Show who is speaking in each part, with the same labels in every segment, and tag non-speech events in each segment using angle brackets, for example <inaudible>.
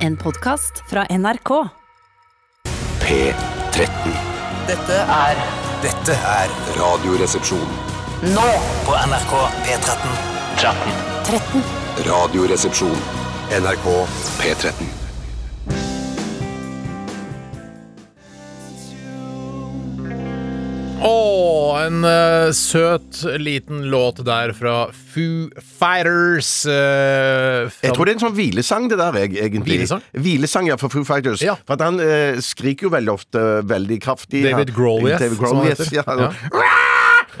Speaker 1: En podkast fra NRK.
Speaker 2: P13.
Speaker 3: Dette er
Speaker 2: Dette er Radioresepsjon.
Speaker 3: nå på NRK P13. 13.
Speaker 2: Radioresepsjon. NRK P13.
Speaker 4: Å, en eh, søt liten låt der fra Foo Fighters. eh, fra-
Speaker 5: Jeg tror det er en sånn hvilesang, det der, jeg, egentlig.
Speaker 4: Hvilesang?
Speaker 5: Hvilesang, ja, for Foo Fighters.
Speaker 4: Ja.
Speaker 5: For at han eh, skriker jo veldig ofte eh, veldig kraftig.
Speaker 4: David
Speaker 5: Ja.
Speaker 4: Grohl, yes,
Speaker 5: David Grohl,
Speaker 4: som han
Speaker 5: yes,
Speaker 4: heter.
Speaker 5: ja.
Speaker 4: Ja.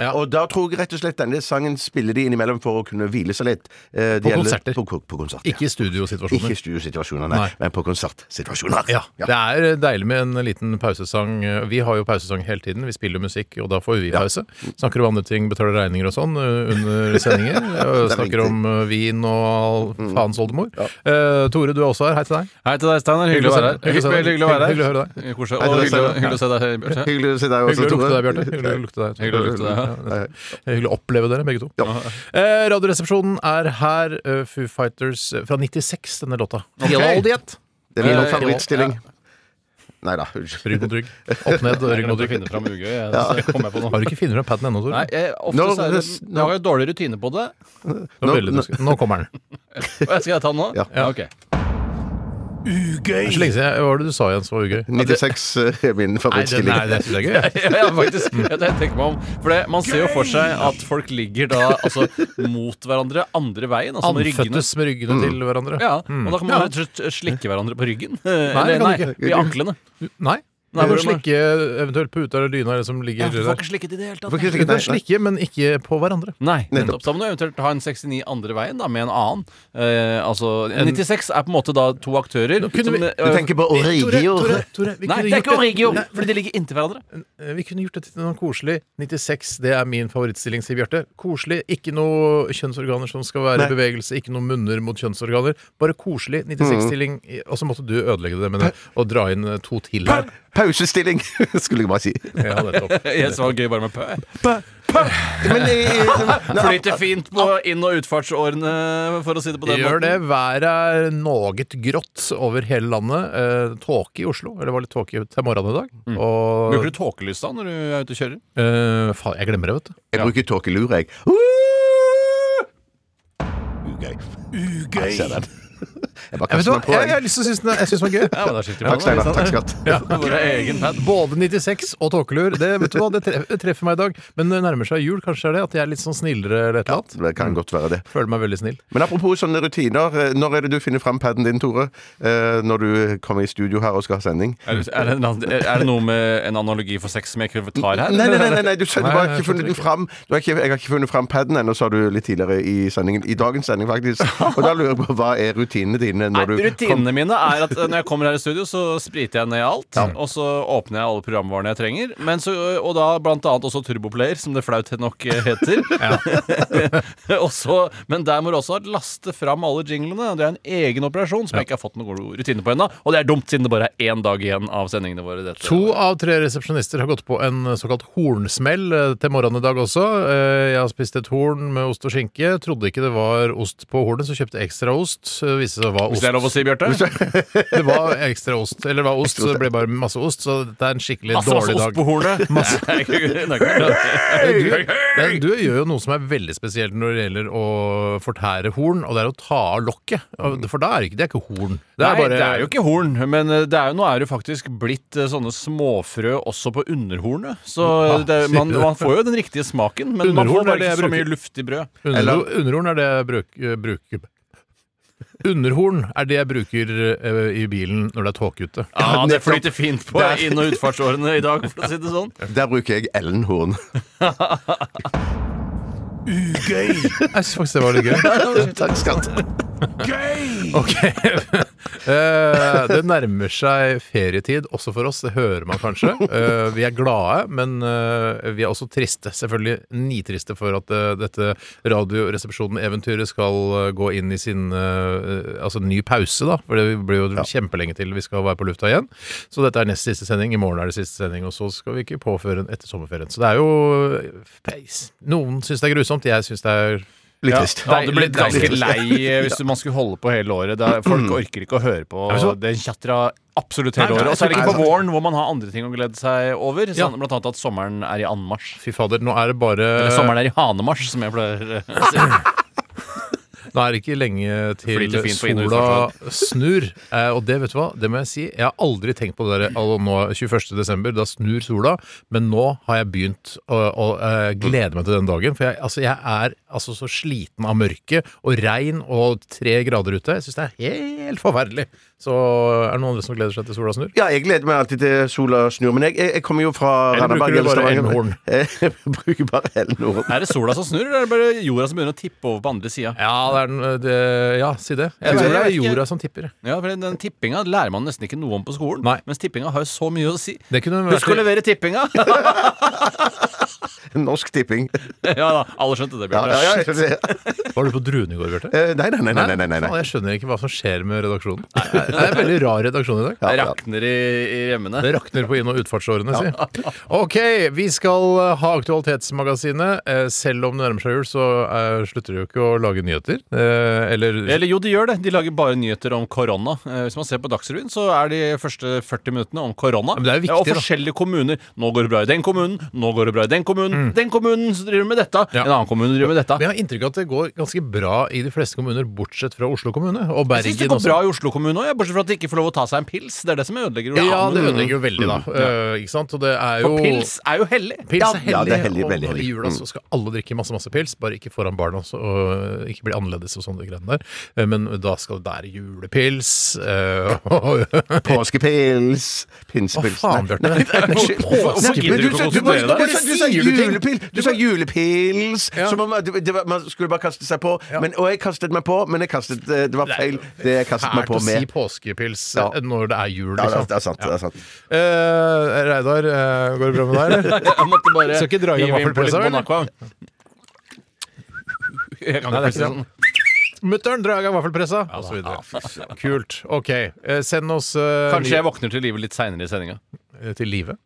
Speaker 4: Ja.
Speaker 5: Og da tror jeg rett og slett denne sangen spiller de innimellom for å kunne hvile seg litt. Eh, det
Speaker 4: På
Speaker 5: gjelder-
Speaker 4: konserter.
Speaker 5: På, ko- på konsert, ja.
Speaker 4: Ikke i studiosituasjoner.
Speaker 5: Ikke studiosituasjoner, nei,
Speaker 4: Nei.
Speaker 5: men på konsertsituasjoner.
Speaker 4: Ja,
Speaker 5: Ja.
Speaker 4: Det er deilig med en liten pausesang. Vi har jo pausesang hele tiden. Vi spiller jo musikk, og da får vi pause. Snakker om andre ting, betaler regninger og sånn eh, under sendinger. Eh,
Speaker 5: <laughs> Det er
Speaker 4: Snakker
Speaker 5: riktig. Mm.
Speaker 4: om eh, vin og all faens oldemor. Eh, Tore, du er også her. Hei til deg.
Speaker 6: Hei til deg, Steinar. Hyggelig å være her.
Speaker 4: Hyggelig å se deg.
Speaker 6: Hyggelig å være her.
Speaker 4: Hyggelig å høre deg.
Speaker 6: Hyggelig å se-
Speaker 5: Hei til
Speaker 6: og
Speaker 5: deg,
Speaker 6: hyggelig å-
Speaker 5: Steinar.
Speaker 6: hyggelig å se deg, Bjarte.
Speaker 5: Hyggelig å se deg også,
Speaker 4: Hyggelig å lukte deg,
Speaker 5: Tore.
Speaker 4: Bjarte. Hyggelig å lukte deg. Tore.
Speaker 6: Hyggelig å lukte deg, ja.
Speaker 4: Ja, det er Hyggelig å oppleve dere, begge to. Eh, Radioresepsjonen er her. eh, Foo Fighters eh, fra 96, denne låta. Fjellaldiet.
Speaker 5: Det er min
Speaker 6: Eh,
Speaker 5: favorittstilling. Nei da, unnskyld.
Speaker 4: Rygg mot rygg. Opp ned,
Speaker 6: Jeg
Speaker 4: rygg mot
Speaker 6: glemte å
Speaker 4: rygg.
Speaker 6: finne fram ugøy. jeg. Det kom jeg på
Speaker 4: Har
Speaker 6: nå.
Speaker 4: du ikke finner fram paden ennå, Tore?
Speaker 6: Nei, jeg, ofte
Speaker 5: Nå-
Speaker 6: så er det,
Speaker 5: nå-
Speaker 6: jeg har jo dårlig rutine på det.
Speaker 4: Det var
Speaker 5: Nå-
Speaker 4: veldig dusk. Nå kommer den.
Speaker 6: Og jeg skal jeg ta den nå?
Speaker 5: Ja.
Speaker 6: ok.
Speaker 4: Det er så lenge siden jeg, Hva var det du sa igjen som var ugøy?
Speaker 5: 96 er eh, min
Speaker 4: Nei, det,
Speaker 5: favorittstilling.
Speaker 4: nei, det synes jeg <laughs> er gøy. jeg.
Speaker 6: <laughs> Ja, ja, faktisk. Jeg tenker meg om. For det, man ser jo for seg at folk ligger da altså mot hverandre andre veien. Altså med ryggene.
Speaker 4: Anføttes med ryggene til hverandre.
Speaker 6: Ja, og da kan man
Speaker 4: Mm. Ja.
Speaker 6: rett og slett slikke hverandre på ryggen. <laughs>
Speaker 4: det
Speaker 6: Eller,
Speaker 4: kan
Speaker 6: nei,
Speaker 4: du ikke.
Speaker 6: i anklene.
Speaker 4: Nei. Du
Speaker 6: Nei,
Speaker 4: må
Speaker 6: hvordan da?
Speaker 4: slikke eventuelt på uta eller dyna eller som ligger
Speaker 6: Jeg får
Speaker 4: der.
Speaker 6: ikke slikket i det hele tatt.
Speaker 5: Får ikke
Speaker 4: Du
Speaker 5: slikke-
Speaker 4: kan
Speaker 5: nei, nei.
Speaker 4: slikke, men ikke på hverandre.
Speaker 6: Nei,
Speaker 5: Nettopp.
Speaker 6: nettopp. Da må du eventuelt ha en 69 andre veien, da, med en annen. Eh, altså, 96 er på en måte da to aktører.
Speaker 4: kunne vi-
Speaker 6: eh,
Speaker 5: Du tenker på Origio.
Speaker 4: Tore, vi, kunne
Speaker 6: Nei, det er
Speaker 4: gjort
Speaker 6: ikke Origio,
Speaker 4: Nei,
Speaker 6: fordi de ligger inntil hverandre.
Speaker 4: eh, vi kunne gjort det til noe koselig. 96, det er min favorittstilling, sier Bjarte. Koselig. Ikke noe kjønnsorganer som skal være i bevegelse. Ikke noe munner mot kjønnsorganer. Bare koselig
Speaker 6: Mm.
Speaker 4: 96-stilling. Og så måtte du ødelegge det med det, og dra inn eh, to til her.
Speaker 5: Pausestilling, <laughs> skulle jeg bare si.
Speaker 4: Ja, nettopp.
Speaker 6: Jeg så gøy bare med pø.
Speaker 5: Men eh, nei,
Speaker 6: Flyter fint på inn- og utfartsårene, for å si <laughs> det på den
Speaker 4: Gjør det.
Speaker 6: måten.
Speaker 4: Været er noe grått over hele landet. Eh, tåke i Oslo. Eller det var litt tåke til morgenen i dag. Og
Speaker 6: Mm. Bruker du tåkelys da når du er ute og kjører?
Speaker 4: eh, Faen, jeg glemmer det, vet du.
Speaker 5: Jeg bruker tåkelur, jeg. Ugøy. Ugøy. Jeg den. Jeg bare
Speaker 4: Jeg, vet
Speaker 5: kaster meg
Speaker 4: hva,
Speaker 5: på.
Speaker 4: jeg, jeg
Speaker 5: Jeg.
Speaker 4: har lyst til å synes den er, jeg synes den var gøy.
Speaker 6: Ja, men det er
Speaker 5: Takk,
Speaker 6: skikkelig bra, da,
Speaker 5: Steinar. Takk,
Speaker 6: ikke sant?
Speaker 5: skatt.
Speaker 6: Vår egen pad.
Speaker 4: Både 96 og tåkelur. Det, vet du hva, det treffer, det treffer meg i dag. Men det nærmer seg jul, kanskje er det? At jeg er litt sånn snillere eller et eller annet?
Speaker 5: Det kan godt være det.
Speaker 4: Føler meg veldig snill.
Speaker 5: Men apropos sånne rutiner. eh, Når er det du finner fram paden din, Tore? Eh, Når du kommer i studio her og skal ha sending?
Speaker 6: Er det, er, det, en annen- er det noe med en analogi for sex som jeg ikke tar her?
Speaker 5: Nei, nei, nei, nei, nei du skjønner, du har
Speaker 4: Nei, jeg
Speaker 5: ikke funnet den fram. Du har ikke, jeg har ikke funnet fram paden ennå, sa du litt tidligere i sendingen. I dagens sending, faktisk. Og da lurer jeg på hva er rutinene dine når du
Speaker 6: Nei,
Speaker 5: kom-
Speaker 6: rutinene mine er at eh, når jeg kommer her i studio, så spriter jeg ned alt. Og så åpner jeg alle programvarene jeg trenger. Men så, og da blant annet også Turboplayer, som det flaut nok eh, heter. <laughs> og så, men der må du også laste fram alle jinglene. Det er en egen operasjon som jeg ikke har fått noen god rutine på ennå. Og det er dumt, siden det bare er én dag igjen av sendingene våre. Dette.
Speaker 4: To av tre resepsjonister har gått på en såkalt hornsmell eh, til morgenen i dag også. Eh, Jeg har spist et horn med ost og skinke. Trodde ikke det var ost på hornet, så kjøpte jeg ekstra ost. Eh, Viste seg å være
Speaker 6: Hvis det er
Speaker 4: ost.
Speaker 6: lov å si, Bjarte.
Speaker 4: <laughs>
Speaker 6: <laughs>
Speaker 4: Det var ekstra ost. Eller det var ost, så det ble bare masse ost. Så det er en skikkelig
Speaker 6: Masse, masse
Speaker 4: dårlig
Speaker 6: Altså, ost
Speaker 4: dag.
Speaker 6: på hornet. <laughs> Nei, det er ikke-
Speaker 4: Men Du, men du gjør jo noe som er veldig spesielt når det gjelder å fortære horn, og det er å ta av lokket. Og- For da er det ikke, det er ikke horn. Det er
Speaker 6: Mm. Nei,
Speaker 4: bare
Speaker 6: det er jo ikke horn, men eh, det er jo, nå er det jo faktisk blitt eh, sånne småfrø også på underhornet. Så eh,
Speaker 4: Ja,
Speaker 6: det,
Speaker 4: sier
Speaker 6: man,
Speaker 4: du det?
Speaker 6: man får jo den riktige smaken, men man
Speaker 4: Underhorn
Speaker 6: får
Speaker 4: er det
Speaker 6: bare
Speaker 4: jeg
Speaker 6: ikke så
Speaker 4: bruker.
Speaker 6: mye luft i brød.
Speaker 4: Under,
Speaker 5: Eller-
Speaker 4: Underhorn er det jeg bruk, eh, bruker Underhorn er det jeg bruker eh, i bilen når det er tåke ute.
Speaker 6: Ja, det
Speaker 5: nettopp.
Speaker 6: flyter fint
Speaker 4: <laughs>
Speaker 6: på
Speaker 5: Der.
Speaker 6: inn- og utfartsårene i dag, for å si det sånn.
Speaker 5: Der bruker jeg Ellen Horn.
Speaker 4: Jeg syns faktisk det var litt gøy.
Speaker 6: <laughs>
Speaker 5: Takk, skatt.
Speaker 4: Ok Eh, Det nærmer seg ferietid også for oss, det hører man kanskje. Eh, vi er glade, men eh, vi er også triste. Selvfølgelig nitriste for at eh, dette Radioresepsjonen-eventyret skal eh, gå inn i sin eh, eh, Altså ny pause, da. For det blir jo kjempelenge til vi skal være på lufta igjen. Så dette er nest siste sending. I morgen er det siste sending, og så skal vi ikke påføre en etter sommerferien. Så det er jo eh, Noen syns det er grusomt, jeg syns det er
Speaker 5: Litt trist.
Speaker 6: Ja, du blir
Speaker 4: Litt
Speaker 6: ganske
Speaker 4: trist. Mm.
Speaker 6: lei eh, hvis du- man skulle holde på hele året. Det er, folk orker ikke å høre på
Speaker 4: men så-
Speaker 6: den tjatra absolutt
Speaker 4: Nei,
Speaker 6: hele
Speaker 4: nei,
Speaker 6: året. Og så er det
Speaker 4: nei,
Speaker 6: ikke på
Speaker 4: nei.
Speaker 6: våren hvor man har andre ting å glede seg over.
Speaker 4: Ja.
Speaker 6: Sånn, blant annet at sommeren er i anmarsj. Eh,
Speaker 4: Fy fader, nå er det bare
Speaker 6: Eller sommeren er i hanemarsj, som jeg pleier <laughs> å si.
Speaker 4: Nå er det ikke lenge til
Speaker 6: Flyter fint på inn- og
Speaker 4: sola <laughs> snur. Eh, og det, vet du hva, det må jeg si. Jeg har aldri tenkt på det der altså nå 21. desember, da snur sola. Men nå har jeg begynt å, å eh, glede meg til den dagen. For jeg, altså, jeg er altså så sliten av mørket og regn og tre grader ute. Jeg syns det er helt forferdelig. Så er det noen andre som gleder seg til sola snur?
Speaker 5: Ja, jeg gleder meg alltid til sola snur, men jeg, jeg, jeg kommer jo fra
Speaker 4: Eller bruker
Speaker 5: Randaberg
Speaker 4: du bare
Speaker 5: Stavanger.
Speaker 4: elmhorn?
Speaker 5: <laughs> Jeg bruker bare elmhorn.
Speaker 6: Er det sola som snur, eller er det bare jorda som begynner å tippe over på andre sida?
Speaker 4: Ja, det er, den- eh, det, ja, si det. Jeg
Speaker 6: Sier
Speaker 4: tror det
Speaker 6: det?
Speaker 4: er jorda som tipper.
Speaker 6: Ja, for den tippinga lærer man nesten ikke noe om på skolen.
Speaker 4: Nei.
Speaker 6: Mens tippinga har jo så mye å si.
Speaker 4: Det kunne vært-
Speaker 6: Husk å levere tippinga! <laughs>
Speaker 5: Norsk tipping.
Speaker 6: ja da, alle skjønte det,
Speaker 5: Ja,
Speaker 6: Bjarte.
Speaker 5: ja, ja, jeg- jeg-
Speaker 4: Var du på Druen i går, Bjarte?
Speaker 5: Eh, Nei, nei, nei. nei, nei, nei,
Speaker 4: Faen,
Speaker 5: nei.
Speaker 4: jeg skjønner ikke hva som skjer med redaksjonen. Det er en veldig rar redaksjon i dag.
Speaker 6: Det rakner i, i remmene.
Speaker 4: Det rakner på inn- og utfartsårene, si. Ok, vi skal eh, ha Aktualitetsmagasinet. Eh, Selv om det nærmer seg jul, så eh, slutter de jo ikke å lage nyheter. Eh, Eller
Speaker 6: Eller jo, de gjør det. De lager bare nyheter om korona. Eh, Hvis man ser på Dagsrevyen, så er de første 40 minuttene om korona.
Speaker 4: Men det er jo viktig,
Speaker 6: Ja, og
Speaker 4: da.
Speaker 6: forskjellige kommuner. Nå går det bra i den kommunen, nå går det bra i den kommunen, den kommunen som driver med dette,
Speaker 4: Mm. Ja.
Speaker 6: en annen kommune driver med dette.
Speaker 4: Vi har inntrykk av at det går ganske bra i de fleste kommuner, bortsett fra Oslo kommune og
Speaker 6: Jeg synes det
Speaker 4: Bergen
Speaker 6: går bra
Speaker 4: også.
Speaker 6: i Oslo kommune òg, bortsett fra at de ikke får lov å ta seg en pils. Det er det som ødelegger Oslo
Speaker 4: Ja, det
Speaker 6: kommune.
Speaker 4: ødelegger jo veldig, da. Eh, Ikke sant? Og det er jo
Speaker 6: Mm. For pils er jo hellig.
Speaker 4: Pils er hellig,
Speaker 5: Ja, det er hellig,
Speaker 4: og
Speaker 5: veldig hellig. Mm.
Speaker 4: i jula så altså, skal alle drikke masse masse pils, bare ikke foran barna så- og ikke bli annerledes og sånne greiene der. Eh, Men da skal det være julepils eh,
Speaker 5: Påskepils.
Speaker 4: Hva
Speaker 5: Pinsepils.
Speaker 4: faen,
Speaker 5: Nei,
Speaker 4: Bjarte? Det er
Speaker 5: Nei,
Speaker 4: ikke påske.
Speaker 5: Nei, men
Speaker 6: gidder du ikke å
Speaker 5: sa-
Speaker 6: konsentrere
Speaker 5: bare-
Speaker 6: deg?
Speaker 5: Du, sa- du, sa julepil- du sa julepils! Som om man, det var- man skulle bare kaste seg på. Men, og jeg kastet meg på, men jeg kastet, eh, det var feil. Det
Speaker 4: <laughs>
Speaker 5: jeg kastet meg
Speaker 4: Fælt
Speaker 5: på
Speaker 4: å si
Speaker 5: med.
Speaker 4: påskepils
Speaker 5: Ja.
Speaker 4: eh, når det er jul.
Speaker 5: Ja, altså.
Speaker 4: Liksom.
Speaker 5: det er- det er sant. Det er sant.
Speaker 4: Eh, Reidar, eh, går det bra med deg,
Speaker 6: <laughs>
Speaker 4: eller?
Speaker 6: <laughs> Jeg måtte bare
Speaker 4: Skal ikke dra i gang
Speaker 6: hive inn på litt
Speaker 4: vaffelpølsa, eller?
Speaker 6: Monaco. Jeg kan
Speaker 4: Nei, det er
Speaker 6: ikke si
Speaker 4: ikke
Speaker 6: sånn.
Speaker 4: Mutter'n drar i gang vaffelpressa, og så videre. Kult. Ok, eh, send oss eh,
Speaker 6: Kanskje jeg våkner til live litt seinere i sendinga.
Speaker 4: li- til live.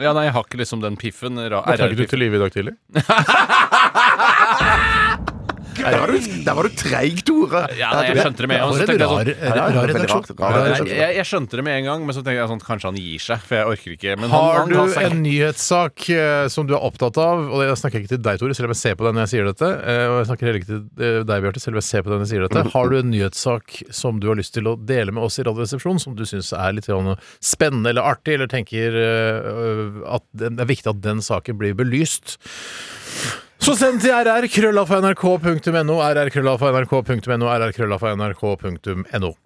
Speaker 6: Ja, nei, jeg har ikke liksom den piffen. ra-
Speaker 4: Våkna ikke du
Speaker 6: RR-piffen.
Speaker 4: til live i dag tidlig?
Speaker 5: Der var du, der var du treig, Tore.
Speaker 6: Ja, nei, jeg skjønte det med en
Speaker 4: For
Speaker 6: gang.
Speaker 4: en
Speaker 6: så tenkte
Speaker 4: rar,
Speaker 6: jeg sånn-
Speaker 5: Ja,
Speaker 4: rar,
Speaker 5: det
Speaker 4: rar
Speaker 5: var veldig
Speaker 4: redaksjon.
Speaker 5: rart, rar
Speaker 6: Nei,
Speaker 5: redaksjon.
Speaker 6: Jeg, jeg skjønte det med en gang, men så tenkte jeg sånn Kanskje han gir seg, for jeg orker ikke. Men
Speaker 4: Har
Speaker 6: han, han
Speaker 4: du
Speaker 6: ga seg.
Speaker 4: en nyhetssak eh, som du er opptatt av, og jeg snakker ikke til deg, Tore, selv om jeg ser på deg når jeg sier dette, eh, og jeg snakker heller ikke til eh, deg, Bjarte, selv om jeg ser på deg når jeg sier dette, har du en nyhetssak som du har lyst til å dele med oss i Radioresepsjonen, som du syns er litt grann spennende eller artig, eller tenker eh, at den- det er viktig at den saken blir belyst? Så send til rrkrøllafnrk.no, rrkrøllafnrk.no, rrkrøllafnrk.no.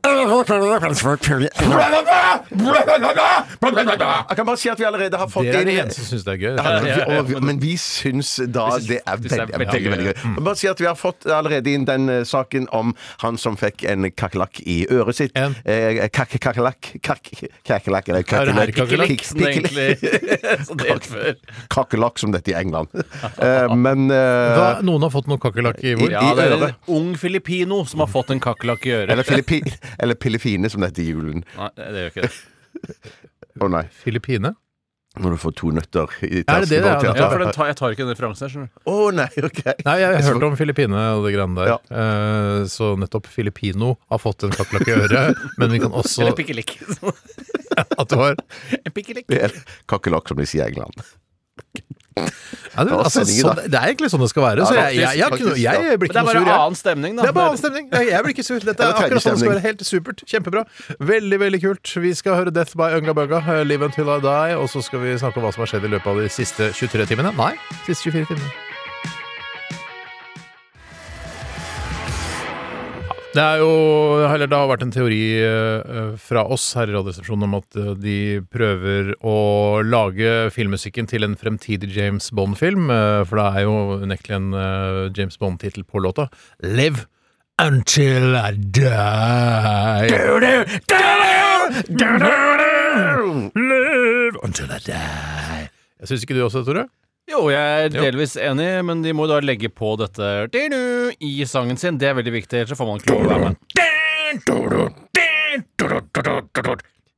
Speaker 5: Jeg kan bare si at vi allerede har fått
Speaker 4: Dere er
Speaker 5: inn
Speaker 4: de eneste som syns det er gøy.
Speaker 5: Ja, vi- og vi- Men vi syns da
Speaker 6: Vi syns-
Speaker 5: det er
Speaker 6: vi syns det er
Speaker 5: veldig,
Speaker 6: veldig
Speaker 5: veldig, veldig gøy. Men Bare si at vi har fått allerede inn den eh, saken om han som fikk en kakerlakk i øret sitt.
Speaker 4: En?
Speaker 5: Eh, kak- Kakerlakk kak- Kakerlakk eller
Speaker 4: Er det her kakerlakk?
Speaker 5: Kik-
Speaker 6: Som det <laughs> egentlig som det het <laughs> før.
Speaker 5: Kakerlakk som dette i England. Eh, Men
Speaker 4: Da,
Speaker 5: eh,
Speaker 4: noen har fått noen kakerlakk i hvor?
Speaker 5: I-
Speaker 6: Ja, det er
Speaker 5: øret.
Speaker 6: en ung filippino som har fått en kakerlakk i
Speaker 5: Eller,
Speaker 6: øret.
Speaker 5: Filippi, eller Pillefine som dette i julen.
Speaker 6: Nei, det gjør ikke det.
Speaker 5: Å nei,
Speaker 4: Filippine?
Speaker 5: når du får to nøtter i
Speaker 4: Er det det det er?
Speaker 5: tasken.
Speaker 6: Ja, for den tar, jeg tar ikke den referansen her, skjønner du.
Speaker 5: Å nei, ok.
Speaker 4: Nei, jeg har hørt om Filippine og det greiene der.
Speaker 5: Ja.
Speaker 4: Eh, så nettopp Filippino har fått en kakerlakk i
Speaker 5: <laughs>
Speaker 4: øret, men vi kan også
Speaker 6: Eller pikkelikk.
Speaker 4: at det var
Speaker 6: En <laughs> pikkelikk.
Speaker 5: Det er Kakerlakk som de sier i England.
Speaker 4: ja, det,
Speaker 5: var
Speaker 4: altså,
Speaker 5: sendingen,
Speaker 4: sånn,
Speaker 5: da.
Speaker 4: det er egentlig sånn det skal være. Så
Speaker 5: Ja,
Speaker 4: jeg, jeg, jeg,
Speaker 5: faktisk,
Speaker 4: kunne- jeg,
Speaker 5: ja.
Speaker 4: blir
Speaker 6: Men det
Speaker 4: ikke
Speaker 6: er
Speaker 4: noe
Speaker 6: bare
Speaker 4: sur.
Speaker 6: en
Speaker 4: Jeg.
Speaker 6: annen stemning, da.
Speaker 4: Det er bare annen stemning. Jeg, jeg blir ikke sur. Dette
Speaker 5: var
Speaker 4: er akkurat sånn <laughs> det skal
Speaker 5: tredjestemning.
Speaker 4: være. Helt supert. Kjempebra. Veldig, veldig kult. Vi skal høre Death by Unga Bunga, eh, Live Until I Die, og så skal vi snakke om hva som har skjedd i løpet av de siste 23 timene. Nei, siste 24 timene. Det, er jo, eller det har vært en teori eh, fra oss her i Radioresepsjonen om at eh, de prøver å lage filmmusikken til en fremtidig James Bond-film. eh, For det er jo unektelig en eh, James Bond-tittel på låta. Live until I die. Live until I die. Jeg Syns ikke du også, Tore?
Speaker 6: Jo, jeg er delvis enig, men de må da legge på dette du-du i sangen sin. Det er veldig viktig, ellers så får man ikke lov å være med.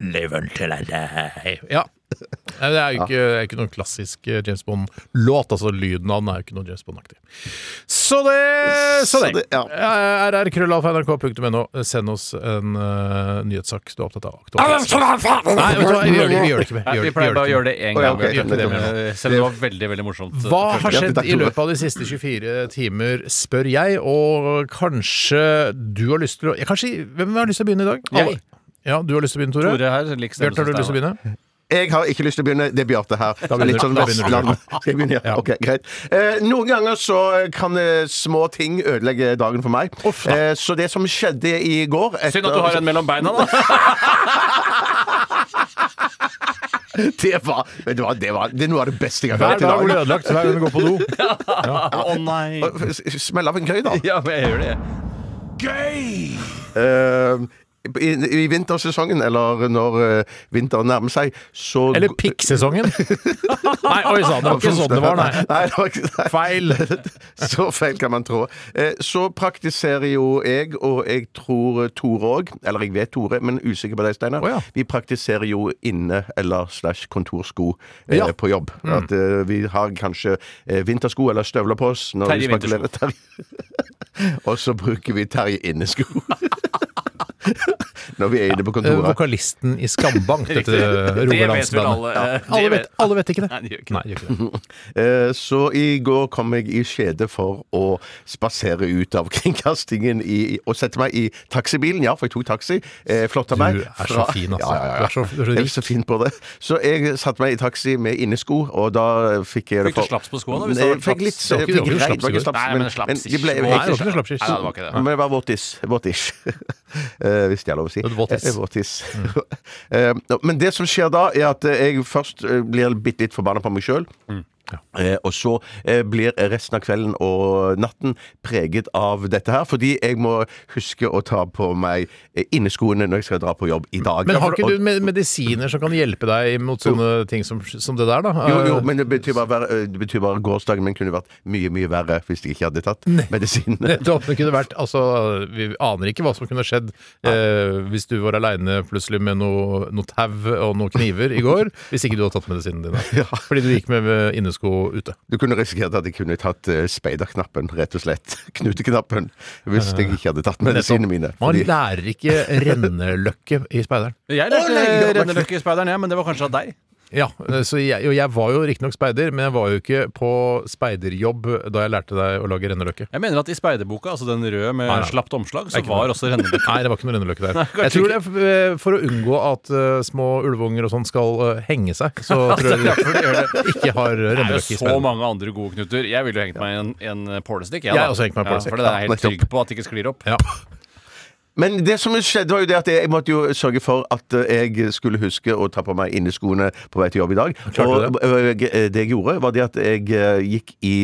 Speaker 4: Live until I die. Ja. Nei, det er jo ikke, det er ikke noen klassisk eh, James Bond-låt. Altså Lyden av den er jo ikke noe James Bond-aktig. Så det! Så
Speaker 5: Så
Speaker 4: det.
Speaker 5: det, ja.
Speaker 4: Eh, rrkrøllalfa.nrk.no. Send oss en eh, nyhetssak du er opptatt av. Aktuelt. Nei, vet du hva? vi gjør det, vi gjør det ikke mer.
Speaker 6: Nei,
Speaker 4: gjør
Speaker 6: vi
Speaker 4: det-
Speaker 6: pleier
Speaker 4: gjør
Speaker 6: bare å
Speaker 4: ikke
Speaker 6: gjøre det
Speaker 4: mer.
Speaker 5: Å, ja,
Speaker 6: én gang.
Speaker 5: ok.
Speaker 6: Gjør ikke det
Speaker 5: Nettopp.
Speaker 6: mer. Selv om det var veldig veldig morsomt.
Speaker 4: Hva har
Speaker 5: Ja,
Speaker 4: skjedd i
Speaker 5: takk, Tore.
Speaker 4: løpet av de siste 24 timer, spør jeg, og kanskje du har lyst til å ja, Kanskje, Hvem har lyst til å begynne i dag?
Speaker 6: Jeg.
Speaker 4: Ja, du har lyst til å begynne, Tore?
Speaker 6: Tore her liker
Speaker 4: Bjarte, har du lyst til å
Speaker 6: stemmesystemet.
Speaker 4: begynne?
Speaker 5: Jeg har ikke lyst til å begynne. Det er Bjarte her.
Speaker 4: begynner
Speaker 5: Litt
Speaker 4: du.
Speaker 5: sånn
Speaker 4: Da begynner du.
Speaker 5: Vestland.
Speaker 4: <laughs>
Speaker 5: Skal jeg begynne? Ja. Ok, greit. Eh, noen ganger så kan eh, små ting ødelegge dagen for meg.
Speaker 4: Uff, da.
Speaker 5: eh, så det som skjedde i går etter-
Speaker 6: Synd at du har en mellom
Speaker 4: <laughs>
Speaker 6: beina, da.
Speaker 5: <laughs> Det var, vet du hva, det var det er noe av det beste jeg har
Speaker 4: Hver
Speaker 5: hørt i
Speaker 4: dag blir
Speaker 5: dag.
Speaker 4: ødelagt hver gang du går på do.
Speaker 6: Å nei.
Speaker 5: Og s- Smell av en gøy, da.
Speaker 6: Ja, men jeg gjør det.
Speaker 5: Eh, i, I vintersesongen, eller når eh, vinteren nærmer seg, så
Speaker 4: <laughs> Eller
Speaker 5: <laughs>
Speaker 4: pikksesongen. Nei, oi sann, det var ikke sånn det var, nei.
Speaker 5: nei det var ikke, nei.
Speaker 4: Feil.
Speaker 5: <laughs> Så feil kan man trå. Eh, Så praktiserer jo jeg, og jeg tror Tore òg, eller jeg vet Tore, men usikker på deg, Steinar.
Speaker 4: Å ja.
Speaker 5: Vi praktiserer jo inne- eller slash kontorsko eh,
Speaker 4: Ja. Mm.
Speaker 5: på jobb. At eh, vi har kanskje eh, vintersko eller støvler på oss. Når
Speaker 6: Terje
Speaker 5: vi spankulerer. Terje- <laughs> og så bruker vi Terje innesko. <laughs> når vi er inne på
Speaker 4: Eh,
Speaker 5: kontoret.
Speaker 4: Vokalisten i Skambank, dette eh,
Speaker 6: Det vet vel
Speaker 4: rogalandsbandet.
Speaker 6: alle.
Speaker 4: Alle vet, alle vet ikke det.
Speaker 6: Nei, de gjør ikke det.
Speaker 4: Nei, de gjør ikke det.
Speaker 5: Eh, Så i går kom jeg i skjede for å spasere ut av <laughs> kringkastingen i, og sette meg i taxibilen. Ja, for jeg tok taxi. Eh, Flotta meg.
Speaker 4: Du er så
Speaker 5: fra-
Speaker 4: fin, altså.
Speaker 5: Ja, ja, ja.
Speaker 4: Du er så- du er så
Speaker 5: <laughs> Jeg
Speaker 4: rik.
Speaker 5: så fin på det. Så jeg satte meg i taxi med innesko, og da fikk jeg det
Speaker 6: Fikk du
Speaker 5: for
Speaker 6: slaps på skoene, da, hvis det
Speaker 5: Nei,
Speaker 6: var
Speaker 5: jeg fikk
Speaker 6: slaps?
Speaker 5: litt
Speaker 6: Det var
Speaker 4: ikke-
Speaker 5: jeg
Speaker 4: det var ikke slaps i
Speaker 5: fikk reit, det var ikke
Speaker 4: går.
Speaker 5: slaps,
Speaker 6: Nei,
Speaker 5: men,
Speaker 6: men slaps
Speaker 5: men de ble jeg
Speaker 6: ikke.
Speaker 4: Nei, det
Speaker 5: fikk-
Speaker 4: var ikke noe slapskyss.
Speaker 6: Nei, det var ikke det.
Speaker 5: men det var våtis. Våtis. <laughs> Eh, hvis det er lov å si.
Speaker 4: Et våtis.
Speaker 5: Eh,
Speaker 6: Mm.
Speaker 5: <laughs> Eh, nå, men det som skjer da, er at eh, jeg først eh, blir bitte litt forbanna på meg sjøl.
Speaker 6: Mm.
Speaker 5: Eh, og så eh, blir resten av kvelden og natten preget av dette her, fordi jeg må huske å ta på meg eh, inneskoene når jeg skal dra på jobb i dag.
Speaker 4: Men har
Speaker 5: Og-
Speaker 4: ikke du med- medisiner som kan hjelpe deg mot sånne ting som, som det der, da? Eh,
Speaker 5: jo, jo, men det betyr bare, verre- det betyr bare gårsdagen min kunne vært mye, mye verre hvis jeg ikke hadde tatt medisinene.
Speaker 4: Nettopp. Det kunne vært Altså, vi aner ikke hva som kunne skjedd eh, hvis du var aleine plutselig med noe, noe tau og noen kniver i <laughs> går, hvis ikke du hadde tatt medisinene dine. Fordi du gikk med, med innesko ute.
Speaker 5: Du kunne risikert at jeg kunne tatt eh, speiderknappen, rett og slett. <laughs> Knuteknappen. Hvis jeg ikke hadde tatt medisinene mine.
Speaker 4: Man
Speaker 5: Fordi-
Speaker 4: lærer ikke renneløkke i speideren.
Speaker 6: Jeg
Speaker 5: Å, nei,
Speaker 6: lærte eh,
Speaker 5: det var ikke-
Speaker 6: Renneløkke-speideren, ja, men det var kanskje av deg.
Speaker 4: Ja, så jeg, og jeg var jo riktignok speider, men jeg var jo ikke på speiderjobb da jeg lærte deg å lage renneløkke.
Speaker 6: Jeg mener at i speiderboka, altså den røde med
Speaker 4: Nei, nei.
Speaker 6: slapt omslag, så
Speaker 4: ikke
Speaker 6: var også renneløkke
Speaker 4: Nei, det var ikke noe renneløkke der.
Speaker 6: kanskje
Speaker 4: jeg tror det er f- eh, for å unngå at eh, små ulveunger og sånn skal eh, henge seg, så tror jeg de ikke har
Speaker 6: Det er
Speaker 4: renneløkke i
Speaker 6: jo så
Speaker 4: speideren.
Speaker 6: mange andre gode knuter. Jeg ville jo hengt meg i en, en pålestikk.
Speaker 4: Jeg
Speaker 6: da.
Speaker 4: har også hengt meg i pålestikk.
Speaker 6: Ja, for det er jeg helt
Speaker 5: Nettopp.
Speaker 6: trygg på at det ikke sklir opp.
Speaker 4: Ja.
Speaker 5: Men det som skjedde var jo det at jeg måtte jo sørge for at eh, jeg skulle huske å ta på meg inneskoene på vei til jobb i dag.
Speaker 4: Klarte
Speaker 5: og eh, jeg- eh, det jeg gjorde, var det at jeg eh, gikk i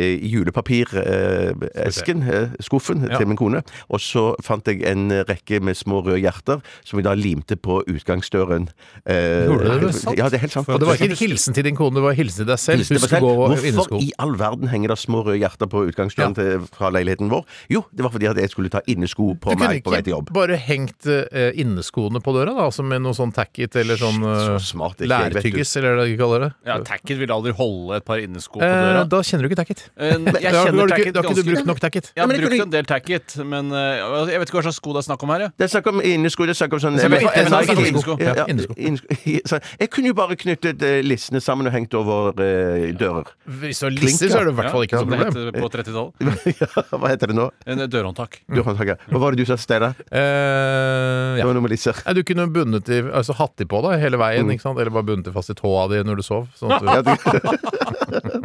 Speaker 5: julepapiresken, eh, skuffen,
Speaker 4: Ja.
Speaker 5: til min kone. Og så fant jeg en rekke med små røde hjerter, som jeg da limte på utgangsdøren. Eh,
Speaker 4: Gjorde du det? Det er sant.
Speaker 5: Ja, det er helt sant.
Speaker 4: Og det var ikke en hilsen til din kone, det var en hilsen til deg selv.
Speaker 5: Hilste
Speaker 4: Husk
Speaker 5: på
Speaker 4: å
Speaker 5: selv.
Speaker 4: gå i
Speaker 5: Hvorfor
Speaker 4: innesko.
Speaker 5: i all verden henger det små røde hjerter på utgangsdøren
Speaker 4: Ja.
Speaker 5: til, fra leiligheten vår? Jo, det var fordi at jeg skulle ta innesko
Speaker 4: Du
Speaker 5: på
Speaker 4: kunne
Speaker 5: meg på vei til
Speaker 4: ikke
Speaker 5: jobb.
Speaker 4: bare hengt eh, inneskoene på døra, da, altså med noe sånn tacket eller sånn eh,
Speaker 5: så smart er ikke jeg, vet du.
Speaker 4: lærtyggis, eller hva de kaller det.
Speaker 6: Ja, Tacket vil aldri holde et par innesko på
Speaker 4: Eh,
Speaker 6: døra.
Speaker 4: da kjenner du ikke tacket.
Speaker 6: Eh, jeg
Speaker 4: Da har du ikke,
Speaker 6: kjenner tacket
Speaker 4: da har ikke du
Speaker 6: ganske
Speaker 4: brukt nok tacket.
Speaker 6: Jeg har
Speaker 5: Nei, men det
Speaker 6: brukt
Speaker 5: kunne-
Speaker 6: en del tacket, men eh, jeg vet ikke hva slags sko det er snakk om her. Ja.
Speaker 5: Det er snakk om innesko. Det er snakk om sånn
Speaker 4: Det er snakk om
Speaker 5: Nike-
Speaker 6: innesko.
Speaker 5: Ja, ja,
Speaker 4: Ja, innesko.
Speaker 5: innesko. <laughs> Så Jeg kunne jo bare knyttet eh, lissene sammen og hengt over eh, dører. <laughs>
Speaker 4: Hvis du har lisser, så er det i hvert fall ikke
Speaker 6: Ja,
Speaker 4: noe
Speaker 6: som det
Speaker 4: problem.
Speaker 6: het på 30-tallet.
Speaker 5: Ja, Hva heter det nå?
Speaker 6: En eh, dørhåndtak.
Speaker 4: Mm.
Speaker 5: Du, håndtaker. Hva var det du sa, Steinar?
Speaker 4: Eh,
Speaker 5: Det
Speaker 4: ja.
Speaker 5: var noe med lisser.
Speaker 4: Nei, Du kunne bundet i, altså hatt de på deg hele veien, ikke sant? eller bare bundet de fast i tåa di når du sov. Sånn at du,
Speaker 5: Ja, det- <laughs>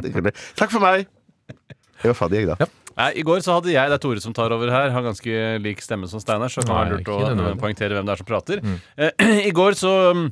Speaker 5: det kunne jeg. Takk for meg! Jeg var ferdig, jeg, da.
Speaker 6: Nei, I går så hadde jeg, det er Tore som tar over her, har ganske lik stemme som Steinar, så det kan være
Speaker 4: Nei,
Speaker 6: lurt
Speaker 4: ikke Mm.
Speaker 6: å
Speaker 4: nødvendig.
Speaker 6: eh, poengtere hvem det er som prater. Eh, <clears throat> I går så mm,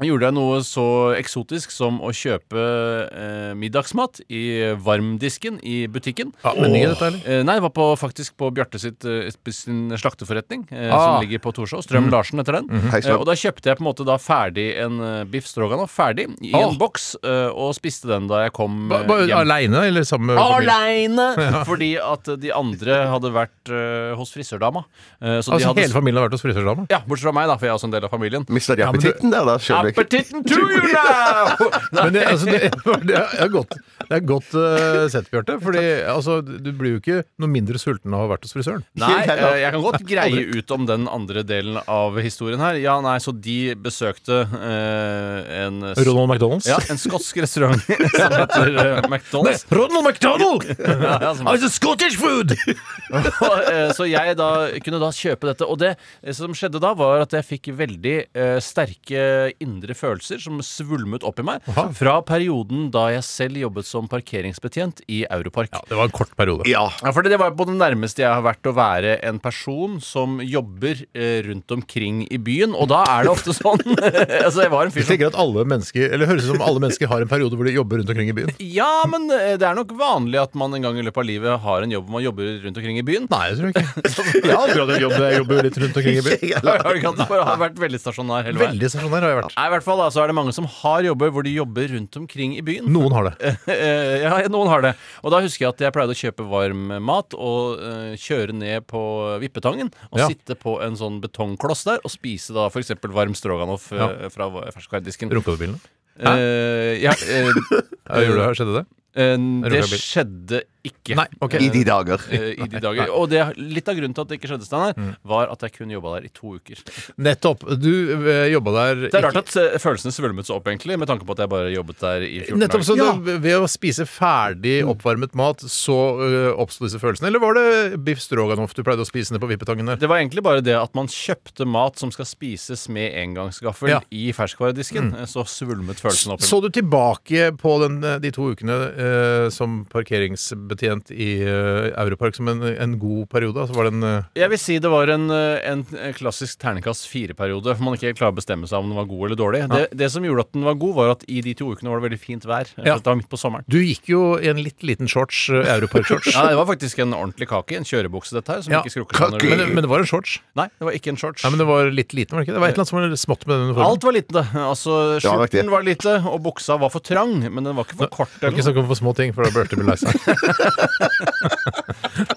Speaker 6: gjorde jeg noe så eksotisk som å kjøpe eh, middagsmat i varmdisken i butikken.
Speaker 4: ja, menyen, dette, eller?
Speaker 6: Eh, nei, det var på, faktisk på Bjarte sitt, eh, sin slakteforretning, eh,
Speaker 4: Ah. Mm-hmm.
Speaker 6: som ligger på Torshov. Strøm Larsen heter den.
Speaker 5: Hei,
Speaker 6: eh,
Speaker 5: Slott.
Speaker 6: og da kjøpte jeg på en måte da ferdig en eh, biff stroganoff ferdig i
Speaker 4: Ah.
Speaker 6: en boks, eh, og spiste den da jeg kom
Speaker 4: Ba-
Speaker 6: eh,
Speaker 4: Bare
Speaker 6: hjem.
Speaker 4: aleine, eller sammen
Speaker 6: Ah,
Speaker 4: med familien? <laughs>
Speaker 6: Aleine! Fordi at eh, de andre hadde vært eh, hos frisørdama. Eh, så de
Speaker 4: Altså,
Speaker 6: hadde
Speaker 4: hele Mm, familien har vært hos frisørdama?
Speaker 6: Ja, bortsett fra meg, da, for jeg er også en del av familien.
Speaker 5: Mistet de
Speaker 4: Ja, men du-
Speaker 5: appetitten der, da?
Speaker 6: Ja,
Speaker 5: Skjønner
Speaker 6: appetitten to you
Speaker 4: <laughs>
Speaker 6: now!
Speaker 4: Men det, altså, det, <laughs> det er godt, det er godt eh, sett, Bjarte. Fordi altså, du blir jo ikke noe mindre sulten av å ha vært hos frisøren.
Speaker 6: Nei,
Speaker 5: Helt
Speaker 6: eh, jeg kan godt greie ut om den andre delen av historien her. Ja, nei, så de besøkte eh, en s-
Speaker 4: Ronald McDonald's.
Speaker 6: Ja, en skotsk restaurant <laughs> som heter eh, McDonald's.
Speaker 4: Ronald <laughs> McDonald! Altså,
Speaker 6: Ja, ja, som-
Speaker 4: Scottish food!
Speaker 6: <laughs> Og, eh, så jeg da kunne da kjøpe dette. Og det eh, som skjedde da, var at jeg fikk veldig eh, sterke indre følelser som svulmet opp i meg
Speaker 4: Aha.
Speaker 6: fra perioden da jeg selv jobbet som parkeringsbetjent i Europark.
Speaker 4: Ja, det var en kort periode.
Speaker 5: Ja.
Speaker 6: Ja, for Det var på det nærmeste jeg har vært å være en person som jobber eh, rundt omkring i byen. Og da er det ofte sånn <laughs> Altså, jeg var en fyr
Speaker 4: Jeg
Speaker 6: som
Speaker 4: tenker at alle mennesker, eller det Høres ut som alle mennesker har en periode hvor de jobber rundt omkring i byen.
Speaker 6: Ja, men eh, det er nok vanlig at man en gang i løpet av livet har en jobb hvor man jobber rundt omkring i byen. <laughs>
Speaker 4: Nei, jeg tror
Speaker 5: <laughs>
Speaker 4: ikke. Jeg har aldri hatt en jobb der jeg jobber litt rundt omkring i byen.
Speaker 6: Har du ikke hatt det? Bare har vært veldig stasjonær hele veien.
Speaker 4: <laughs> Veldig stasjonær har jeg vært.
Speaker 6: Nei, i hvert fall da, så er det mange som har jobber hvor de jobber rundt omkring i byen.
Speaker 4: Noen har det.
Speaker 6: <laughs> Eh, ja, noen har det. Og da husker jeg at jeg pleide å kjøpe varm mat og eh, kjøre ned på Vippetangen og
Speaker 4: Ja.
Speaker 6: sitte på en sånn betongkloss der og spise da f.eks. varm stroganoff eh,
Speaker 4: Ja.
Speaker 6: fra va- ferskvaredisken.
Speaker 4: Rumpebilene.
Speaker 6: Eh, ja, eh,
Speaker 4: Ja, gjorde det? Skjedde det?
Speaker 6: eh,
Speaker 4: <laughs>
Speaker 6: det
Speaker 4: Rumpebil.
Speaker 6: skjedde ikke.
Speaker 4: Nei, ok.
Speaker 5: I de dager.
Speaker 6: eh, I de dager. Og det, litt av grunnen til at det ikke skjedde, Steinar,
Speaker 4: Mm.
Speaker 6: var at jeg kun jobba der i to uker.
Speaker 4: Nettopp. Du eh, jobba der
Speaker 6: Det er rart at eh, følelsene svulmet så opp, egentlig, med tanke på at jeg bare jobbet der i 14
Speaker 4: Nettopp, så
Speaker 6: dager. Ja.
Speaker 4: det, Ved å spise ferdig
Speaker 5: Mm.
Speaker 4: oppvarmet mat, så uh, oppsto disse følelsene? Eller var det biff stroganoff du pleide å spise ned på Vippetangen der?
Speaker 6: Det var egentlig bare det at man kjøpte mat som skal spises med engangsgaffel
Speaker 4: Ja. Mm.
Speaker 6: i ferskvaredisken. Så svulmet
Speaker 5: Sånn
Speaker 6: følelsen opp. i meg.
Speaker 4: Så du tilbake på den, eh, de to ukene eh, som parkeringsbetjent i eh, Europark som en, en god periode? Altså var det en eh,
Speaker 6: Jeg vil si det var en, eh, en klassisk terningkast fire-periode. For man ikke helt klarer å bestemme seg om den var god eller dårlig. Det, det som gjorde at den var god, var at i de to ukene var det veldig fint vær. for
Speaker 4: Ja.
Speaker 6: Det var midt på sommeren.
Speaker 4: Du gikk jo i en litt liten shorts, eh, Europark-shorts.
Speaker 5: <laughs>
Speaker 6: Ja, Det var faktisk en ordentlig kake. En kjørebukse, dette her. Som
Speaker 4: Ja,
Speaker 6: ikke skrukket av når
Speaker 4: men,
Speaker 6: du-
Speaker 4: det- men det var en shorts?
Speaker 6: Nei, det var ikke en shorts.
Speaker 4: Nei, men det var litt liten, var det ikke? Det var et eller annet som var smått med den uniformen.
Speaker 6: Alt var lite. Altså,
Speaker 5: Ja, riktig.
Speaker 6: Skjorten var lite, og buksa var for trang. Men den var ikke for kort.
Speaker 4: Ikke snakk om for små ting, for da Bjarte blir lei seg. <laughs>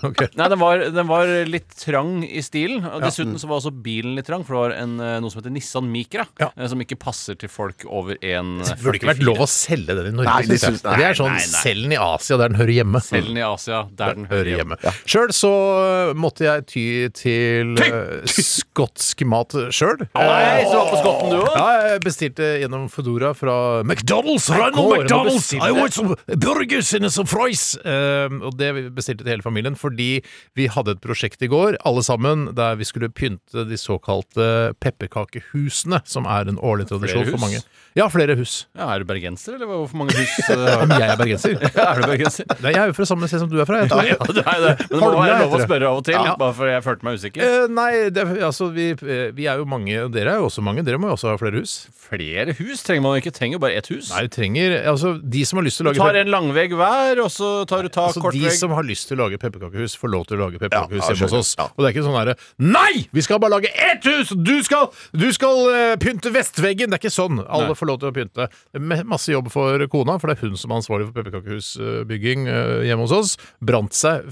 Speaker 4: Ok.
Speaker 6: Nei, den var, den var litt trang i stilen. Og dessuten så var også bilen litt trang, for det var en, eh, noe som heter Nissan Micra,
Speaker 4: Ja.
Speaker 6: eh, som ikke passer til folk over en eh,
Speaker 4: Burde ikke vært
Speaker 6: 44.
Speaker 4: lov å selge den i Norge.
Speaker 5: Nei,
Speaker 4: synes
Speaker 5: det
Speaker 4: jeg.
Speaker 5: synes- nei,
Speaker 4: det er sånn,
Speaker 6: nei, nei.
Speaker 4: Selg den i Asia, der den hører hjemme.
Speaker 6: Selv den i Asia, der den hører hjemme.
Speaker 4: Sjøl så øh, måtte jeg ty til øh, skotsk mat sjøl.
Speaker 6: Nei, så du var på skotten du òg?
Speaker 4: Eh, Ja, jeg bestilte gjennom Foodora fra McDonald's!
Speaker 6: Ronald McDonald's! I want
Speaker 4: some burgers and some fries! Ehm, og det bestilte til hele familien fordi vi hadde et prosjekt i går, alle sammen, der vi skulle pynte de såkalte pepperkakehusene, som er en årlig tradisjon
Speaker 6: Flere
Speaker 4: for
Speaker 6: hus?
Speaker 4: mange. Ja, flere hus.
Speaker 6: Ja, er du bergenser, eller hvor mange hus eh,
Speaker 4: <laughs>
Speaker 6: har
Speaker 4: Om
Speaker 6: du?
Speaker 4: jeg er bergenser?
Speaker 6: <laughs> Ja, er du bergenser?
Speaker 4: Nei, jeg er jo fra samme sted som du er fra. Jeg tror.
Speaker 6: <laughs> Ja, det er det. Men det må
Speaker 4: Holmlia
Speaker 6: være lov å
Speaker 4: heter det.
Speaker 6: spørre av og til,
Speaker 4: Ja.
Speaker 6: bare for jeg følte meg usikker.
Speaker 4: <laughs> Eh, nei, det, er- altså vi, eh, vi er jo mange, og dere er jo også mange. Dere må jo også ha flere hus.
Speaker 6: Flere hus trenger man jo ikke. Trenger jo bare ett hus.
Speaker 4: Nei, du trenger Altså, de som har lyst til å
Speaker 6: Du
Speaker 4: lage
Speaker 6: tar
Speaker 4: pep-
Speaker 6: en langvegg hver, og så tar du tak
Speaker 4: altså,
Speaker 6: kort
Speaker 4: de
Speaker 6: vegg.
Speaker 4: som har lyst til å lage pepperkakehus, får lov til å lage pepperkakehus
Speaker 5: Ja, ja,
Speaker 4: hjemme hos
Speaker 5: skjønner.
Speaker 4: oss.
Speaker 5: Ja.
Speaker 4: Og det er ikke sånn herre Nei! Vi skal bare lage ett hus! og Du skal, du skal eh, pynte vestveggen! Det er ikke sånn. Alle får lov til å pynte. Med masse jobb for kona, for det er hun som er ansvarlig for pepperkakehusbygging eh, hjemme hos oss. Brant seg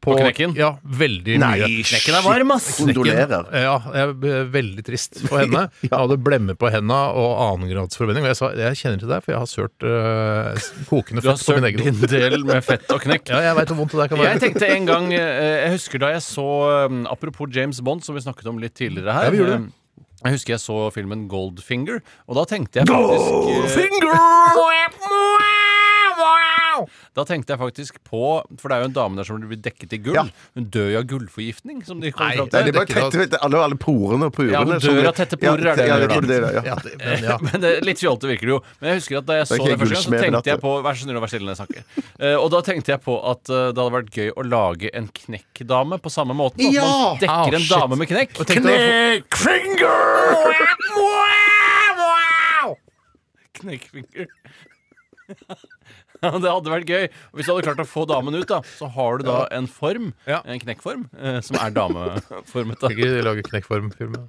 Speaker 4: på,
Speaker 6: knekken?
Speaker 4: Ja, veldig mye.
Speaker 5: Knekken
Speaker 6: er varm, ass.
Speaker 5: Kondolerer.
Speaker 4: Ja, jeg er veldig trist for henne.
Speaker 6: <laughs>
Speaker 4: Jeg hadde blemme på henda og annengradsforbinding. Og jeg sa jeg kjenner til deg, for jeg har sølt øh, s- kokende
Speaker 6: Du har
Speaker 4: fett på min
Speaker 6: sølt
Speaker 4: egen
Speaker 6: din
Speaker 4: hånd.
Speaker 6: del med fett og
Speaker 4: <laughs>
Speaker 6: knekk.
Speaker 4: Ja, jeg veit hvor vondt det der kan være.
Speaker 6: Jeg tenkte en gang eh, Jeg husker da jeg så eh, Apropos James Bond, som vi snakket om litt tidligere her.
Speaker 4: Ja, vi gjorde det.
Speaker 6: eh, Jeg husker jeg så filmen Goldfinger, og da tenkte jeg faktisk eh, Da tenkte jeg faktisk på For det er jo en dame der som blir dekket i gull.
Speaker 5: Ja.
Speaker 6: Hun dør jo av gullforgiftning, som de
Speaker 4: Nei,
Speaker 6: kommer fram
Speaker 5: Nei,
Speaker 6: til.
Speaker 5: det er bare
Speaker 4: Dekket av-
Speaker 5: tett, vet du, alle, alle porene og purene.
Speaker 6: Ja, men
Speaker 5: som-
Speaker 6: dør av tette porer er det
Speaker 5: ja,
Speaker 6: hun gjør
Speaker 5: jeg tror det er det, ja.
Speaker 4: Ja, det, men, ja.
Speaker 6: <laughs> Men det, Litt fjolte virker det jo. Men jeg husker at da jeg så
Speaker 5: er
Speaker 6: det
Speaker 5: ikke
Speaker 6: første gang, så
Speaker 5: gullsmed, men at
Speaker 6: tenkte jeg
Speaker 5: det-
Speaker 6: på Vær så snill å være stille når jeg snakker. Eh, og da tenkte jeg på at eh, det hadde vært gøy å lage en knekkdame på samme måten. At
Speaker 5: Ja!
Speaker 6: man dekker
Speaker 4: Ah,
Speaker 6: en
Speaker 4: shit.
Speaker 6: dame med knekk.
Speaker 4: Og tenkte jeg-
Speaker 6: Knekkfinger. Ja, <laughs> det hadde vært gøy. Og Hvis du hadde klart å få damen ut, da, så har du da en form,
Speaker 4: Ja.
Speaker 6: en knekkform,
Speaker 4: <laughs>
Speaker 6: eh, som er dameformet.
Speaker 4: Kan
Speaker 6: da
Speaker 4: ikke lage knekkformfilm. da?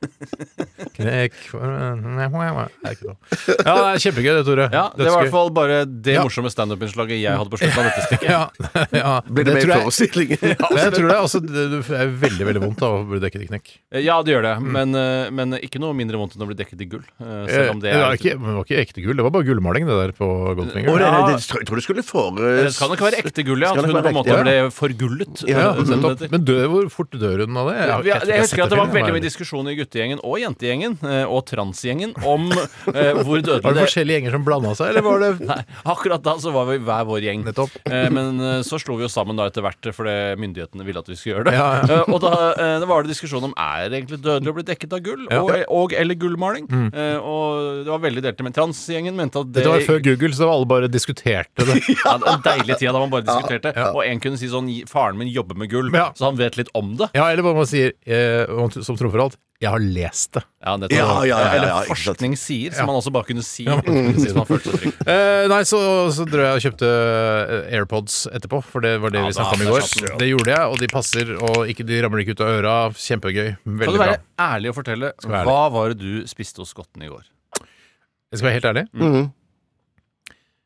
Speaker 4: Det er ikke noe. Ja, det er kjempegøy det, Tore.
Speaker 6: Ja, Det var i hvert fall bare det
Speaker 4: Ja.
Speaker 6: morsomme standup-innslaget jeg hadde på slutten av dette stikket.
Speaker 4: ja, <laughs> ja,
Speaker 5: Blir det,
Speaker 4: det
Speaker 5: mer
Speaker 4: tror jeg-
Speaker 5: forestillinger?
Speaker 4: Men jeg tror det er, altså, det det er veldig veldig vondt da, å bli dekket i knekk.
Speaker 6: Ja, det gjør det, men, eh, men ikke noe mindre vondt enn å bli dekket i gull. eh, Selv om det
Speaker 4: var
Speaker 6: er
Speaker 4: ikke, men det var ikke ekte gull, det var bare gullmaling det der på Goldfinger.
Speaker 5: Å, det,
Speaker 6: Ja.
Speaker 5: det, det, jeg tror det skulle fore...
Speaker 6: Det kan nok være ekte gull, ja.
Speaker 5: Skal nok
Speaker 6: At hun på
Speaker 5: være
Speaker 6: en måte
Speaker 5: ekte,
Speaker 6: ble forgullet.
Speaker 4: Ja,
Speaker 6: eh, som det
Speaker 4: nettopp.
Speaker 6: heter.
Speaker 4: Men dør, hvor fort dør hun av det?
Speaker 6: Ja,
Speaker 4: har ikke-
Speaker 6: vi- jeg
Speaker 4: ikke
Speaker 6: husker at det
Speaker 4: sett
Speaker 6: var
Speaker 4: filmen,
Speaker 6: veldig mye
Speaker 4: men-
Speaker 6: diskusjon i guttegjengen og jentegjengen eh, og transgjengen om eh, hvor
Speaker 4: Var det
Speaker 6: dødelig det
Speaker 4: forskjellige gjenger som blanda seg, eller var det
Speaker 6: <laughs> Nei, akkurat da så var vi hver vår gjeng.
Speaker 4: Nettopp.
Speaker 6: Eh, men eh, så slo vi oss sammen da etter hvert eh, fordi myndighetene ville at vi skulle gjøre det.
Speaker 4: Ja, ja.
Speaker 6: <laughs> Eh, og da eh, det var det diskusjon om er det egentlig dødelig å bli dekket av gull
Speaker 4: Ja.
Speaker 6: og, og eller gullmaling. Eh, og det var veldig delte, men transgjengen mente at det
Speaker 4: Dette var før Google, så alle bare diskuterte det.
Speaker 6: <laughs> ja, det var en deilig tid da man bare diskuterte. Og en kunne si sånn Faren min jobber med gull,
Speaker 4: Ja.
Speaker 6: så han vet litt om det.
Speaker 4: Ja, eller hva man sier, eh, som trumfer alt, jeg har lest det.
Speaker 6: Ja, nettopp.
Speaker 5: Ja, ja, ja, ja, ja,
Speaker 6: Eller
Speaker 5: ikke sant.
Speaker 6: forskning sier, som
Speaker 4: Ja.
Speaker 6: man også bare kunne si. sånn.
Speaker 4: Ja.
Speaker 6: Hvis man følte seg trygg.
Speaker 4: Eh, nei, så, så dro jeg og kjøpte eh, AirPods etterpå, for det var det
Speaker 6: Ja,
Speaker 4: vi
Speaker 6: da
Speaker 4: snakka om i
Speaker 6: hadde
Speaker 4: går.
Speaker 6: jeg satt den.
Speaker 4: Det gjorde jeg, og de passer, og ikke, de ramler ikke ut av øra. Kjempegøy.
Speaker 6: Kan du
Speaker 4: Veldig bra.
Speaker 6: være ærlig og fortelle
Speaker 4: være
Speaker 6: hva var det du spiste hos skotten i går?
Speaker 4: Jeg skal være helt ærlig.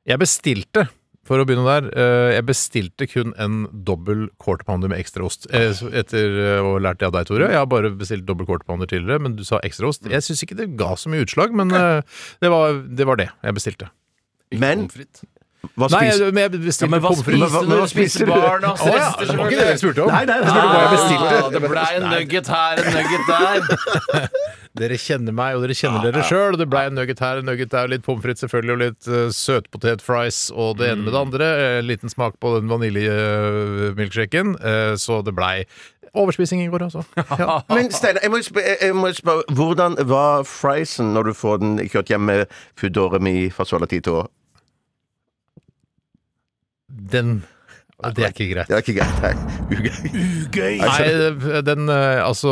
Speaker 4: Jeg bestilte for å begynne der, eh, jeg bestilte kun en dobbel quarter pounder med ekstraost. Eh, så Etter eh, å ha lært det av deg, Tore. Jeg har bare bestilt dobbel quarter pounder tidligere, men du sa ekstraost. Jeg syns ikke det ga så mye utslag, men eh, det var det, var det jeg bestilte.
Speaker 5: Men
Speaker 6: Pommes frites.
Speaker 5: hva
Speaker 4: Nei,
Speaker 5: spiser
Speaker 4: jeg- men jeg bestilte pommes frites.
Speaker 5: hva- hva spiste du?
Speaker 6: barna?
Speaker 4: Å ja, det var ikke det jeg spurte om.
Speaker 5: Nei, nei,
Speaker 4: Jeg spurte hva jeg bestilte.
Speaker 6: Ah, det ble en nugget her, en nugget der.
Speaker 4: Dere kjenner meg, og dere kjenner dere sjøl. Og det blei en nugget her, en nugget der, litt pommes frites selvfølgelig, og litt uh, søtpotetfries og det ene med det andre. Eh, liten smak på den vaniljemilkshaken. Uh, så det blei overspising i går, <laughs> altså. Ja.
Speaker 5: Men Steinar, jeg må jo spørre, jeg må jo spørre hvordan var friesen når du får den kjørt hjem med Foodoremi fra Sola Tito?
Speaker 4: Den Det er ikke greit.
Speaker 5: Det er ikke greit. Nei. Ugøy.
Speaker 4: Nei, den eh, altså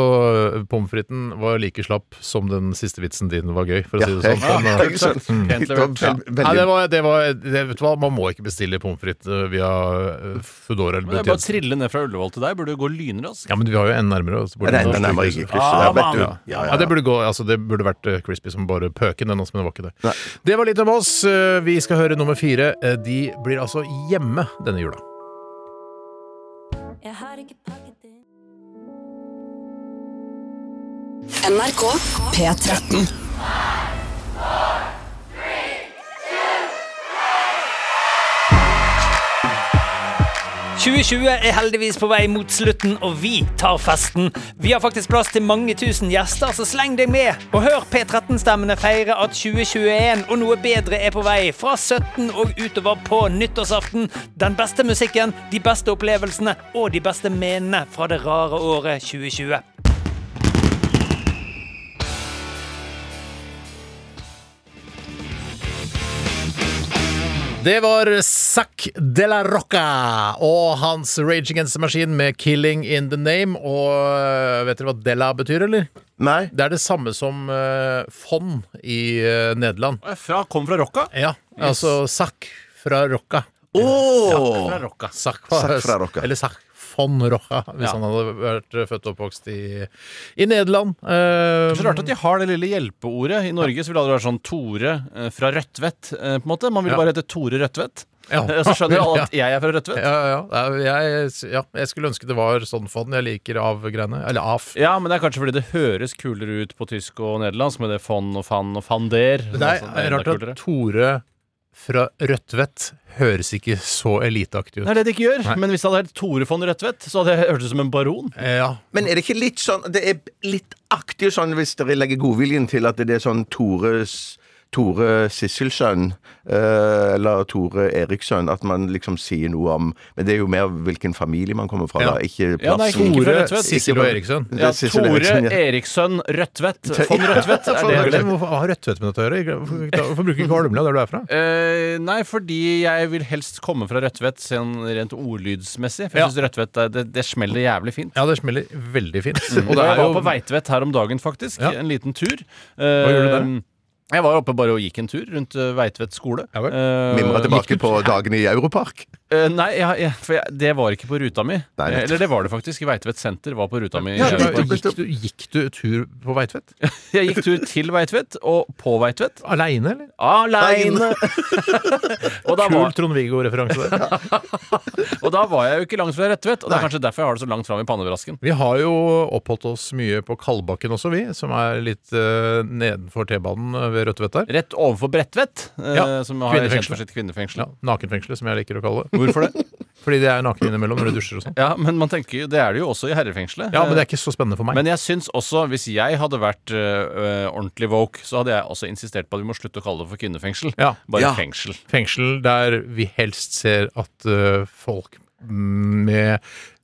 Speaker 4: Pommes fritesen var like slapp som den siste vitsen din var gøy, for å si det sånn. Den, eh,
Speaker 5: Ikke sant?
Speaker 6: Pent
Speaker 5: Det var
Speaker 6: levert.
Speaker 5: vel-
Speaker 4: Nei, det
Speaker 5: veldig-
Speaker 4: var, det var det, Vet du hva, man må ikke bestille pommes frites eh, via eh, Foodora eller
Speaker 6: Men det er bare å
Speaker 4: Buntjenesten.
Speaker 6: trille ned fra Ullevål til deg. Burde gå lynraskt.
Speaker 4: Ja, men vi har jo en nærmere. altså, så burde
Speaker 5: Nei,
Speaker 4: vi-
Speaker 5: den er bare ikke krysset
Speaker 6: Ah,
Speaker 5: der, vet du.
Speaker 6: mann.
Speaker 5: Ja,
Speaker 4: Ja,
Speaker 5: ja,
Speaker 4: det
Speaker 5: ja.
Speaker 4: burde, gå, altså, det burde vært eh, crispy som bare pøken, den også, men det var ikke det. Det var litt om oss. Eh, Vi skal høre nummer fire. Eh, De blir altså hjemme denne jula.
Speaker 1: Jeg har ikke pakket inn. NRK P13.
Speaker 7: er heldigvis på vei mot slutten, og vi tar festen. Vi har faktisk plass til mange tusen gjester, så sleng deg med. Og hør P13-stemmene feire at 2021 og noe bedre er på vei. Fra 17 og utover på nyttårsaften. Den beste musikken, de beste opplevelsene og de beste menene fra det rare året 2020.
Speaker 4: Det var Zac de la Rocca og hans Rage Against the Machine med 'Killing in the Name'. Og eh, vet dere hva Della betyr, eller?
Speaker 5: Nei.
Speaker 4: Det er det samme som eh, fond i eh, Nederland.
Speaker 6: Fra, kom fra Rocca.
Speaker 4: Ja, altså Zac fra Rocca.
Speaker 5: Åh!
Speaker 6: Fra Rocca.
Speaker 4: Zac
Speaker 5: Zac fra Rocca.
Speaker 4: Eller Zac von Rocca, hvis
Speaker 6: Ja.
Speaker 4: han hadde vært eh, født og oppvokst i, i Nederland. Eh,
Speaker 6: Det er så rart at de har det lille hjelpeordet. I Norge så ville det aldri vært sånn Tore eh, fra Rødtvet. eh, på en måte. Man ville
Speaker 4: Ja.
Speaker 6: bare hete Tore Rødtvet. <laughs>
Speaker 4: Ja.
Speaker 6: Eh, Så
Speaker 4: <laughs>
Speaker 6: skjønner alle at jeg er fra
Speaker 4: ja,
Speaker 6: Rødtvet.
Speaker 4: ja, ja. Jeg, ja, jeg skulle ønske det var sånn fond jeg liker av greiene. Eller av.
Speaker 6: Ja, men det er kanskje fordi det høres kulere ut på tysk og nederlandsk med det von og fan og Sånn, fander.
Speaker 4: Det er, rart at Tore fra Rødtvet høres ikke så eliteaktig ut.
Speaker 6: Det er det det ikke gjør. Men hvis det hadde hett Tore von Rødtvet, så hadde jeg hørt ut som en baron.
Speaker 4: Eh, Ja,
Speaker 5: Men er det ikke litt sånn Det er litt aktig sånn hvis dere legger godviljen til at det er sånn Tores Tore Sisselsønn eh, eller Tore Eriksson, at man liksom sier noe om Men det er jo mer hvilken familie man kommer fra,
Speaker 4: Ja.
Speaker 5: da. Ikke
Speaker 6: Ja, nei,
Speaker 5: plassen.
Speaker 6: Ikke fra
Speaker 4: Tore,
Speaker 6: Rødtvet.
Speaker 4: Sissel og Eriksson.
Speaker 5: Det er
Speaker 6: Ja,
Speaker 5: Sissel
Speaker 6: Tore
Speaker 5: Eriksson, ja.
Speaker 6: Eriksson Rødtvet. Von Rødtvet. Er det
Speaker 5: Von
Speaker 6: det
Speaker 4: Men Hvorfor hva har Rødtvet med dette å gjøre? Hvorfor hvorfor bruker ikke Holmlia der du er fra?
Speaker 6: Eh, nei, fordi jeg vil helst komme fra Rødtvet sånn rent ordlydsmessig. For jeg
Speaker 4: Ja.
Speaker 6: synes Rødtvet er- det, det smeller jævlig fint.
Speaker 4: Ja, det smeller veldig fint. Og
Speaker 6: Og
Speaker 4: det
Speaker 6: Mm. jeg
Speaker 4: er
Speaker 6: var
Speaker 4: jo
Speaker 6: på Veitvet her om dagen, faktisk.
Speaker 4: Ja.
Speaker 6: En liten tur.
Speaker 4: gjorde du
Speaker 6: Eh, Jeg var oppe bare og gikk en tur rundt eh, Veitvet skole.
Speaker 4: Ja vel.
Speaker 6: Eh,
Speaker 5: Mimra tilbake på dagene i Europark.
Speaker 6: Eh, nei, jeg, jeg, for jeg, det var ikke på ruta mi.
Speaker 5: Nei, nettopp.
Speaker 6: Eller det var det faktisk. Veitvet senter var på ruta mi.
Speaker 5: Ja,
Speaker 6: jeg,
Speaker 5: nettopp.
Speaker 4: Gikk du, gikk du tur på Veitvet?
Speaker 6: gikk tur til Veitvet, og på Veitvet.
Speaker 4: Aleine, eller?
Speaker 6: Aleine! og, da
Speaker 4: Kul
Speaker 6: var-
Speaker 4: Trond-Viggo-referanse
Speaker 5: <laughs>
Speaker 4: der.
Speaker 6: og da var jeg jo ikke langt fra Retvet, og det er kanskje derfor jeg har det så langt fram i pannebrasken.
Speaker 4: Vi har jo oppholdt oss mye på Kalbakken også, vi. Som er litt eh, nedenfor T-banen eh, ved Rødtvet der.
Speaker 6: Rett overfor Bredtvet, eh,
Speaker 4: Ja,
Speaker 6: som har kjent
Speaker 4: kvinnefengsel.
Speaker 6: for sitt kvinnefengsel.
Speaker 4: Ja, Nakenfengselet, som jeg liker å kalle det.
Speaker 6: Hvorfor det?
Speaker 4: <laughs> Fordi det er naken innimellom når du dusjer og sånn.
Speaker 6: Ja, men man tenker jo, Det er det jo også i herrefengselet.
Speaker 4: Ja, men
Speaker 6: Eh,
Speaker 4: det er ikke så spennende for meg.
Speaker 6: Men jeg syns også, hvis jeg hadde vært øh, øh, ordentlig woke, så hadde jeg også insistert på at vi må slutte å kalle det for kvinnefengsel.
Speaker 4: Ja.
Speaker 6: Bare
Speaker 5: Ja.
Speaker 6: fengsel.
Speaker 4: Fengsel der vi helst ser at eh, folk med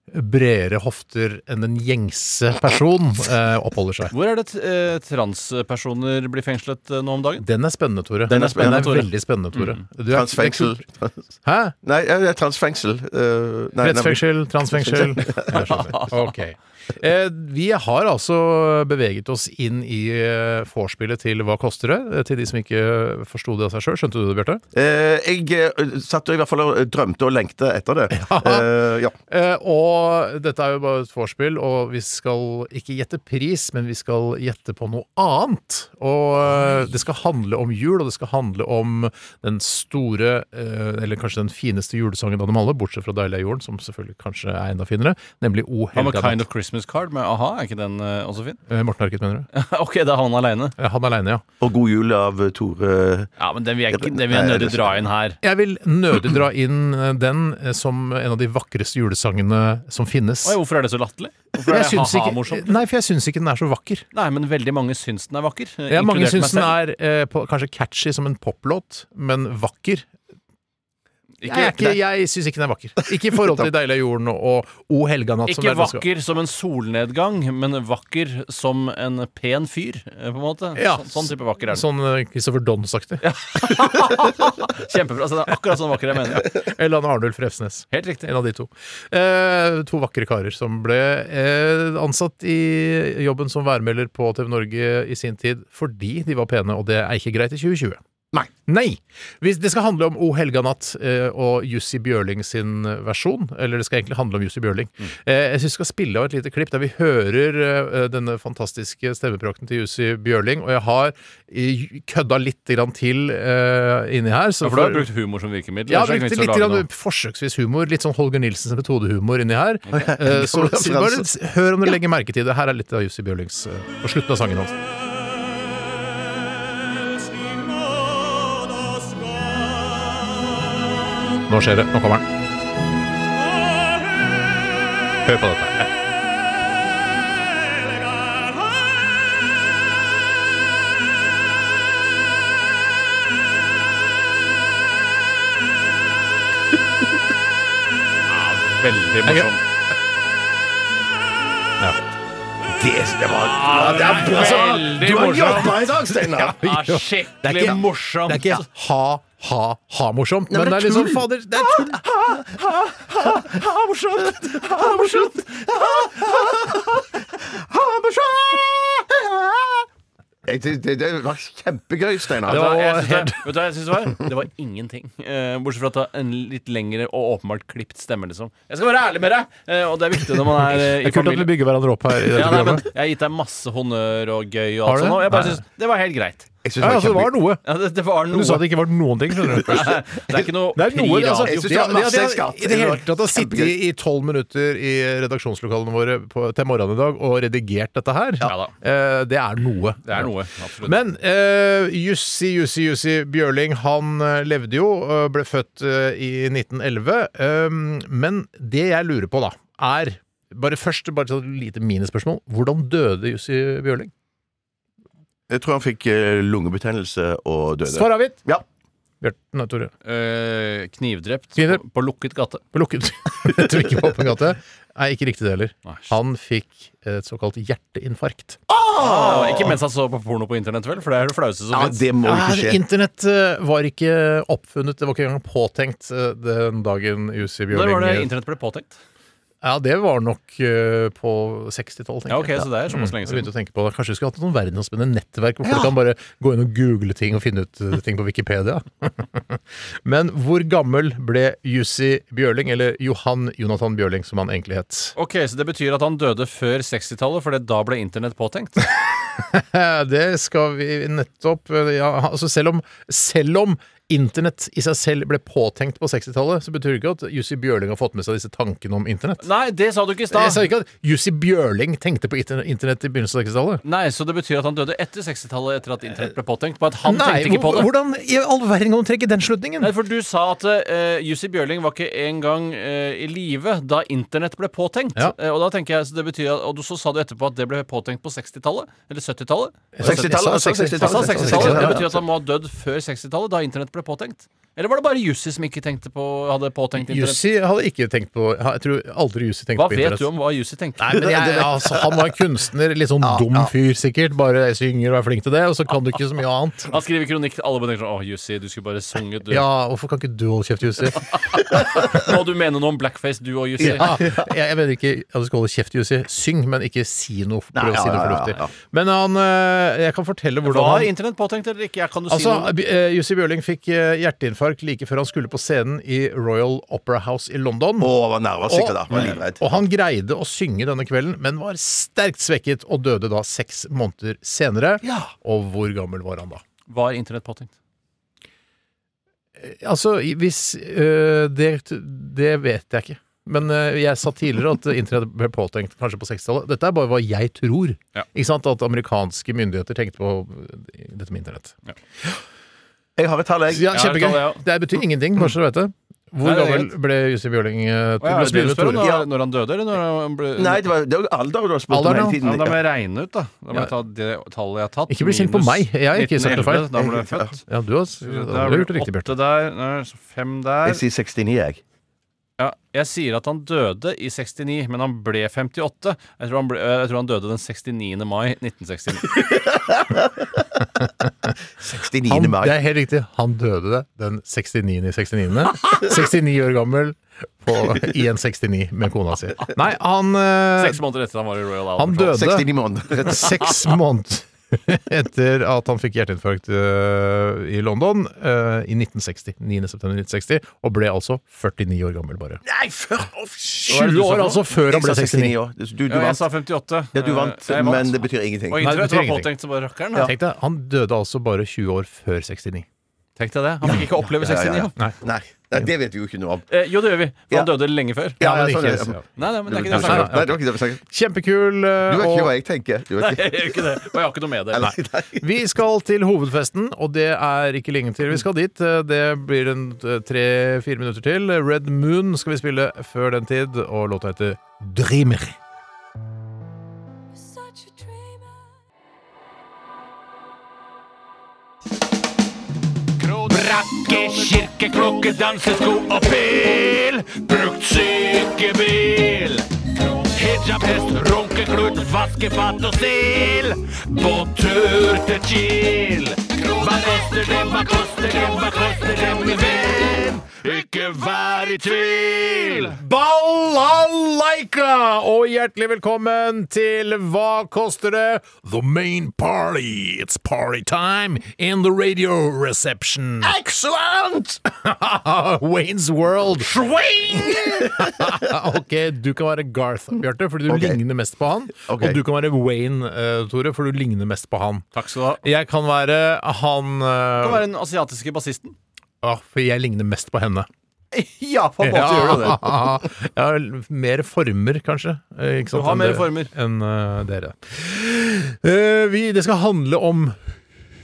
Speaker 4: bredere hofter enn den gjengse person eh, oppholder seg.
Speaker 6: Hvor er det t- øh, transpersoner blir fengslet øh, nå om dagen?
Speaker 4: Den er spennende, Tore.
Speaker 5: Den er spennende, Tore. Mm.
Speaker 4: veldig spennende, Tore. Du er-
Speaker 5: Transfengsel.
Speaker 4: Hæ?
Speaker 5: Nei, ja, ja, transfengsel. Eh, nei, nei,
Speaker 4: Rettsfengsel,
Speaker 5: <laughs>
Speaker 4: transfengsel. Jeg skjønner. Ok. Eh, vi har altså beveget oss inn i eh, vorspielet til Hva koster det? Eh, Til de som ikke forsto det av seg sjøl. Skjønte du det, Bjarte?
Speaker 5: Eh, jeg eh, satt og i hvert fall og drømte og lengte etter det. Eh, ja.
Speaker 4: Eh, og dette er jo bare et vorspiel, og vi skal ikke gjette pris, men vi skal gjette på noe annet. Og eh, det skal handle om jul, og det skal handle om den store, eh, eller kanskje den fineste julesangen av dem alle, bortsett fra 'Deilig er jorden', som selvfølgelig kanskje er enda finere, nemlig 'O
Speaker 6: Hva med
Speaker 4: helga
Speaker 6: Kind
Speaker 4: natt'.
Speaker 6: of Christmas Card? Men aha, er ikke den øh, også fin?
Speaker 4: Eh, Morten Harket, mener du?
Speaker 6: <laughs> ok, det er han aleine.
Speaker 4: Eh, Han aleine, ja.
Speaker 5: Og god jul av eh, Tore.
Speaker 6: Ja, men den vil jeg, ikke- den vil
Speaker 5: Nei,
Speaker 6: jeg nødig
Speaker 5: det er
Speaker 6: dra inn her.
Speaker 4: Jeg vil nødig dra inn eh, den eh, som en av de vakreste julesangene som finnes.
Speaker 6: Oi, hvorfor er det så latterlig? Hvorfor er
Speaker 4: Jeg
Speaker 6: det
Speaker 4: syns ikke,
Speaker 6: ha-ha-morsomt?
Speaker 4: nei, for jeg syns ikke den er så vakker.
Speaker 6: Nei, men veldig mange syns den er vakker. øh,
Speaker 4: Ja, mange
Speaker 6: inkludert meg
Speaker 4: syns den
Speaker 6: selv.
Speaker 4: er eh, på, kanskje catchy som en poplåt, men vakker. Jeg,
Speaker 6: Ikke,
Speaker 4: er ikke, jeg syns ikke den er vakker. Ikke i forhold
Speaker 6: <laughs>
Speaker 4: til 'Deilig er jorden' og 'O helga natt'. som
Speaker 6: ikke
Speaker 4: det er ganske-
Speaker 6: vakker som en solnedgang, men vakker som en pen fyr, øh, på en måte.
Speaker 4: Ja.
Speaker 6: Sånn- sånn type vakker er den.
Speaker 4: Sånn eh, Christopher Dons-aktig.
Speaker 6: Kjempebra. Altså, det er akkurat sånn vakker jeg
Speaker 4: <laughs>
Speaker 6: mener.
Speaker 4: Eller han Arnulf Refsnes.
Speaker 6: Helt riktig.
Speaker 4: En av de to. Eh, to vakre karer som ble eh, ansatt i jobben som værmelder på TV Norge i sin tid fordi de var pene, og det er ikke greit i 2020.
Speaker 5: Nei.
Speaker 4: Nei! Hvis det skal handle om O helga natt eh, og Jussi Bjørling sin versjon. Eller det skal egentlig handle om Jussi Bjørling.
Speaker 6: Mm.
Speaker 4: Eh, jeg syns vi skal spille av et lite klipp der vi hører eh, denne fantastiske stemmeprakten til Jussi Bjørling. Og jeg har eh, kødda litt grann til eh, inni her. så
Speaker 6: Ja, for du har
Speaker 4: for-
Speaker 6: brukt humor som virkemiddel.
Speaker 4: ja,
Speaker 6: så er
Speaker 4: brukte
Speaker 6: det ikke
Speaker 4: litt
Speaker 6: vits å lage
Speaker 4: grann
Speaker 6: noe.
Speaker 4: forsøksvis humor. Litt sånn Holger Nilsens metodehumor inni her. <laughs> Eh, Så
Speaker 5: Gammel
Speaker 4: så bare
Speaker 5: referanse.
Speaker 4: hør om dere legger merke til det. Her er litt av Jussi Bjørlings eh, på slutten av sangen hans. Nå skjer det. Nå kommer den. Hør på dette.
Speaker 6: Veldig
Speaker 4: Jeg-
Speaker 6: morsomt.
Speaker 5: Det, det var ja, det er
Speaker 4: Altså,
Speaker 5: bra.
Speaker 6: veldig
Speaker 5: Du har
Speaker 6: morsomt.
Speaker 5: jobba i dag, Steinar!
Speaker 6: Ja,
Speaker 4: Det er
Speaker 6: skikkelig
Speaker 4: ikke-
Speaker 6: morsomt.
Speaker 4: Det er ikke ha-ha-ha-morsomt, men, det
Speaker 5: men det
Speaker 4: er
Speaker 5: er
Speaker 4: liksom
Speaker 5: tull.
Speaker 4: Fader, det er tull! <laughs>
Speaker 6: Ah,
Speaker 4: Ah,
Speaker 5: Jeg synes Det, det var kjempegøy, Steinar.
Speaker 6: Vet du hva
Speaker 4: var
Speaker 6: jeg synes det-
Speaker 4: helt-
Speaker 6: vet du hva jeg syns det var? Det var ingenting. Eh, bortsett fra at det var en litt lengre og åpenbart klipt stemme, liksom. Jeg skal være ærlig med deg, eh, og det er viktig når man er eh,
Speaker 4: Det
Speaker 6: i
Speaker 4: er kult at vi
Speaker 6: familie.
Speaker 4: bygger hverandre opp her i dette
Speaker 6: Ja, nei, men
Speaker 4: programmet.
Speaker 6: jeg har gitt deg masse honnør og gøy og
Speaker 4: Har
Speaker 6: alt
Speaker 4: du
Speaker 6: sånt.
Speaker 4: det?
Speaker 6: Og jeg bare
Speaker 4: Nei.
Speaker 6: syns det var helt greit.
Speaker 5: Jeg synes
Speaker 4: Ja, altså, det var noe.
Speaker 6: Ja, det, det var noe
Speaker 4: Du sa
Speaker 6: <laughs>
Speaker 4: det ikke var noen ting, skjønner du.
Speaker 6: Det er ikke noe
Speaker 4: Det er noe,
Speaker 6: pri
Speaker 4: altså,
Speaker 6: radio.
Speaker 5: Jeg synes
Speaker 4: de
Speaker 5: det var
Speaker 4: har- de har-
Speaker 5: masse jeg skal.
Speaker 4: I det hele tatt har sittet i i tolv minutter i redaksjonslokalene våre på, til morgenen i dag og redigert dette her.
Speaker 6: Ja da.
Speaker 4: Eh, det er noe.
Speaker 6: Det er noe, absolutt.
Speaker 4: Men eh, Jussi Jussi Jussi Bjørling, han eh, levde jo, eh, ble født eh, i 1911. Eh, men det jeg lurer på, da, er bare først bare et lite minispørsmål. Hvordan døde Jussi Bjørling?
Speaker 5: Jeg tror han fikk eh, lungebetennelse og døde.
Speaker 4: Svar avgitt!
Speaker 5: Ja.
Speaker 4: Bjørten, nei, Tore.
Speaker 6: Eh, knivdrept
Speaker 4: Knivdrept.
Speaker 6: På, på lukket gate.
Speaker 4: På lukket <laughs> Jeg tror ikke på åpen gate. Nei, ikke riktig det heller.
Speaker 6: Nei.
Speaker 4: Han fikk et såkalt hjerteinfarkt.
Speaker 6: Ja, ikke mens han så på porno på internett, vel? For det er det flaueste som
Speaker 5: Ja,
Speaker 6: finnes
Speaker 5: det må
Speaker 4: Ah,
Speaker 5: ikke skje.
Speaker 4: Internett eh, var ikke oppfunnet, det var ikke engang påtenkt eh, den dagen Jussi
Speaker 6: Når
Speaker 4: Bjørling
Speaker 6: var det internett ble påtenkt?
Speaker 4: Ja, det var nok eh, på 60-tallet, tenker
Speaker 6: Ja, ok,
Speaker 4: jeg.
Speaker 6: så det er såpass lenge
Speaker 4: Jeg
Speaker 6: siden.
Speaker 4: begynte å tenke på det. Kanskje vi skulle hatt noen verdensomspennende nettverk hvor folk kan bare gå inn og google ting og finne ut eh, ting på Wikipedia. <laughs> Men hvor gammel ble Jussi Bjørling, eller Johan Jonathan Bjørling, som han egentlig het?
Speaker 6: Ok, Så det betyr at han døde før 60-tallet, for det da ble internett påtenkt?
Speaker 4: <laughs> Eh, Det skal vi nettopp eh, ja, altså selv, om, selv om internett i seg selv ble påtenkt på 60-tallet, så betyr det ikke at Jussi Bjørling har fått med seg disse tankene om internett.
Speaker 6: Nei, det sa du ikke i
Speaker 4: Jeg sa
Speaker 6: stad.
Speaker 4: ikke at Jussi Bjørling tenkte på interne- internett i begynnelsen av 60-tallet.
Speaker 6: Nei, Så det betyr at han døde etter 60-tallet, etter at internett ble påtenkt? På at han
Speaker 4: Nei,
Speaker 6: tenkte ikke på
Speaker 4: hvor-
Speaker 6: det?
Speaker 4: hvordan i all verden kan du trekke den slutningen?
Speaker 6: Nei, for du sa at eh, Jussi Bjørling var ikke engang eh, i live da internett ble påtenkt.
Speaker 4: Ja.
Speaker 6: Eh, og da tenker jeg, så det betyr at, og du- så sa du etterpå at det ble påtenkt på 60-tallet? Eller 70-tallet?
Speaker 4: Jeg sa- jeg sa- jeg sa-
Speaker 6: Jeg sa 60-tallet. Det
Speaker 4: Ja, ja.
Speaker 6: betyr at han må ha dødd før 60-tallet, da internett ble påtenkt. Eller var det bare Jussi som ikke tenkte på, hadde påtenkt internett?
Speaker 4: Jussi hadde ikke tenkt på Jeg tror aldri Jussi tenkte
Speaker 6: Hva
Speaker 4: på
Speaker 6: vet
Speaker 4: internett.
Speaker 6: du om hva Jussi tenkte?
Speaker 4: Nei, men jeg, altså, Han var en kunstner, litt sånn dum fyr sikkert. Bare synger og er flink til det, og så kan du ikke så mye annet.
Speaker 6: Han skriver kronikk til alle og tenker sånn Å, Jussi, du skulle bare sunget, du.
Speaker 4: Ja, Hvorfor kan ikke du holde kjeft, Jussi?
Speaker 6: Må du mene noe om blackface, du og Jussi?
Speaker 4: Ja, jeg, jeg mener ikke at du skal holde kjeft, Jussi. Syng, men ikke si noe. Prøv å
Speaker 5: Nei,
Speaker 4: si noe
Speaker 5: ja, ja, ja,
Speaker 4: fornuftig.
Speaker 5: ja.
Speaker 4: Men han eh, Jeg kan fortelle hvordan
Speaker 6: Var
Speaker 4: han
Speaker 6: internett påtenkt eller ikke? Jeg kan du si
Speaker 4: Altså,
Speaker 6: noe?
Speaker 4: B- eh, Jussi Bjørling fikk eh, hjerteinfarkt like før han skulle på scenen i Royal Opera House i London.
Speaker 5: Å, var nerver sikkert da. Var livredd.
Speaker 4: Og han greide å synge denne kvelden, men var sterkt svekket og døde da seks måneder senere. Og hvor gammel var han da?
Speaker 6: Var internett påtenkt?
Speaker 4: Altså, i- hvis øh, det, det vet jeg ikke. Men øh, jeg sa tidligere at internett ble påtenkt kanskje på 60-tallet. Dette er bare hva jeg tror.
Speaker 6: Ja.
Speaker 4: Ikke sant? At amerikanske myndigheter tenkte på øh, dette med internett.
Speaker 5: Jeg har et tall, jeg.
Speaker 4: Ja,
Speaker 6: Ja,
Speaker 4: Kjempegøy.
Speaker 6: det er det,
Speaker 4: Det betyr ingenting, bare så du vet det. Hvor
Speaker 6: Nei, det er
Speaker 4: gammel ble Jussi Bjørling? øh, til
Speaker 6: Å, ja,
Speaker 4: å
Speaker 6: er det
Speaker 4: spille
Speaker 6: det du
Speaker 4: med
Speaker 6: spør om
Speaker 4: Tore?
Speaker 6: da, når han døde, eller når han ble
Speaker 5: Nei, det var, det var alder du har spurt om
Speaker 4: Alder,
Speaker 5: hele
Speaker 4: ja.
Speaker 5: tiden.
Speaker 6: Ja, men da må jeg regne ut, da. Da må jeg ta det tallet jeg har tatt.
Speaker 4: Ikke bli sint på
Speaker 6: minus
Speaker 4: meg. Jeg har ikke sagt noe feil.
Speaker 6: 1911, Da ble jeg født.
Speaker 4: Ja, du har, du har gjort det riktig, Bjarte.
Speaker 6: åtte der, nei, så fem der
Speaker 5: Jeg sier 69, jeg.
Speaker 6: ja, Jeg sier at han døde i 69, men han ble 58. Jeg tror han, ble, jeg tror han døde den 69. mai 1969.
Speaker 5: 69.
Speaker 4: Han,
Speaker 5: mai.
Speaker 4: det er helt riktig. Han døde den 69. i 69. 69 år gammel på, i en 69 med kona si. Nei, han, eh,
Speaker 6: Seks måneder etter han var i Royal
Speaker 4: han
Speaker 6: Albert Hall.
Speaker 4: døde
Speaker 5: 69 måneder.
Speaker 4: seks måneder etter at han fikk hjerteinfarkt eh, i London eh, i 1960. 9. september 1960, og ble altså 49 år gammel, bare.
Speaker 5: Nei, for off, shit!
Speaker 4: 20 år altså før han ble 69.
Speaker 5: år. Du, du,
Speaker 6: Ja, jeg
Speaker 5: vant.
Speaker 6: sa 58.
Speaker 5: Ja, du vant,
Speaker 6: Eh, jeg vant.
Speaker 5: men det betyr ingenting.
Speaker 6: Og
Speaker 4: Nei, det
Speaker 6: internett
Speaker 4: betyr
Speaker 6: var
Speaker 4: ingenting.
Speaker 6: påtenkt som bare rakkeren. da.
Speaker 4: Tenk deg, han døde altså bare 20 år før 69.
Speaker 6: Tenk deg det. Han fikk ikke oppleve
Speaker 5: Ja,
Speaker 6: 69.
Speaker 5: ja, ja.
Speaker 6: han.
Speaker 5: Nei, nei, det vet vi jo ikke noe om.
Speaker 6: Eh, jo, det gjør vi. For han
Speaker 5: Ja.
Speaker 6: døde lenge før.
Speaker 5: Ja,
Speaker 4: men
Speaker 5: sånn
Speaker 4: ikke-
Speaker 5: er det.
Speaker 4: ja.
Speaker 6: Nei, nei, men det
Speaker 5: Du
Speaker 6: er ikke det jeg
Speaker 5: skjønner.
Speaker 6: snakker om.
Speaker 5: Nei, det var ikke det jeg snakket.
Speaker 4: Kjempekul. eh,
Speaker 5: Du vet ikke
Speaker 4: og-
Speaker 5: hva jeg tenker. Du
Speaker 6: Nei,
Speaker 5: vet ikke.
Speaker 6: <laughs> jeg gjør ikke det. Og jeg har ikke noe med det.
Speaker 5: Eller, nei.
Speaker 4: Vi skal til hovedfesten, og det er ikke lenge til vi skal dit. Det blir en eh, tre-fire minutter til. Red Moon skal vi spille før den tid, og låta heter Dreamer.
Speaker 8: Brakke, kirke, klokke, dansesko og pil. Brukt sykebil. Hijab, hest, runkeklut, vaskefat og stil. På tur til Kiel. Hva koster det, hva koster det, hva koster det, min venn? Ikke vær i tvil.
Speaker 4: Balalaika! Og hjertelig velkommen til Hva koster det? The main party. It's party time in the radio reception. Excellent! <laughs> Wayne's World. <laughs> ok, du kan være Garth, Bjarte, fordi du
Speaker 5: Ok.
Speaker 4: ligner mest på han.
Speaker 5: Ok.
Speaker 4: Og du kan være Wayne, eh, Tore, for du ligner mest på han.
Speaker 6: Takk skal du ha.
Speaker 4: Jeg kan være han eh,
Speaker 6: Kan være den asiatiske bassisten.
Speaker 4: ah, For jeg ligner mest på henne.
Speaker 6: Ja, på en
Speaker 4: <laughs> Jeg har mer former, kanskje. eh, Ikke sant,
Speaker 6: Du har
Speaker 4: enn
Speaker 6: mer
Speaker 4: dere-
Speaker 6: former.
Speaker 4: enn eh, dere. Eh, vi, det skal handle om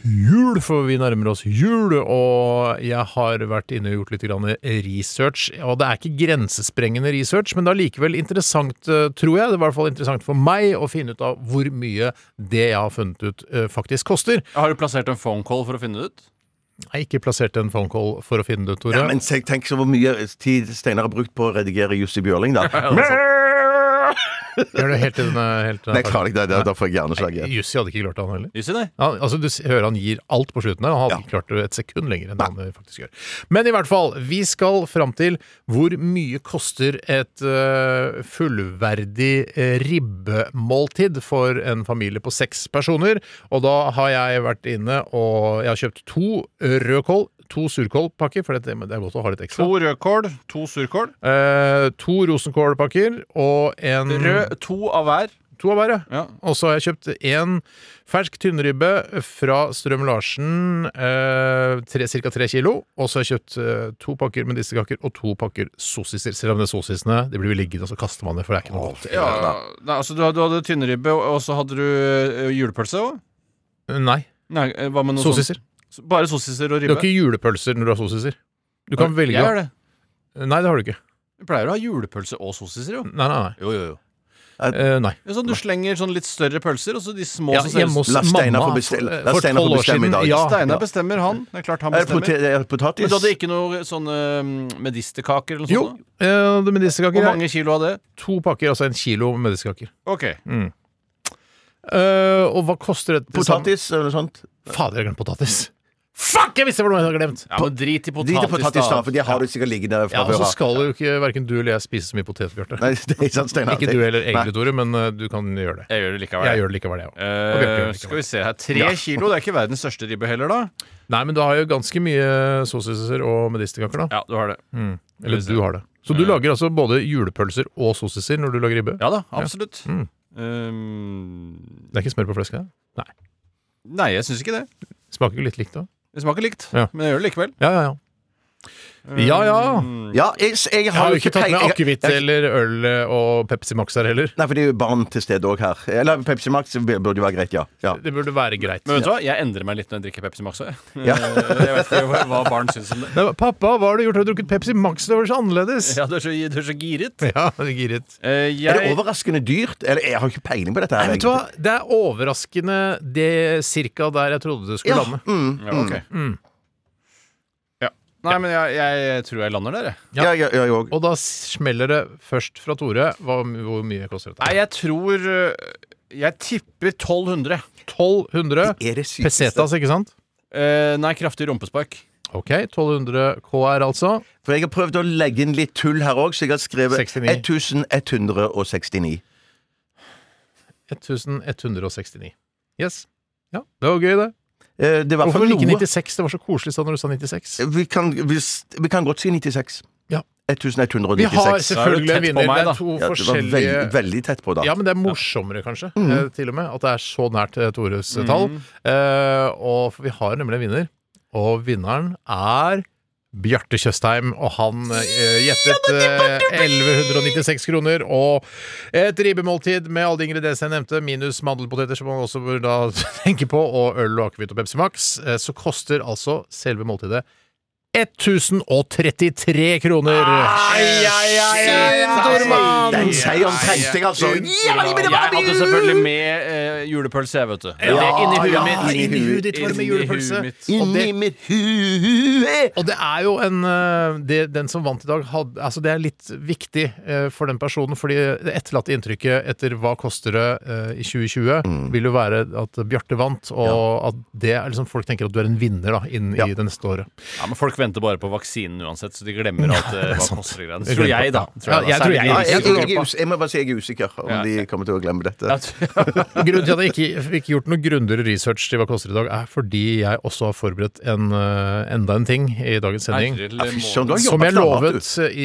Speaker 4: jul, for vi nærmer oss jul. Og jeg har vært inne og gjort litt grann research. Og det er ikke grensesprengende research, men det er likevel interessant, eh, tror jeg. Det var i hvert fall interessant for meg å finne ut av hvor mye det jeg har funnet ut, eh, faktisk koster.
Speaker 6: <laughs> Har du plassert en phone call for å finne det ut?
Speaker 4: Jeg har ikke plassert en phone call for å finne det ut, Tore.
Speaker 5: Ja, men tenk,
Speaker 4: altså.
Speaker 5: tenk så hvor mye tid Steinar har brukt på å redigere Jussi Bjørling, da.
Speaker 4: Gjør det helt til den er helt
Speaker 5: Nei, jeg klarer ikke <laughs> det. Da- Da får jeg
Speaker 4: Nei,
Speaker 5: hjerneslag igjen.
Speaker 4: Jussi hadde ikke klart det, han heller.
Speaker 6: Jussi, nei.
Speaker 4: Han, altså Du s- hører han gir alt på slutten her. Han hadde ikke klart det et sekund lenger enn han faktisk gjør. Men i hvert fall, vi skal fram til hvor mye koster et øh, fullverdig øh, ribbemåltid for en familie på seks personer. Og da har jeg vært inne og jeg har kjøpt to rødkål, to surkålpakker, for det, det er godt å ha litt ekstra.
Speaker 6: To rødkål, to surkål.
Speaker 4: Eh, to rosenkålpakker og en
Speaker 6: Rød, to av hver.
Speaker 4: To av hver, ja.
Speaker 6: Ja.
Speaker 4: Og så har jeg kjøpt én fersk tynnribbe fra Strøm-Larsen, eh, ca. tre kilo. Og så har jeg kjøpt eh, to pakker medisterkaker og to pakker sossiser. Selv om det er sossisene de blir liggende, og så kaster man det, for det er ikke noe godt.
Speaker 6: Ja, nei, altså du, hadde- du hadde tynnribbe, og og så hadde du ø, julepølse òg?
Speaker 4: Nei.
Speaker 6: Nei, eh, hva med noe
Speaker 4: Sossiser.
Speaker 6: sånt? Bare sossiser og
Speaker 4: Du har
Speaker 6: ribbe?
Speaker 4: ikke julepølser når du har sossiser. Du kan velge
Speaker 6: Jeg gjør det.
Speaker 4: Nei, det har du ikke.
Speaker 6: Vi pleier å ha julepølse og sossiser, jo.
Speaker 4: Nei, nei, nei.
Speaker 6: Jo, jo, jo.
Speaker 4: Eh, nei.
Speaker 6: Ja, sånn, du slenger sånn litt større pølser, og så de små
Speaker 4: Ja,
Speaker 6: som
Speaker 4: hjemme hos
Speaker 6: selges.
Speaker 5: La Steinar
Speaker 4: mamma eh,
Speaker 5: få bestille.
Speaker 4: for-
Speaker 5: La
Speaker 4: for
Speaker 5: Steinar få
Speaker 4: 12 år
Speaker 5: bestemme i
Speaker 4: siden.
Speaker 5: dag.
Speaker 4: Ja,
Speaker 6: Steinar bestemmer, han. Det er klart han
Speaker 5: Er det pote-
Speaker 6: bestemmer.
Speaker 5: er det
Speaker 6: Men
Speaker 5: Eh, potatis?
Speaker 6: du hadde ikke noe sånne ø, medisterkaker eller noe
Speaker 4: Jo,
Speaker 6: sånt? da?
Speaker 4: eh, det medisterkaker
Speaker 6: Hvor
Speaker 4: er
Speaker 6: mange kilo av det?
Speaker 4: to pakker, altså en kilo medisterkaker.
Speaker 6: Ok.
Speaker 4: Eh, og hva koster et
Speaker 5: Potatis eller noe sånt?
Speaker 4: Fader, jeg har glemt potatis. Fuck, jeg visste hvordan jeg hadde glemt!
Speaker 6: Ja, men
Speaker 5: Drit
Speaker 6: drit i
Speaker 5: i
Speaker 6: potatis,
Speaker 5: potatis, da,
Speaker 6: da.
Speaker 5: for de har du sikkert liggende der
Speaker 4: Ja,
Speaker 5: fra
Speaker 4: og så
Speaker 5: før.
Speaker 4: skal jo ikke verken du eller jeg spise så mye potet, Bjarte.
Speaker 5: Nei, <laughs> det er ikke sant, Steinar.
Speaker 4: Ikke du heller egentlig, Tore, men eh, du kan gjøre det.
Speaker 6: Jeg gjør det likevel.
Speaker 4: Jeg gjør det likevel, jeg òg. Og Bjarte gjør
Speaker 6: Eh,
Speaker 4: det
Speaker 6: skal
Speaker 4: likevel.
Speaker 6: vi se her. Tre kilo, det er ikke verdens største ribbe heller, da.
Speaker 4: Nei, men du har jo ganske mye sossiser og medisterkaker, da. Mm.
Speaker 6: Ja, du har det.
Speaker 4: Eller du har det. Så du lager altså både julepølser og sossiser når du lager ribbe?
Speaker 6: Mm. Ja da, absolutt. Um,
Speaker 4: Det er ikke smør på flesket? Nei.
Speaker 6: nei, jeg syns ikke det.
Speaker 4: Smaker jo litt likt, da.
Speaker 6: Det smaker likt,
Speaker 4: Ja.
Speaker 6: men jeg gjør det likevel.
Speaker 4: Ja, ja, ja. Ja, ja.
Speaker 5: Mm. Ja, jeg, jeg
Speaker 4: Jeg
Speaker 5: har
Speaker 4: har jo ikke tatt med
Speaker 5: peil- jeg-
Speaker 4: akevitt eh.
Speaker 5: jeg-
Speaker 4: eller øl og Pepsi Max her heller.
Speaker 5: Nei, for det er jo barn til stede òg her. Eller Pepsi Max burde jo være greit, ja. ja.
Speaker 4: Det burde være greit.
Speaker 6: Men vet du hva, jeg endrer meg litt når jeg drikker Pepsi Max òg. jeg.
Speaker 5: Ja.
Speaker 6: Eh, <laughs> jeg vet ikke hva barn syns om det.
Speaker 4: Nei, Pappa, hva har du gjort? Har du drukket Pepsi Max? Det var så annerledes!
Speaker 6: <laughs> Ja, du er så, du er så giret.
Speaker 4: Ja, giret.
Speaker 6: Eh,
Speaker 5: Er det
Speaker 6: jeg,
Speaker 5: overraskende dyrt? Eller jeg har ikke peiling på dette. her
Speaker 4: Nei, vet du hva? Det er overraskende det cirka der jeg trodde det skulle
Speaker 5: Ja.
Speaker 4: lande.
Speaker 5: Mm.
Speaker 6: ja, ok. ja. Nei, men jeg, jeg tror jeg lander der, jeg.
Speaker 5: Ja, ja, ja, jeg òg.
Speaker 4: Og da smeller det først fra Tore hva, hvor mye koster dette.
Speaker 6: Nei, jeg tror eh, Jeg tipper 1200.
Speaker 4: 1200
Speaker 5: Er det sykeste
Speaker 4: pesetas, ikke sant?
Speaker 6: Eh, nei, kraftig rumpespark.
Speaker 4: Ok, 1200 KR altså.
Speaker 5: For jeg har prøvd å legge inn litt tull her òg, så jeg har skrevet
Speaker 4: 69.
Speaker 5: 1169.
Speaker 4: 1169. Yes. Ja, det var gøy, det.
Speaker 5: Eh, Det var i hvert
Speaker 4: Hvorfor
Speaker 5: fall
Speaker 4: ikke
Speaker 5: noe.
Speaker 4: 96? Det var så koselig sånn når du sa 96.
Speaker 5: Vi kan, hvis- vi kan godt si 96.
Speaker 4: Ja. Vi
Speaker 5: 1196.
Speaker 4: har
Speaker 6: Da
Speaker 4: selvfølgelig
Speaker 6: er
Speaker 4: en
Speaker 6: du tett på
Speaker 4: vinner.
Speaker 6: meg,
Speaker 4: Det
Speaker 6: da.
Speaker 4: er to
Speaker 5: ja, det var
Speaker 4: forskjellige
Speaker 5: veldig, veldig tett på, da.
Speaker 4: Ja, men det er morsommere, kanskje, eh, til og med, at det er så nært eh, Tores eh, tall. Eh, og for vi har nemlig en vinner, og vinneren er Bjarte Tjøstheim, og han eh, gjettet eh, 1196 kroner og et ribbemåltid med alle de ingrediensene jeg nevnte, minus mandelpoteter, som man også bør da <laughs> tenke på, og øl og akevitt og Pepsi Max, eh, så koster altså selve måltidet 1033 kroner. altså,
Speaker 5: Den seieren trengte jeg, altså.
Speaker 6: Jeg hadde selvfølgelig med eh, julepølse, jeg, vet du.
Speaker 4: inni huet
Speaker 5: ja,
Speaker 4: mitt.
Speaker 5: inni
Speaker 4: Inni
Speaker 5: huet
Speaker 4: huet ditt var det med
Speaker 6: Inni
Speaker 4: julepølse.
Speaker 6: huet mitt.
Speaker 4: Og det,
Speaker 5: Inni mitt hue
Speaker 4: og det er jo en eh, det, Den som vant i dag, hadde, altså det er litt viktig eh, for den personen. fordi det etterlatte inntrykket etter hva koster det eh, i 2020, vil jo være at Bjarte vant, og at det er liksom folk tenker at du er en vinner da inn
Speaker 5: Ja.
Speaker 4: i det neste året.
Speaker 6: Ja, men Folk venter bare på vaksinen uansett, så de glemmer alt eh, hva koster det greiene.
Speaker 4: Jeg
Speaker 6: Tror
Speaker 4: glemmer
Speaker 6: jeg, da.
Speaker 4: det.
Speaker 6: Tror
Speaker 4: Ja, jeg tror
Speaker 6: Særlig
Speaker 4: jeg- jeg-
Speaker 5: Ja,
Speaker 6: de
Speaker 5: jeg,
Speaker 6: yngste
Speaker 5: jeg, er
Speaker 6: gruppa.
Speaker 5: us- jeg må bare si jeg er usikker om
Speaker 6: Ja.
Speaker 5: de kommer til å glemme dette.
Speaker 4: altså,
Speaker 6: Ja, tror-
Speaker 4: Grunnen til at jeg ikke fikk gjort noe grundigere research til hva koster i dag, er fordi jeg også har forberedt en, eh, enda en ting i dagens sending.
Speaker 6: April
Speaker 5: Ja, fy søren,
Speaker 6: måned.
Speaker 5: du har
Speaker 4: Som
Speaker 5: jobbet
Speaker 4: jeg
Speaker 5: knallhardt, du.
Speaker 4: lovet eh,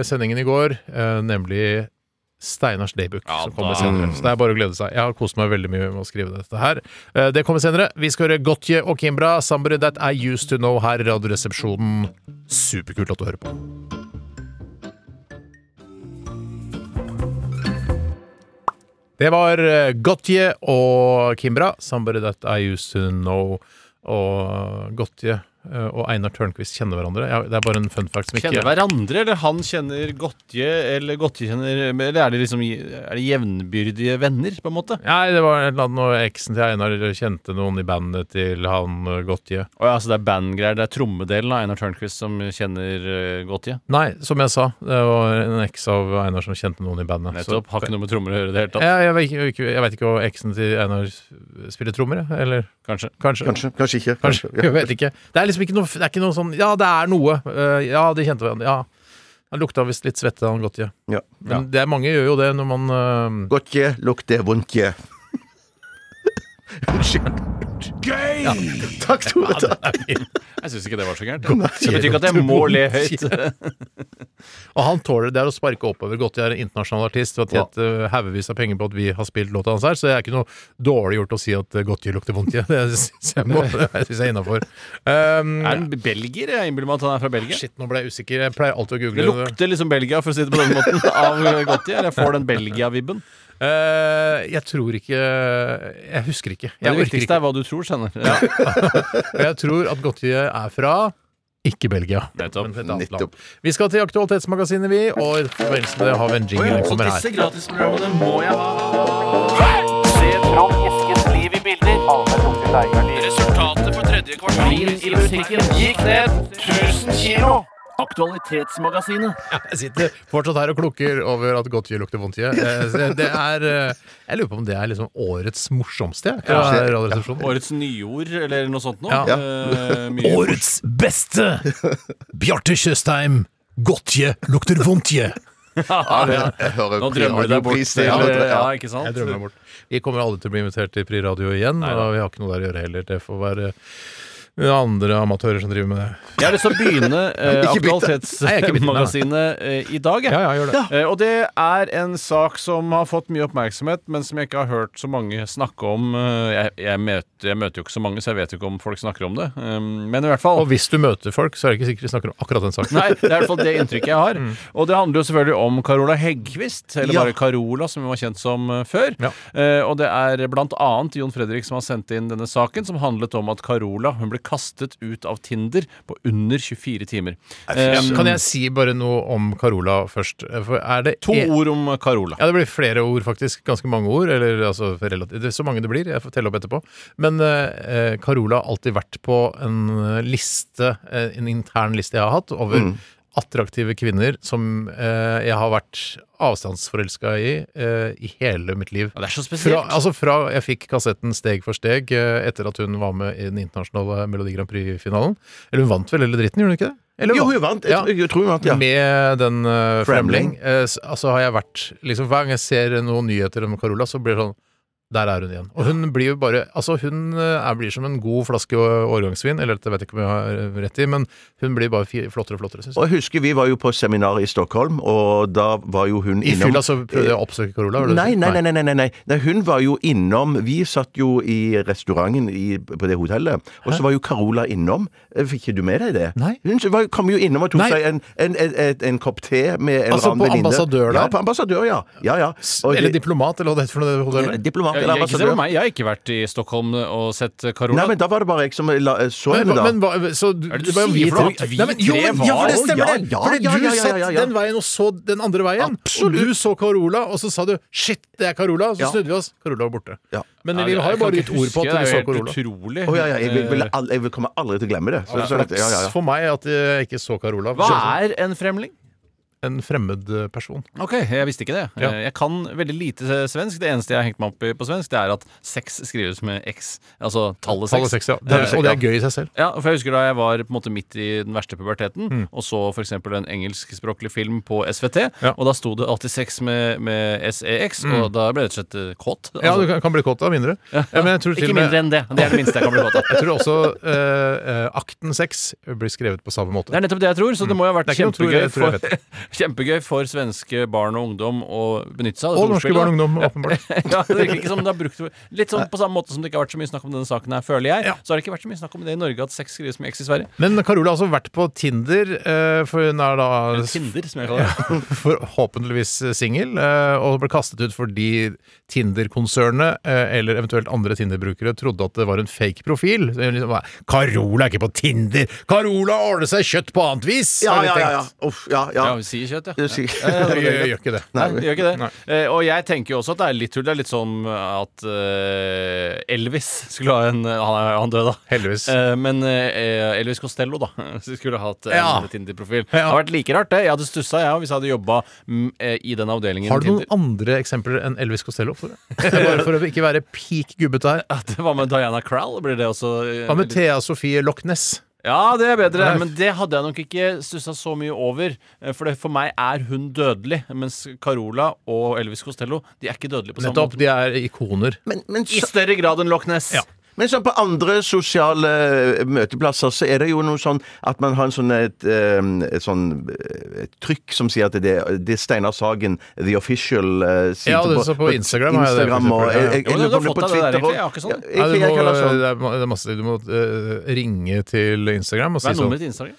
Speaker 4: i sendingen i går, eh, nemlig Steinars Daybook,
Speaker 6: Ja,
Speaker 4: som kommer
Speaker 6: da.
Speaker 4: senere. Så det er bare å glede seg. Jeg har kost meg veldig mye med å skrive dette her. Eh, Det kommer senere. Vi skal høre Gotje og Kimbra, 'Somebody That I Used To Know' her i Radioresepsjonen. Superkult at du hører på. Det var eh, Gotje og Kimbra, 'Somebody That I Used To Know'. Og Gotje eh, og Einar Tørnquist kjenner hverandre. Ja, det er bare en fun fact som ikke
Speaker 6: Kjenner hverandre, eller han kjenner Gotje, eller Gotje kjenner Eller er det liksom er det jevnbyrdige venner, på en måte?
Speaker 4: Nei, det var et eller annet når eksen til Einar kjente noen i bandet til han eh, Gotje.
Speaker 6: Å ja, så det er bandgreier. Det er trommedelen av Einar Tørnquist som kjenner eh, Gotje.
Speaker 4: Nei, som jeg sa, det var en eks av Einar som kjente noen i bandet.
Speaker 6: Nettopp. Har ikke noe med trommer å gjøre i det hele
Speaker 4: Så,
Speaker 6: tatt,
Speaker 4: jeg, jeg, vet ikke, jeg vet ikke om eksen til Einar spiller trommer, jeg, eller
Speaker 6: kanskje.
Speaker 4: kanskje.
Speaker 5: Kanskje, kanskje ikke.
Speaker 4: Kanskje,
Speaker 5: Kanskje, ja.
Speaker 4: jeg vet ikke. Det er liksom ikke noe, det er ikke noe sånn Ja, det er noe. Eh, ja, de kjente hverandre. Ja. Han lukta visst litt svette, han Gotje.
Speaker 5: Ja.
Speaker 4: Men det er mange gjør jo det når man eh,
Speaker 5: Godt je, lukter vondt je. Unnskyld.
Speaker 8: Gøy!
Speaker 5: Takk, Tore. Takk.
Speaker 6: Jeg syns ikke det var så
Speaker 4: <laughs>
Speaker 6: gærent. Det betyr ikke at jeg må le høyt. <laughs>
Speaker 4: Og han tåler det er å sparke oppover. Gotti er en internasjonal artist og har tjent eh, haugevis av penger på at vi har spilt låta hans her, så det er ikke noe dårlig gjort å si at eh, Gotti lukter vondt i <laughs> det. syns jeg må- Det syns jeg er innafor. Ehm,
Speaker 6: Er han belgier? Jeg innbiller meg at han er fra Belgia.
Speaker 4: Shit, nå ble jeg usikker. Jeg pleier alltid å
Speaker 6: Det
Speaker 4: google det.
Speaker 6: lukter liksom Belgia, for å si det på den måten, <laughs> av Gotje. Eller jeg får den Belgia-vibben.
Speaker 4: Eh, jeg tror ikke Jeg husker ikke. Jeg
Speaker 6: Men Det
Speaker 4: orker
Speaker 6: viktigste
Speaker 4: ikke.
Speaker 6: er hva du tror, skjønner du.
Speaker 4: Jeg tror at Gotti er fra ikke Belgia.
Speaker 6: Nettopp.
Speaker 4: men et annet land.
Speaker 5: Nettopp.
Speaker 4: Vi skal til Aktualitetsmagasinet, vi, og i forbindelse med det har vi en jingle som kommer her.
Speaker 6: gratisprogrammene må jeg ha. Resultatet for tredje kvartal gikk ned 1000 kilo. Aktualitetsmagasinet.
Speaker 4: Jeg sitter fortsatt her og klukker over at godteri lukter vondt i eh, så Det er eh, Jeg lurer på om det er liksom årets morsomste jeg, fra
Speaker 5: Ja.
Speaker 4: Radioresepsjonen.
Speaker 6: Årets nyord, eller noe sånt nå
Speaker 4: Ja.
Speaker 6: Eh, mye-
Speaker 4: Årets beste! Bjarte Tjøstheim, godtje lukter vondtje.
Speaker 5: Ja, det- jeg hører
Speaker 6: Nå drømmer du deg bort.
Speaker 5: pris til- ja.
Speaker 6: ikke sant?
Speaker 4: Jeg drømmer meg bort. Vi kommer aldri til å bli invitert til Pri Radio igjen, og vi har ikke noe der å gjøre heller. Det får være eh, andre amatører som driver med det.
Speaker 6: Jeg har lyst til å begynne
Speaker 5: <laughs>
Speaker 6: eh,
Speaker 5: Ikke bytte.
Speaker 4: Nei, jeg er ikke bytte, nei.
Speaker 6: Aktualitetsmagasinet eh, i dag. jeg.
Speaker 4: Ja, ja, gjør det.
Speaker 6: Eh, og det er en sak som har fått mye oppmerksomhet, men som jeg ikke har hørt så mange snakke om. Eh, jeg, jeg, møter, jeg møter jo ikke så mange, så jeg vet jo ikke om folk snakker om det. Eh, men i hvert fall
Speaker 4: Og hvis du møter folk, så er det ikke sikkert de snakker om akkurat den saken.
Speaker 6: Nei, det er i hvert fall det inntrykket jeg har. Og det handler jo selvfølgelig om Carola Heggquist, eller
Speaker 5: Ja.
Speaker 6: bare Carola, som hun var kjent som eh, før.
Speaker 4: Ja.
Speaker 6: Eh, og det er blant annet Jon Fredrik som har sendt inn denne saken, som handlet om at Carola hun ble kastet ut av Tinder på under 24 timer.
Speaker 4: Ja,
Speaker 6: Eh,
Speaker 4: kan jeg si bare noe om Carola først? For er det
Speaker 6: to ord om Carola.
Speaker 4: Ja, det blir flere ord, faktisk. Ganske mange ord. Eller altså relativt det er Så mange det blir. Jeg får telle opp etterpå. Men eh, eh, Carola har alltid vært på en eh, liste, eh, en intern liste jeg har hatt, over
Speaker 6: Mm.
Speaker 4: attraktive kvinner som eh, jeg har vært avstandsforelska i eh, i hele mitt liv.
Speaker 6: Ja, det er så
Speaker 4: Fra,
Speaker 6: spesielt.
Speaker 4: altså fra jeg fikk kassetten Steg for steg eh, etter at hun var med i den internasjonale Melodi Grand Prix-finalen. Eller hun vant vel hele dritten, gjorde hun ikke det? Eller
Speaker 5: Jo, hun vant. Jeg,
Speaker 4: Ja.
Speaker 5: tror- jeg tror hun vant, ja.
Speaker 4: med den uh, Fremling.
Speaker 5: Fremling.
Speaker 4: eh, s- altså har jeg vært liksom, Hver gang jeg ser noen nyheter om Carola, så blir det sånn Der er hun igjen. Og hun blir jo bare Altså, hun eh, er, blir som en god flaske å- årgangsvin, eller dette vet jeg ikke om jeg har eh, rett i, men hun blir bare fi- flottere og flottere, syns jeg.
Speaker 5: Og jeg husker Vi var jo på seminar i Stockholm, og da var jo hun
Speaker 4: I
Speaker 5: innom
Speaker 4: fylla så prøvde jeg å oppsøke Carola. var det det du
Speaker 5: Nei,
Speaker 4: sa?
Speaker 5: nei, nei, nei, nei, nei, nei. nei. Hun var jo innom Vi satt jo i restauranten i, på det hotellet, og så var jo Carola innom. Eh, Fikk ikke du med deg det?
Speaker 4: Nei.
Speaker 5: Hun var, kom jo innom og tok
Speaker 4: Nei.
Speaker 5: seg en, en, en, en, en kopp te med en
Speaker 4: Altså,
Speaker 5: eller annen
Speaker 4: på ambassadør
Speaker 5: Ja,
Speaker 4: der?
Speaker 5: på ambassadør, ja. ja, ja.
Speaker 4: S-
Speaker 5: Og
Speaker 4: Eller
Speaker 5: de-
Speaker 4: diplomat, eller hva det heter for noe. det hotellet.
Speaker 5: diplomat
Speaker 6: Jeg,
Speaker 5: eller
Speaker 6: jeg, ikke se på
Speaker 5: ambassadør.
Speaker 6: meg, jeg har ikke vært i Stockholm og sett eh, Carola.
Speaker 5: Nei, men da var det bare jeg som la, eh, så
Speaker 4: Men,
Speaker 5: henne, da.
Speaker 4: hva- men hva så du,
Speaker 6: Er det du
Speaker 4: var jo vi
Speaker 6: sier for
Speaker 4: tre-
Speaker 6: noe? At vi
Speaker 4: Nei, men, jo, men,
Speaker 6: tre
Speaker 4: ja,
Speaker 6: var-
Speaker 4: for det stemmer
Speaker 5: Ja,
Speaker 4: det!
Speaker 5: ja,
Speaker 4: Fordi
Speaker 5: ja,
Speaker 4: du
Speaker 5: ja, ja,
Speaker 4: sett
Speaker 5: ja, ja.
Speaker 4: den veien og så den andre veien.
Speaker 5: Absolutt.
Speaker 4: Og du så Carola, og så sa du 'shit, det er Carola', og så
Speaker 5: Ja.
Speaker 4: snudde vi oss. Carola var borte.
Speaker 5: Ja.
Speaker 4: Men
Speaker 6: Ja,
Speaker 4: vi
Speaker 6: jeg
Speaker 4: har jo
Speaker 6: kan
Speaker 4: bare
Speaker 6: ikke
Speaker 4: gitt ord på at
Speaker 6: huske det,
Speaker 4: vi
Speaker 6: det
Speaker 4: så
Speaker 6: er jo
Speaker 4: Carola.
Speaker 6: helt Utrolig.
Speaker 5: Å ja, ja, jeg, vil,
Speaker 6: Eh,
Speaker 5: vil, al- jeg vil- kommer aldri til å glemme det. Så, så, ja, ja, ja.
Speaker 4: For meg at jeg ikke så Carola.
Speaker 6: Hva er en fremling?
Speaker 4: En fremmed eh, person.
Speaker 6: Ok, Jeg visste ikke det.
Speaker 4: Ja.
Speaker 6: Eh, Jeg kan veldig lite svensk. Det eneste jeg har hengt meg opp i på svensk, det er at sex skrives med x. Altså tallet
Speaker 4: Tallet
Speaker 6: seks.
Speaker 4: seks, ja. Det er,
Speaker 6: Eh,
Speaker 4: og det er gøy i seg selv.
Speaker 6: Ja, for jeg husker da jeg var på en måte midt i den verste puberteten
Speaker 4: Mm.
Speaker 6: og så f.eks. en engelskspråklig film på SVT,
Speaker 4: Ja. Mm.
Speaker 6: og da sto det 86 med, med SEX, og da ble jeg rett og slett eh, kåt.
Speaker 4: Ja, du kan-
Speaker 6: Altså,
Speaker 4: kan bli kåt av mindre. Ja, men jeg tror til
Speaker 6: ikke
Speaker 4: og med
Speaker 6: mindre enn det. Det er det minste jeg kan
Speaker 4: <laughs>
Speaker 6: bli kåt av.
Speaker 4: jeg tror også eh, eh, akten sex blir skrevet på samme måte.
Speaker 6: Det er nettopp det jeg tror, så det må jo ha vært
Speaker 4: Det er ikke noe tror
Speaker 6: kjempegøy
Speaker 4: jeg- tror jeg
Speaker 6: for, <laughs> Kjempegøy for svenske barn og ungdom å benytte seg av. dette
Speaker 4: Og norske
Speaker 6: ordspillet, da.
Speaker 4: barn og ungdom, åpenbart.
Speaker 6: <laughs> ja, det virker ikke som det har brukt Litt sånn på samme måte som det ikke har vært så mye snakk om denne saken her, føler jeg.
Speaker 4: Ja.
Speaker 6: Så har det ikke vært så mye snakk om det i Norge at sex skrives med X i Sverige.
Speaker 4: Men Carola har altså vært på Tinder, eh, for hun er da <laughs>
Speaker 6: Tinder, som jeg kaller det.
Speaker 4: forhåpentligvis singel, eh, og ble kastet ut fordi Tinder-konsernet, eh, eller eventuelt andre Tinder-brukere, trodde at det var en fake profil. Så hun Liksom, bare, Carola er ikke på Tinder! Carola ordner seg kjøtt på annet vis!
Speaker 5: Ja,
Speaker 4: har de
Speaker 5: ja, ja.
Speaker 4: tenkt.
Speaker 5: ja. Uff, ja, ja.
Speaker 6: Ja, vi sier kjøtt, ja.
Speaker 5: Det er sikkert-
Speaker 4: Hun Gjør, gjør ikke det.
Speaker 6: Nei, gjør ikke det.
Speaker 4: Nei.
Speaker 6: Eh, og jeg tenker jo også at det er litt tull. Det er litt sånn at eh, Elvis skulle ha en Han, er- han døde, da.
Speaker 4: Heldigvis.
Speaker 6: Eh, men eh, Elvis Costello, da, <laughs> så skulle ha hatt en
Speaker 4: Ja.
Speaker 6: Tinder-profil. Det
Speaker 4: Ja.
Speaker 6: hadde vært like rart, det. Jeg hadde stussa, jeg òg, hvis jeg hadde jobba mm, eh, i den avdelingen
Speaker 4: Har du noen
Speaker 6: <laughs> Tinder.
Speaker 4: andre eksempler enn Elvis Costello? For Bare for å ikke være peak gubbete
Speaker 6: <laughs>
Speaker 4: her.
Speaker 6: At, hva med Diana Crowell? Blir det også eh,
Speaker 4: Hva med
Speaker 6: litt-
Speaker 4: Thea Sofie Loch Ness?
Speaker 6: Ja, det er bedre,
Speaker 4: Nei.
Speaker 6: men det hadde jeg nok ikke stussa så mye over. eh, For det, for meg er hun dødelig, mens Carola og Elvis Costello De er ikke dødelige på samme
Speaker 4: Nettopp,
Speaker 6: måte.
Speaker 4: de er ikoner.
Speaker 5: <laughs> Men, men,
Speaker 6: I
Speaker 5: så,
Speaker 6: større grad enn Loch Ness.
Speaker 4: Ja.
Speaker 5: men sånn på andre sosiale eh, møteplasser så er det jo noe sånn at man har en sånn et, eh, et sånn eh, et trykk som sier at det, det er Steinar Sagen, the official eh, side
Speaker 4: Ja, det så på Instagram har jeg det, for
Speaker 5: Instagram og
Speaker 4: eksempel, ja.
Speaker 5: jeg- jeg-
Speaker 6: Jo,
Speaker 5: jeg lurer
Speaker 6: men
Speaker 5: på
Speaker 6: du har
Speaker 5: om det er
Speaker 6: fått
Speaker 5: på
Speaker 6: deg det der,
Speaker 5: Twitter
Speaker 6: egentlig.
Speaker 5: også.
Speaker 6: Jeg har ikke sånn.
Speaker 5: Ja,
Speaker 4: Nei,
Speaker 5: ikke-
Speaker 4: du
Speaker 5: jeg
Speaker 4: må,
Speaker 5: kaller det sånn.
Speaker 4: det er ma- det er masse Du må eh, ringe til Instagram og
Speaker 6: Hva
Speaker 4: si
Speaker 6: er
Speaker 4: sånn
Speaker 6: nummeret til Instagram?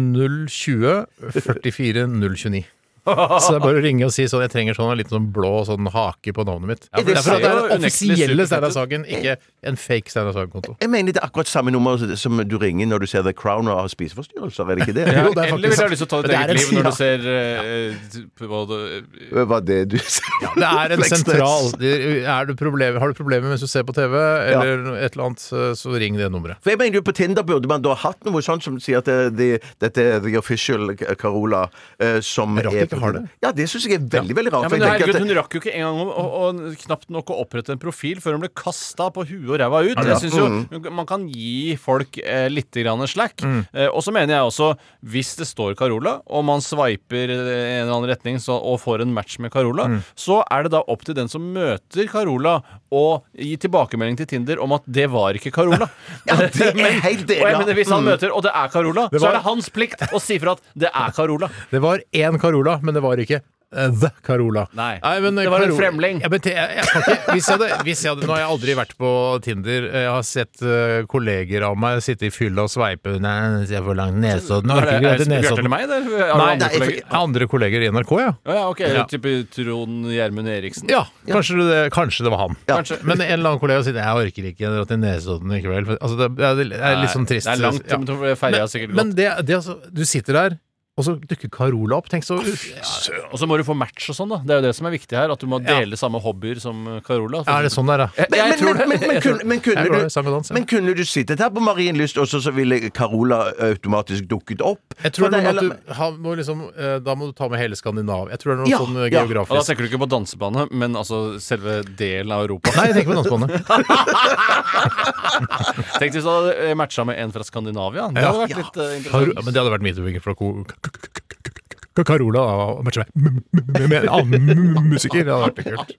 Speaker 4: 020 44 029. Så det er bare å ringe og si sånn Jeg trenger sånn en liten sånn blå sånn hake på navnet mitt.
Speaker 6: for
Speaker 4: det er for at det er
Speaker 6: ser jo
Speaker 4: den
Speaker 6: unektelig
Speaker 4: offisielle
Speaker 6: superfett
Speaker 4: Steinar
Speaker 6: ut.
Speaker 4: Sagen, ikke en fake Steinar Sagen-konto.
Speaker 5: Jeg mener det er akkurat samme nummer som du ringer når du ser The Crown og har spiseforstyrrelser, er det ikke det?
Speaker 4: Jo, det er faktisk
Speaker 6: Eller vil du ha
Speaker 4: sant.
Speaker 6: lyst til å ta ditt
Speaker 4: Det er
Speaker 6: eget
Speaker 4: en
Speaker 6: liv når
Speaker 4: side.
Speaker 6: du ser eh, eh, på det-
Speaker 5: Var det du sa?
Speaker 4: Det er en
Speaker 5: Fleksnes.
Speaker 4: sentral er du problem, Har du problemer mens du ser på TV, eller no- et eller annet, så- så ring det nummeret.
Speaker 5: For jeg mener jo På Tinder burde man da hatt noe sånt som sier at det, det, dette er the official Carola. eh, som
Speaker 4: Rart
Speaker 5: er
Speaker 4: ikke har det.
Speaker 5: Ja, det syns jeg er veldig veldig rart.
Speaker 6: Ja,
Speaker 5: for
Speaker 6: men
Speaker 5: jeg tenker
Speaker 6: herregud,
Speaker 5: at
Speaker 6: Hun rakk jo ikke engang å, å, å, knapt nok å opprette en profil før hun ble kasta på huet og ræva ut. Jeg synes
Speaker 5: Mm.
Speaker 6: jo Man kan gi folk eh, litt grann slack.
Speaker 5: Mm.
Speaker 6: Eh, og så mener jeg også, hvis det står Carola, og man sveiper i en eller annen retning så, og får en match med Carola,
Speaker 5: Mm.
Speaker 6: så er det da opp til den som møter Carola, å gi tilbakemelding til Tinder om at det var ikke Carola.
Speaker 5: <laughs> Ja, det er helt enig,
Speaker 6: og jeg
Speaker 5: ja.
Speaker 6: mener, Hvis han
Speaker 5: Mm.
Speaker 6: møter, og det er Carola,
Speaker 4: Det
Speaker 6: så
Speaker 4: var-
Speaker 6: er det hans plikt å si fra at det er Carola.
Speaker 4: Det var én Carola, men det var ikke eh, The Carola.
Speaker 6: Nei.
Speaker 4: men, eh,
Speaker 6: Det var en
Speaker 4: Carola-
Speaker 6: fremling.
Speaker 4: Ja, men det- jeg, jeg kan ikke, hvis jeg hadde, hvis jeg hadde, nå har jeg aldri vært på Tinder. Jeg har sett eh, kolleger av meg sitte i fylla og sveipe Nei, jeg får lang nesodden.
Speaker 6: Er det,
Speaker 4: orker
Speaker 6: er
Speaker 4: ikke
Speaker 6: det
Speaker 4: dette
Speaker 6: Bjarte
Speaker 4: Nesodden.
Speaker 6: eller meg? Eller? Er det
Speaker 4: Nei,
Speaker 6: andre
Speaker 4: nei,
Speaker 6: kolleger?
Speaker 4: for- andre kolleger i NRK, ja.
Speaker 6: Å ja, ok.
Speaker 4: Ja.
Speaker 6: Type Trond Gjermund Eriksen.
Speaker 4: Ja, kanskje det, kanskje det var han.
Speaker 6: Kanskje.
Speaker 4: Men en eller annen kollega sier 'jeg orker ikke dra til Nesodden i kveld'. For- Altså, det, er, det er litt sånn trist.
Speaker 6: Det er langt.
Speaker 4: Ja.
Speaker 6: men Ferja har sikkert
Speaker 4: Men
Speaker 6: gått.
Speaker 4: det, det altså, du sitter der, og så dukker Carola opp. Tenk så
Speaker 6: Og så må du få match og sånn, da. Det er jo det som er viktig her. At du må
Speaker 4: Ja.
Speaker 6: dele samme hobbyer som Carola.
Speaker 4: Er det sånn der, da?
Speaker 6: Jeg, jeg tror
Speaker 5: men,
Speaker 6: det.
Speaker 5: men, men, kunne, men, kunne
Speaker 4: Jeg går
Speaker 5: du,
Speaker 4: i samme dans, ja.
Speaker 5: men kunne du sittet her på Marienlyst, og så, så ville Carola automatisk dukket opp?
Speaker 4: Jeg tror
Speaker 5: For det-
Speaker 4: det, at
Speaker 5: eller-
Speaker 4: du, ha, må liksom, eh, Da må du ta med hele Skandinavia. Jeg tror det er noe
Speaker 5: Ja,
Speaker 4: sånn eh,
Speaker 5: ja.
Speaker 6: Og da
Speaker 4: geografisk.
Speaker 6: tenker du ikke på dansebane, men altså selve delen av Europa.
Speaker 4: Nei, jeg tenker på
Speaker 5: <laughs>
Speaker 4: dansebåndet.
Speaker 6: Tenk hvis du hadde matcha med en fra Skandinavia. Det
Speaker 4: Ja.
Speaker 6: hadde vært litt eh,
Speaker 4: Karo-
Speaker 6: interessant.
Speaker 4: Men det hadde vært midtvinger fra Ko- K- K- K- K- K- K- Carola og matche meg M- m- med en annen m- m- musiker. Det hadde vært kult.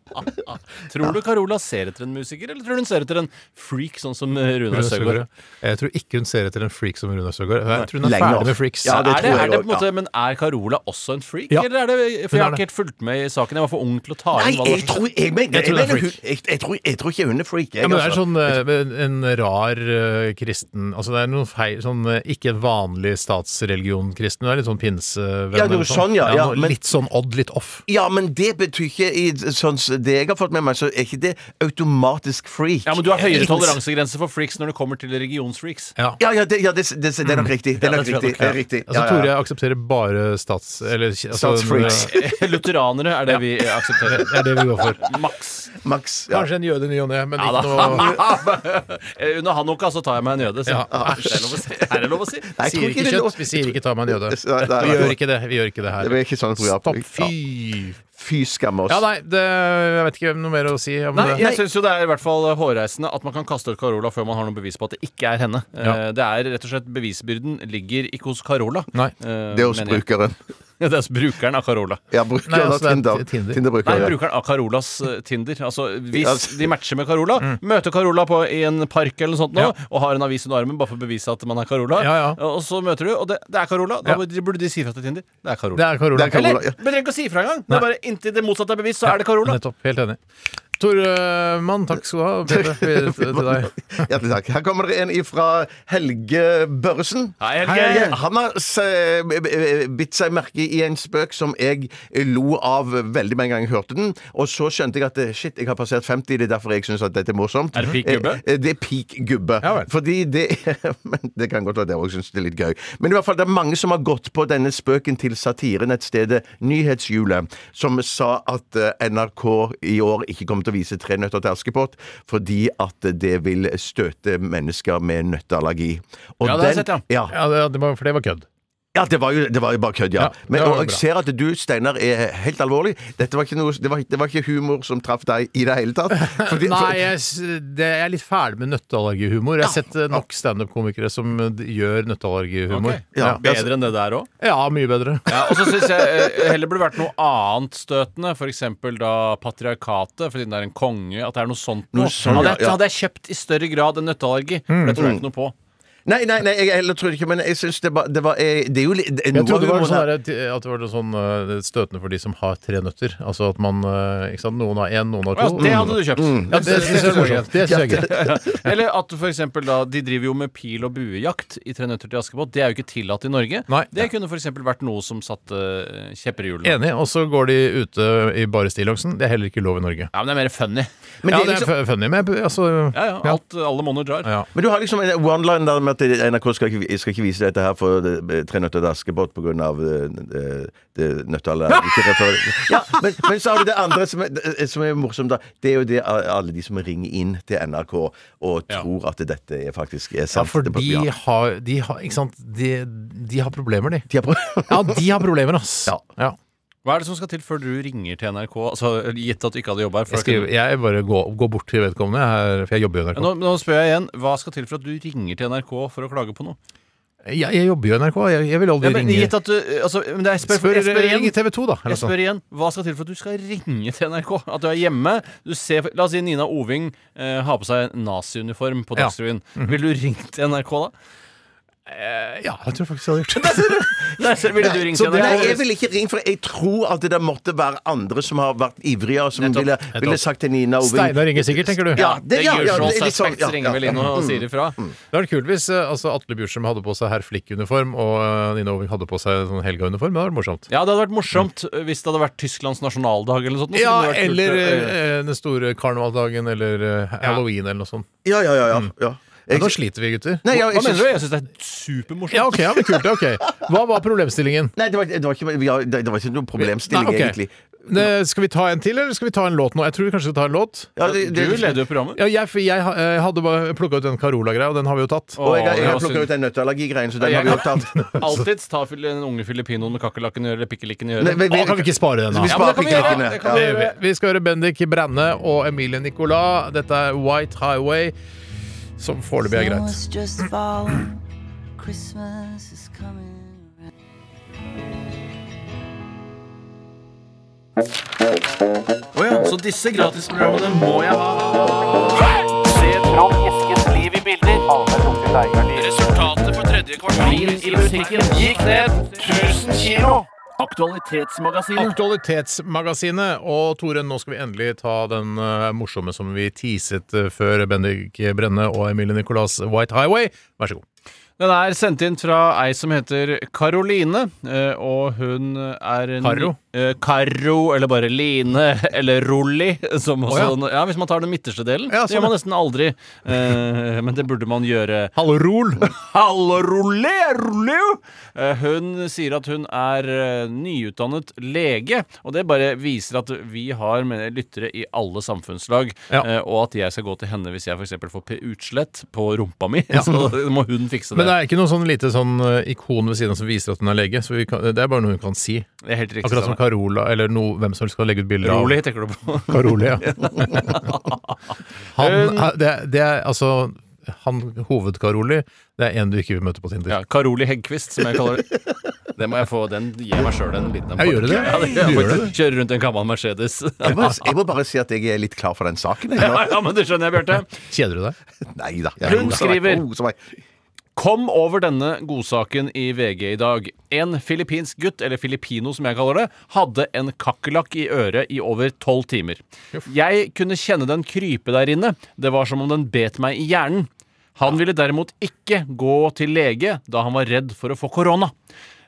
Speaker 6: Tror du Carola ser etter en musiker, eller tror du hun ser etter en freak, sånn som eh, Runar
Speaker 4: Rune
Speaker 6: Søgaard?
Speaker 4: Søgaard. Jeg tror ikke hun ser etter en freak som Rune Søgaard. Jeg tror hun er
Speaker 5: Lenger.
Speaker 4: ferdig med freaks.
Speaker 5: Ja, det
Speaker 6: er det,
Speaker 5: tror jeg også,
Speaker 6: er det på en måte,
Speaker 5: ja.
Speaker 6: Men er Carola også en freak?
Speaker 4: Ja.
Speaker 6: Eller er det, for
Speaker 4: Hun
Speaker 6: Jeg
Speaker 4: er
Speaker 6: har ikke
Speaker 4: det.
Speaker 6: helt fulgt med i saken. Jeg var for ung til å ta
Speaker 5: Nei,
Speaker 6: inn hva det
Speaker 5: jeg
Speaker 6: var.
Speaker 5: tror, jeg, mener,
Speaker 4: Jeg
Speaker 5: jeg,
Speaker 4: tror det er
Speaker 5: mener, hun-
Speaker 4: freak.
Speaker 5: jeg, jeg, tror, jeg tror ikke hun er freak. Jeg,
Speaker 4: Ja, men det er
Speaker 5: altså.
Speaker 4: sånn eh, en, en rar eh, kristen Altså det er noe feil sånn, eh, Ikke vanlig statsreligion-kristen. Du er litt sånn pinsevenn.
Speaker 5: Ja, noe
Speaker 4: eller
Speaker 5: sånn, ja, ja,
Speaker 4: noe
Speaker 5: men-
Speaker 4: Litt sånn odd, litt off.
Speaker 5: ja, men det betyr ikke i, sånn, s- Det jeg har fått med meg, så er ikke det automatisk freak.
Speaker 6: Ja, men du har høyere
Speaker 5: Ikke-
Speaker 6: toleransegrense for freaks når det kommer til religionsfreaks. <laughs>
Speaker 4: Ja.
Speaker 5: Ja, ja, det, ja det, det, det er nok riktig. Det er nok
Speaker 6: det tror jeg
Speaker 5: riktig. Det er riktig.
Speaker 4: Altså,
Speaker 5: Ja, ja,
Speaker 4: Tore,
Speaker 5: ja.
Speaker 4: jeg aksepterer bare stats... Eller, altså,
Speaker 5: Statsfreaks.
Speaker 6: Lutheranere er det vi aksepterer.
Speaker 4: <laughs> Det er det vi går for.
Speaker 6: Maks.
Speaker 5: Max. Ja.
Speaker 4: Kanskje en jøde i ny og ne, men
Speaker 6: Ja, da.
Speaker 4: ikke noe
Speaker 6: <laughs> Eh, Under hanukka så tar jeg meg en jøde. Så.
Speaker 4: Ja.
Speaker 6: <laughs> Er det lov å si? Er det lov å si?
Speaker 5: Nei, jeg tror
Speaker 4: Sier ikke
Speaker 5: det er lov.
Speaker 4: kjøtt, vi sier ikke 'ta meg en jøde'.
Speaker 5: Nei, nei,
Speaker 4: Vi
Speaker 5: nei.
Speaker 4: gjør ikke det vi gjør ikke det her.
Speaker 5: Det blir ikke sånn program.
Speaker 4: Stopp,
Speaker 5: Ja.
Speaker 4: fy
Speaker 5: Fy skamme oss.
Speaker 4: Ja, nei, det, jeg vet ikke noe mer å si om
Speaker 6: Nei,
Speaker 4: det.
Speaker 6: jeg syns jo det er i hvert fall hårreisende at man kan kaste ut Carola før man har noe bevis på at det ikke er henne. Eh,
Speaker 4: Ja.
Speaker 6: Det er rett og slett Bevisbyrden ligger ikke hos Carola.
Speaker 4: Nei.
Speaker 6: Eh,
Speaker 5: det er hos
Speaker 6: <laughs> mener jeg.
Speaker 5: brukeren.
Speaker 6: Det er brukeren av Carola.
Speaker 5: Ja, bruker
Speaker 4: Nei, altså,
Speaker 5: da
Speaker 4: det er
Speaker 5: Tinder.
Speaker 4: Ti- Tinder.
Speaker 5: Tinder-bruker,
Speaker 6: Nei,
Speaker 5: ja.
Speaker 6: brukeren av Carolas eh, Tinder. Altså,
Speaker 5: Ja.
Speaker 6: Hvis de matcher med Carola, møter Carola på, i en park eller noe sånt nå,
Speaker 4: Ja.
Speaker 6: og har en avis under armen bare for å bevise at man er Carola,
Speaker 4: Ja, ja.
Speaker 6: og så møter du, og det, det er Carola, da
Speaker 4: Ja.
Speaker 6: burde- burde de si fra til Tinder. Det er
Speaker 4: Det
Speaker 6: Carola.
Speaker 4: er Carola.
Speaker 5: Det er Carola,
Speaker 6: Eller,
Speaker 5: ja.
Speaker 6: <laughs> men trenger ikke å si fra engang. Det er bare Inntil det motsatte er bevisst, så er det Carola.
Speaker 4: Nettopp. Helt enig. Tormann, takk skal du
Speaker 5: <laughs>
Speaker 4: ha. Peter, videre til til deg.
Speaker 5: Hjertelig takk. Her kommer det en ifra Helge Børresen.
Speaker 6: Hei, Helge.
Speaker 5: Han har se- b- b- bitt seg merke i en spøk som jeg lo av veldig med en gang jeg hørte den. Og så skjønte jeg at eh, shit, jeg har passert 50, det er derfor jeg syns dette er morsomt.
Speaker 6: Er det peak gubbe?
Speaker 5: Eh, eh, Det er peak gubbe.
Speaker 4: Ja vel.
Speaker 5: Fordi det <laughs> Men det kan godt være at jeg òg syns det er litt gøy. Men i hvert fall, det er mange som har gått på denne spøken til satirenettstedet eh, Nyhetshjulet, som sa at eh, NRK i år ikke kommer til å vise Tre nøtter til Askepott fordi at det vil støte mennesker med nøtteallergi. Og
Speaker 6: Ja, det har jeg sett, ja.
Speaker 5: ja.
Speaker 4: Ja, det, det var, for det var kødd.
Speaker 5: Ja, det var jo, det var jo bare kødd, ja.
Speaker 4: Ja,
Speaker 5: Men
Speaker 4: det var
Speaker 5: og
Speaker 4: jo
Speaker 5: jeg
Speaker 4: bra.
Speaker 5: ser at du, Steinar, er helt alvorlig. Dette var ikke noe, det, var, det var ikke humor som traff deg i det hele tatt. Fordi-
Speaker 4: Nei, jeg, s- det, jeg er litt ferdig med nøtteallergihumor. Jeg har sett eh, nok standup-komikere som eh, d- gjør nøtteallergihumor.
Speaker 6: Ok.
Speaker 4: Ja.
Speaker 6: Bedre enn det der òg.
Speaker 4: ja, mye
Speaker 5: <laughs>
Speaker 4: bedre.
Speaker 6: Ja, og så syns jeg eh, heller burde vært noe annet støtende, f.eks. da patriarkatet, fordi den er en konge, at det er noe sånt noe.
Speaker 5: sånt,
Speaker 6: hadde, jeg,
Speaker 5: ja.
Speaker 6: hadde jeg kjøpt i større grad enn nøtteallergi, for det tror jeg ikke noe på.
Speaker 5: Nei, nei, nei, jeg heller tror det ikke, men jeg syns det, var- det var eh, Det er jo litt det er
Speaker 4: Jeg
Speaker 5: noe av
Speaker 4: trodde det var
Speaker 5: humoren
Speaker 4: sånn
Speaker 5: her.
Speaker 4: der, eh, at det var noe sånn eh, støtende for de som har tre nøtter. Altså at man eh, ikke sant, Noen har én, noen har
Speaker 6: Ja, altså,
Speaker 4: to.
Speaker 6: det hadde du kjøpt.
Speaker 4: Ja, Mm. det syns jeg er morsomt. Det synes jeg er greit.
Speaker 6: <laughs> Eller at for eksempel, da De driver jo med pil- og buejakt i Tre nøtter til Askepott. Det er jo ikke tillatt i Norge.
Speaker 4: Nei.
Speaker 6: Det kunne f.eks. vært noe som satte eh, kjepper i
Speaker 4: <laughs>
Speaker 6: hjulene.
Speaker 4: Enig. Og så går de ute i bare stillongsen. Det er heller ikke lov i Norge.
Speaker 6: Ja, men det er mer funny.
Speaker 4: ja,
Speaker 5: Men, det er
Speaker 4: det er
Speaker 5: liksom,
Speaker 4: fu- funny, men jeg- altså
Speaker 6: Ja, ja, alt, alle monner drar.
Speaker 4: Ja.
Speaker 5: men du har liksom en one-line der med at NRK skal ikke, skal ikke vise dette her for eh, Tre nøtter til Askepott pga. nøtteallergi. eh, Ikke refer- Ja, men, men så har du det andre som er, det- som er morsomt, da. Det er jo det a- alle de som ringer inn til NRK og tror at dette er faktisk er
Speaker 4: Ja,
Speaker 5: sant.
Speaker 4: for
Speaker 5: Det-
Speaker 4: de
Speaker 5: ja.
Speaker 4: har, de har Ikke sant? De, de har problemer, de.
Speaker 5: De har prøvd.
Speaker 4: Ja, de har problemer, ass.
Speaker 5: Ja.
Speaker 6: Hva er det som skal til før du ringer til NRK? Altså, Gitt at du ikke hadde jobba her. for
Speaker 4: Jeg,
Speaker 6: da kunne-
Speaker 4: skriver, jeg bare går, går bort til vedkommende, her, for jeg jobber jo i
Speaker 6: Ja,
Speaker 4: NRK.
Speaker 6: Nå, nå spør jeg igjen, Hva skal til for at du ringer til NRK for å klage på noe?
Speaker 4: Jeg, jeg jobber jo i NRK. Jeg, jeg vil aldri
Speaker 6: Ja, men,
Speaker 4: ringe
Speaker 6: gitt at du, altså, men det er, jeg, spør,
Speaker 4: Spør,
Speaker 6: jeg, spør igjen,
Speaker 4: ring TV 2, da. Eller
Speaker 6: jeg
Speaker 4: sånn.
Speaker 6: spør igjen. Hva skal til for at du skal ringe til NRK? At du er hjemme? Du ser, la oss si Nina Oving eh, har på seg naziuniform på
Speaker 4: Ja.
Speaker 6: Dagsrevyen. Vil du ringe til NRK da?
Speaker 4: Ja, jeg tror faktisk jeg <laughs> hadde gjort det.
Speaker 6: Nei, så ville du ringe
Speaker 5: Så
Speaker 6: til
Speaker 5: det, nei, jeg
Speaker 6: NRK?
Speaker 5: vil ikke ringe, for jeg tror at det der måtte være andre som har vært ivrigere, som ville, ville sagt til Nina Oving
Speaker 4: Steinar ringer sikkert, tenker du.
Speaker 5: Ja, det, ja, ja, Mm.
Speaker 6: Usual
Speaker 5: det er litt sånn,
Speaker 6: Suspects ringer vel inn og sier ifra.
Speaker 4: Det hadde vært kult hvis eh, altså, Atle Bjurstrøm hadde på seg herr Flick-uniform, og eh, Nina Oving hadde på seg sånn Helga-uniform. Det hadde vært morsomt.
Speaker 6: Ja, det hadde vært morsomt eh, hvis det hadde vært Tysklands nasjonaldag eller noe sånt. så
Speaker 4: Ja,
Speaker 6: kunne det vært kult,
Speaker 4: eller
Speaker 6: eh,
Speaker 4: eh, den store karnevaldagen, eller eh, halloween, eller noe sånt.
Speaker 5: Ja, ja, ja. ja,
Speaker 6: Mm.
Speaker 5: ja.
Speaker 4: Ja,
Speaker 5: Jeg,
Speaker 4: nå sliter vi, gutter.
Speaker 5: nei, ja,
Speaker 6: Hva
Speaker 5: jeg
Speaker 6: mener
Speaker 5: syns-
Speaker 6: du? Jeg syns det er supermorsomt.
Speaker 4: Ja, ok, ja, men kult. ja, ok Hva var problemstillingen?
Speaker 5: Nei, det var, det, var ikke, ja, det, det var ikke noen problemstilling,
Speaker 4: Nei, ok.
Speaker 5: egentlig.
Speaker 4: Ne, skal vi ta en til, eller skal vi ta en låt nå? Jeg tror vi kanskje vi tar en låt.
Speaker 5: Ja, det, det,
Speaker 6: Du leder jo programmet.
Speaker 4: Ja, jeg, for jeg ha- eh, hadde bare plukka ut den Carola-greia, og den har vi jo tatt.
Speaker 5: og jeg, har- jeg
Speaker 6: Å, det
Speaker 5: har
Speaker 6: var synd.
Speaker 5: plukka ut den nøtteallergigreien, så den
Speaker 6: Ja,
Speaker 5: har vi
Speaker 6: jeg-
Speaker 5: også
Speaker 6: <laughs>
Speaker 5: tatt.
Speaker 6: <laughs> Alltids ta fil- den unge filippinoen med kakerlakken i øret eller pikkelikken i
Speaker 5: Nei,
Speaker 6: øret.
Speaker 5: vi-
Speaker 4: Å, kan vi ikke spare den, da?
Speaker 5: vi
Speaker 6: Ja, men
Speaker 5: sparer
Speaker 6: det kan vi gjøre,
Speaker 5: pikkelikkene.
Speaker 6: det kan
Speaker 5: Ja.
Speaker 4: Det gjør vi. Vi skal høre Bendik Brenne og Emilie Nicolas. Dette er White Highway, som foreløpig er greit.
Speaker 6: Så disse gratisprogrammene må jeg ha. Resultatet for tredje kvartal i musikken gikk ned 1000 kilo. Aktualitetsmagasinet.
Speaker 4: Aktualitetsmagasinet. Og Tore, nå skal vi endelig ta den eh, morsomme som vi teaset eh, før Bendik Brenne og Emilie Nicolas White Highway. Vær så god.
Speaker 6: Den er sendt inn fra ei som heter Karoline, eh, og hun er en
Speaker 4: Karo?
Speaker 6: Eh, Karo, eller bare Line, <laughs> eller Rolli, som også
Speaker 4: Å,
Speaker 6: ja. hvis man tar den midterste delen.
Speaker 4: Ja,
Speaker 6: det
Speaker 4: sånn,
Speaker 6: gjør man
Speaker 4: ja.
Speaker 6: nesten aldri, eh, <laughs> men det burde man gjøre.
Speaker 4: Hallo, Rol.
Speaker 6: Hallo, rulle, rulle! Eh, Hun sier at hun er eh, nyutdannet lege, og det bare viser at vi har med lyttere i alle samfunnslag,
Speaker 4: Ja.
Speaker 6: eh, og at jeg skal gå til henne hvis jeg f.eks. får p- utslett på rumpa mi. <laughs> Så må hun fikse det.
Speaker 4: <laughs> Men det er ikke noe sånn lite sånn eh, ikon ved siden av som viser at hun er lege. Så vi kan, det er bare noe hun kan si.
Speaker 6: Det er helt riktig.
Speaker 4: Akkurat som
Speaker 6: Sanne.
Speaker 4: Carola eller no, hvem som helst kan legge ut bilder av
Speaker 6: Rolig, tenker du på. <laughs>
Speaker 4: Karoli, ja.
Speaker 6: Um,
Speaker 4: Han, er- det, er- det er altså Han hovedkaroli, det er en du ikke vil møte på Tinder.
Speaker 6: Ja, Karoli Heggkvist, som jeg kaller det. Det må jeg få. Den gir jeg meg sjøl en liten
Speaker 4: Jeg gjør det.
Speaker 6: Ja, det gjør
Speaker 4: Du
Speaker 6: jeg
Speaker 4: gjør
Speaker 6: faktisk. Kjører rundt i en gammel Mercedes. <laughs>
Speaker 5: Jeg må, jeg må bare si at jeg er litt klar for den saken. Jeg,
Speaker 6: Ja,
Speaker 5: nå.
Speaker 6: ja, men det skjønner jeg, Bjarte.
Speaker 4: Kjeder du deg?
Speaker 5: Nei da. jeg er
Speaker 6: Hun
Speaker 5: god som jeg-
Speaker 6: skriver-
Speaker 5: god som jeg-
Speaker 6: Kom over denne godsaken i VG i dag. En filippinsk gutt, eller filippino som jeg kaller det, hadde en kakerlakk i øret i over tolv timer. Jeg kunne kjenne den krype der inne. Det var som om den bet meg i hjernen. Han ville derimot ikke gå til lege da han var redd for å få korona.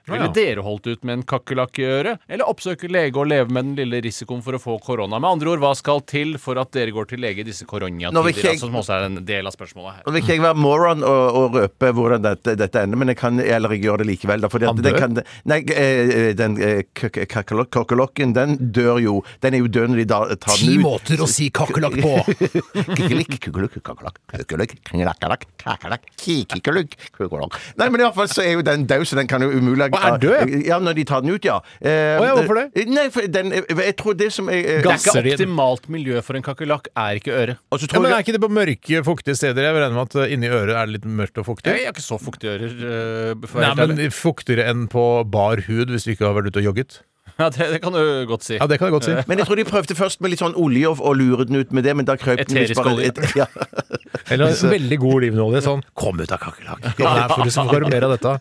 Speaker 6: Ville dere holdt ut med en kakerlakk i øret, eller oppsøke lege og leve med den lille risikoen for å få korona? Med andre ord, hva skal til for at dere går til lege i disse koronatider?
Speaker 5: Nå vil ikke jeg-
Speaker 6: Altså, som også er en del av spørsmålet her.
Speaker 5: Nå vil ikke jeg være moron og, og røpe hvordan dette, dette ender, men jeg kan eller jeg gjør det likevel. Da, fordi at
Speaker 4: Han
Speaker 5: det
Speaker 4: dør?
Speaker 5: kan, nei, eh, den eh, k- k- kakerlak- kakerlakken, den dør jo. Den er jo død når de da tar den ut.
Speaker 4: å si kakerlakk
Speaker 6: <laughs>
Speaker 5: <laughs> Kakerlikk, kukulukk, kakerlakk, kukulukk, kringelakkerlakk, kakerlakk, kikikulukk, kukulukk. Nei, men i hvert fall så er jo den død, så den kan jo umulig
Speaker 4: Å, er den død?
Speaker 5: Ja, når de tar den ut, ja. Eh,
Speaker 4: Å, ja, hvorfor det?
Speaker 5: Nei, for den eh, Jeg tror det som er
Speaker 6: Det er
Speaker 4: Gasser
Speaker 6: ikke
Speaker 4: de den?
Speaker 6: optimalt miljø for en kakerlakk, er ikke øret.
Speaker 5: Og så
Speaker 4: Ja,
Speaker 5: tror
Speaker 4: men
Speaker 5: jeg
Speaker 4: Er ikke det på mørke, fuktige steder? Jeg regner med at eh, inni øret er det litt mørkt og fuktig?
Speaker 6: Jeg har ikke så fuktige ører. øh, for å
Speaker 4: Nei,
Speaker 6: være
Speaker 4: men
Speaker 6: helt ærlig.
Speaker 4: Fuktigere enn på bar hud hvis du ikke har vært ute og jogget?
Speaker 6: ja, det, det kan du godt si.
Speaker 4: Ja, det kan jeg godt si.
Speaker 5: men jeg tror de prøvde først med litt sånn olje og, og lure den ut med det, men da krøp den
Speaker 6: Eterisk olje.
Speaker 5: Et, <laughs> ja.
Speaker 4: <laughs> Eller en veldig god olivenolje. Sånn 'kom ut av kakerlakk'. Nei, for du skal få mer av dette.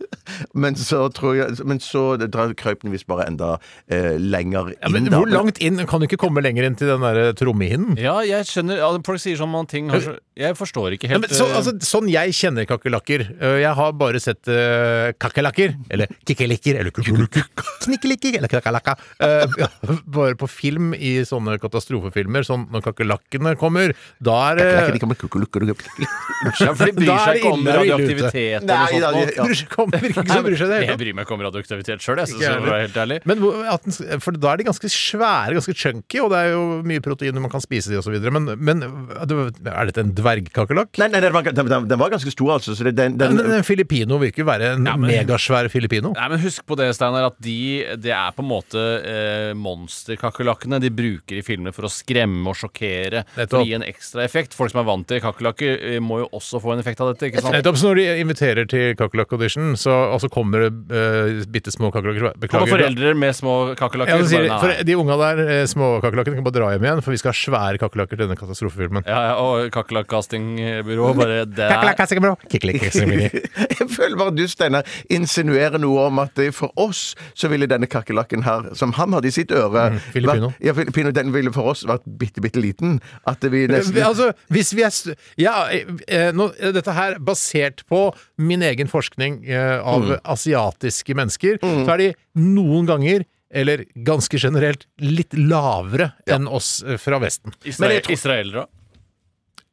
Speaker 5: Men så tror jeg Men så drar krøypen visst bare enda eh, lenger inn.
Speaker 4: Ja, men
Speaker 5: da.
Speaker 4: hvor langt inn? Kan du ikke komme lenger inn til den der trommehinnen?
Speaker 6: Ja, jeg skjønner ja, Folk sier sånn man ting har så Jeg forstår ikke
Speaker 4: Ja,
Speaker 6: helt
Speaker 4: men så,
Speaker 6: øh,
Speaker 4: altså, sånn jeg kjenner kakerlakker øh, Jeg har bare sett uh, kakerlakker, eller kikkelikker, eller kukkelikker, knikkelikker, eller kakerlakka. øh, ja, bare på film i sånne katastrofefilmer, sånn når kakerlakkene kommer, da er
Speaker 5: Det er
Speaker 4: det
Speaker 5: ikke de kommer kukulukkulukk.
Speaker 6: <laughs> ja, For de bryr
Speaker 4: Da er
Speaker 6: seg
Speaker 4: det
Speaker 6: ikke om
Speaker 4: ille og ille ute.
Speaker 6: radioaktivitet
Speaker 5: Nei,
Speaker 6: eller
Speaker 5: da,
Speaker 4: <laughs>
Speaker 6: noe
Speaker 5: de-
Speaker 6: sånt.
Speaker 5: ja.
Speaker 4: Kommer ikke så bryr seg det
Speaker 6: Jeg
Speaker 4: hele tatt.
Speaker 6: bryr meg ikke om radioaktivitet sjøl, jeg. Så,
Speaker 4: Ikke
Speaker 6: så
Speaker 4: jeg
Speaker 6: for å være helt ærlig.
Speaker 4: Men hvor- at den, for da er de ganske svære, ganske chunky, og det er jo mye proteiner man kan spise de og så videre Men, men er dette en dvergkakerlakk?
Speaker 5: Nei, nei, den var, den, den var ganske stor, altså. Så det, den,
Speaker 4: Ja,
Speaker 5: den,
Speaker 4: men En filipino virker jo være en
Speaker 6: Ja, men-
Speaker 4: megasvær filipino.
Speaker 6: Nei, men Husk på det, Steinar, at de, det er på en måte eh, monsterkakerlakkene de bruker i filmer for å skremme og sjokkere. For å
Speaker 4: Nettopp.
Speaker 6: gi en ekstra effekt. Folk som er vant til kakerlakker, eh, må jo også få en effekt av dette. ikke sant?
Speaker 4: Nettopp, så Når de inviterer til kakerlakk-audition, så og så kommer det uh, bitte små kakerlakker
Speaker 6: Kommer
Speaker 4: Beklager.
Speaker 6: foreldre med små
Speaker 4: Ja,
Speaker 6: kakerlakker?
Speaker 4: så
Speaker 6: så
Speaker 4: sier de,
Speaker 6: bare,
Speaker 4: for
Speaker 6: nei.
Speaker 4: de unga der, eh, små kakerlakkene, kan bare dra hjem igjen, for vi skal ha svære kakerlakker til denne katastrofefilmen.
Speaker 6: Ja, ja, og <laughs> kakerlakkcastingbyrået bare det er-
Speaker 4: Kakerlakk, kakerlakk, bro. Kikerlakk, kakerlakk.
Speaker 6: <laughs>
Speaker 5: jeg føler bare du, Steinar, insinuerer noe om at det for oss så ville denne kakerlakken her, som han hadde i sitt øre
Speaker 4: Filipino.
Speaker 5: vært- Ja, Filipino, den ville for oss vært bitte, bitte liten. At vi nesten
Speaker 4: Vi- Altså, hvis vi er st- Ja, eh, eh, nå, eh, dette her basert på min egen forskning eh, av
Speaker 6: Mm.
Speaker 4: asiatiske mennesker, så er de noen ganger eller ganske generelt litt lavere enn oss eh, fra Vesten.
Speaker 6: Isra Israelere òg.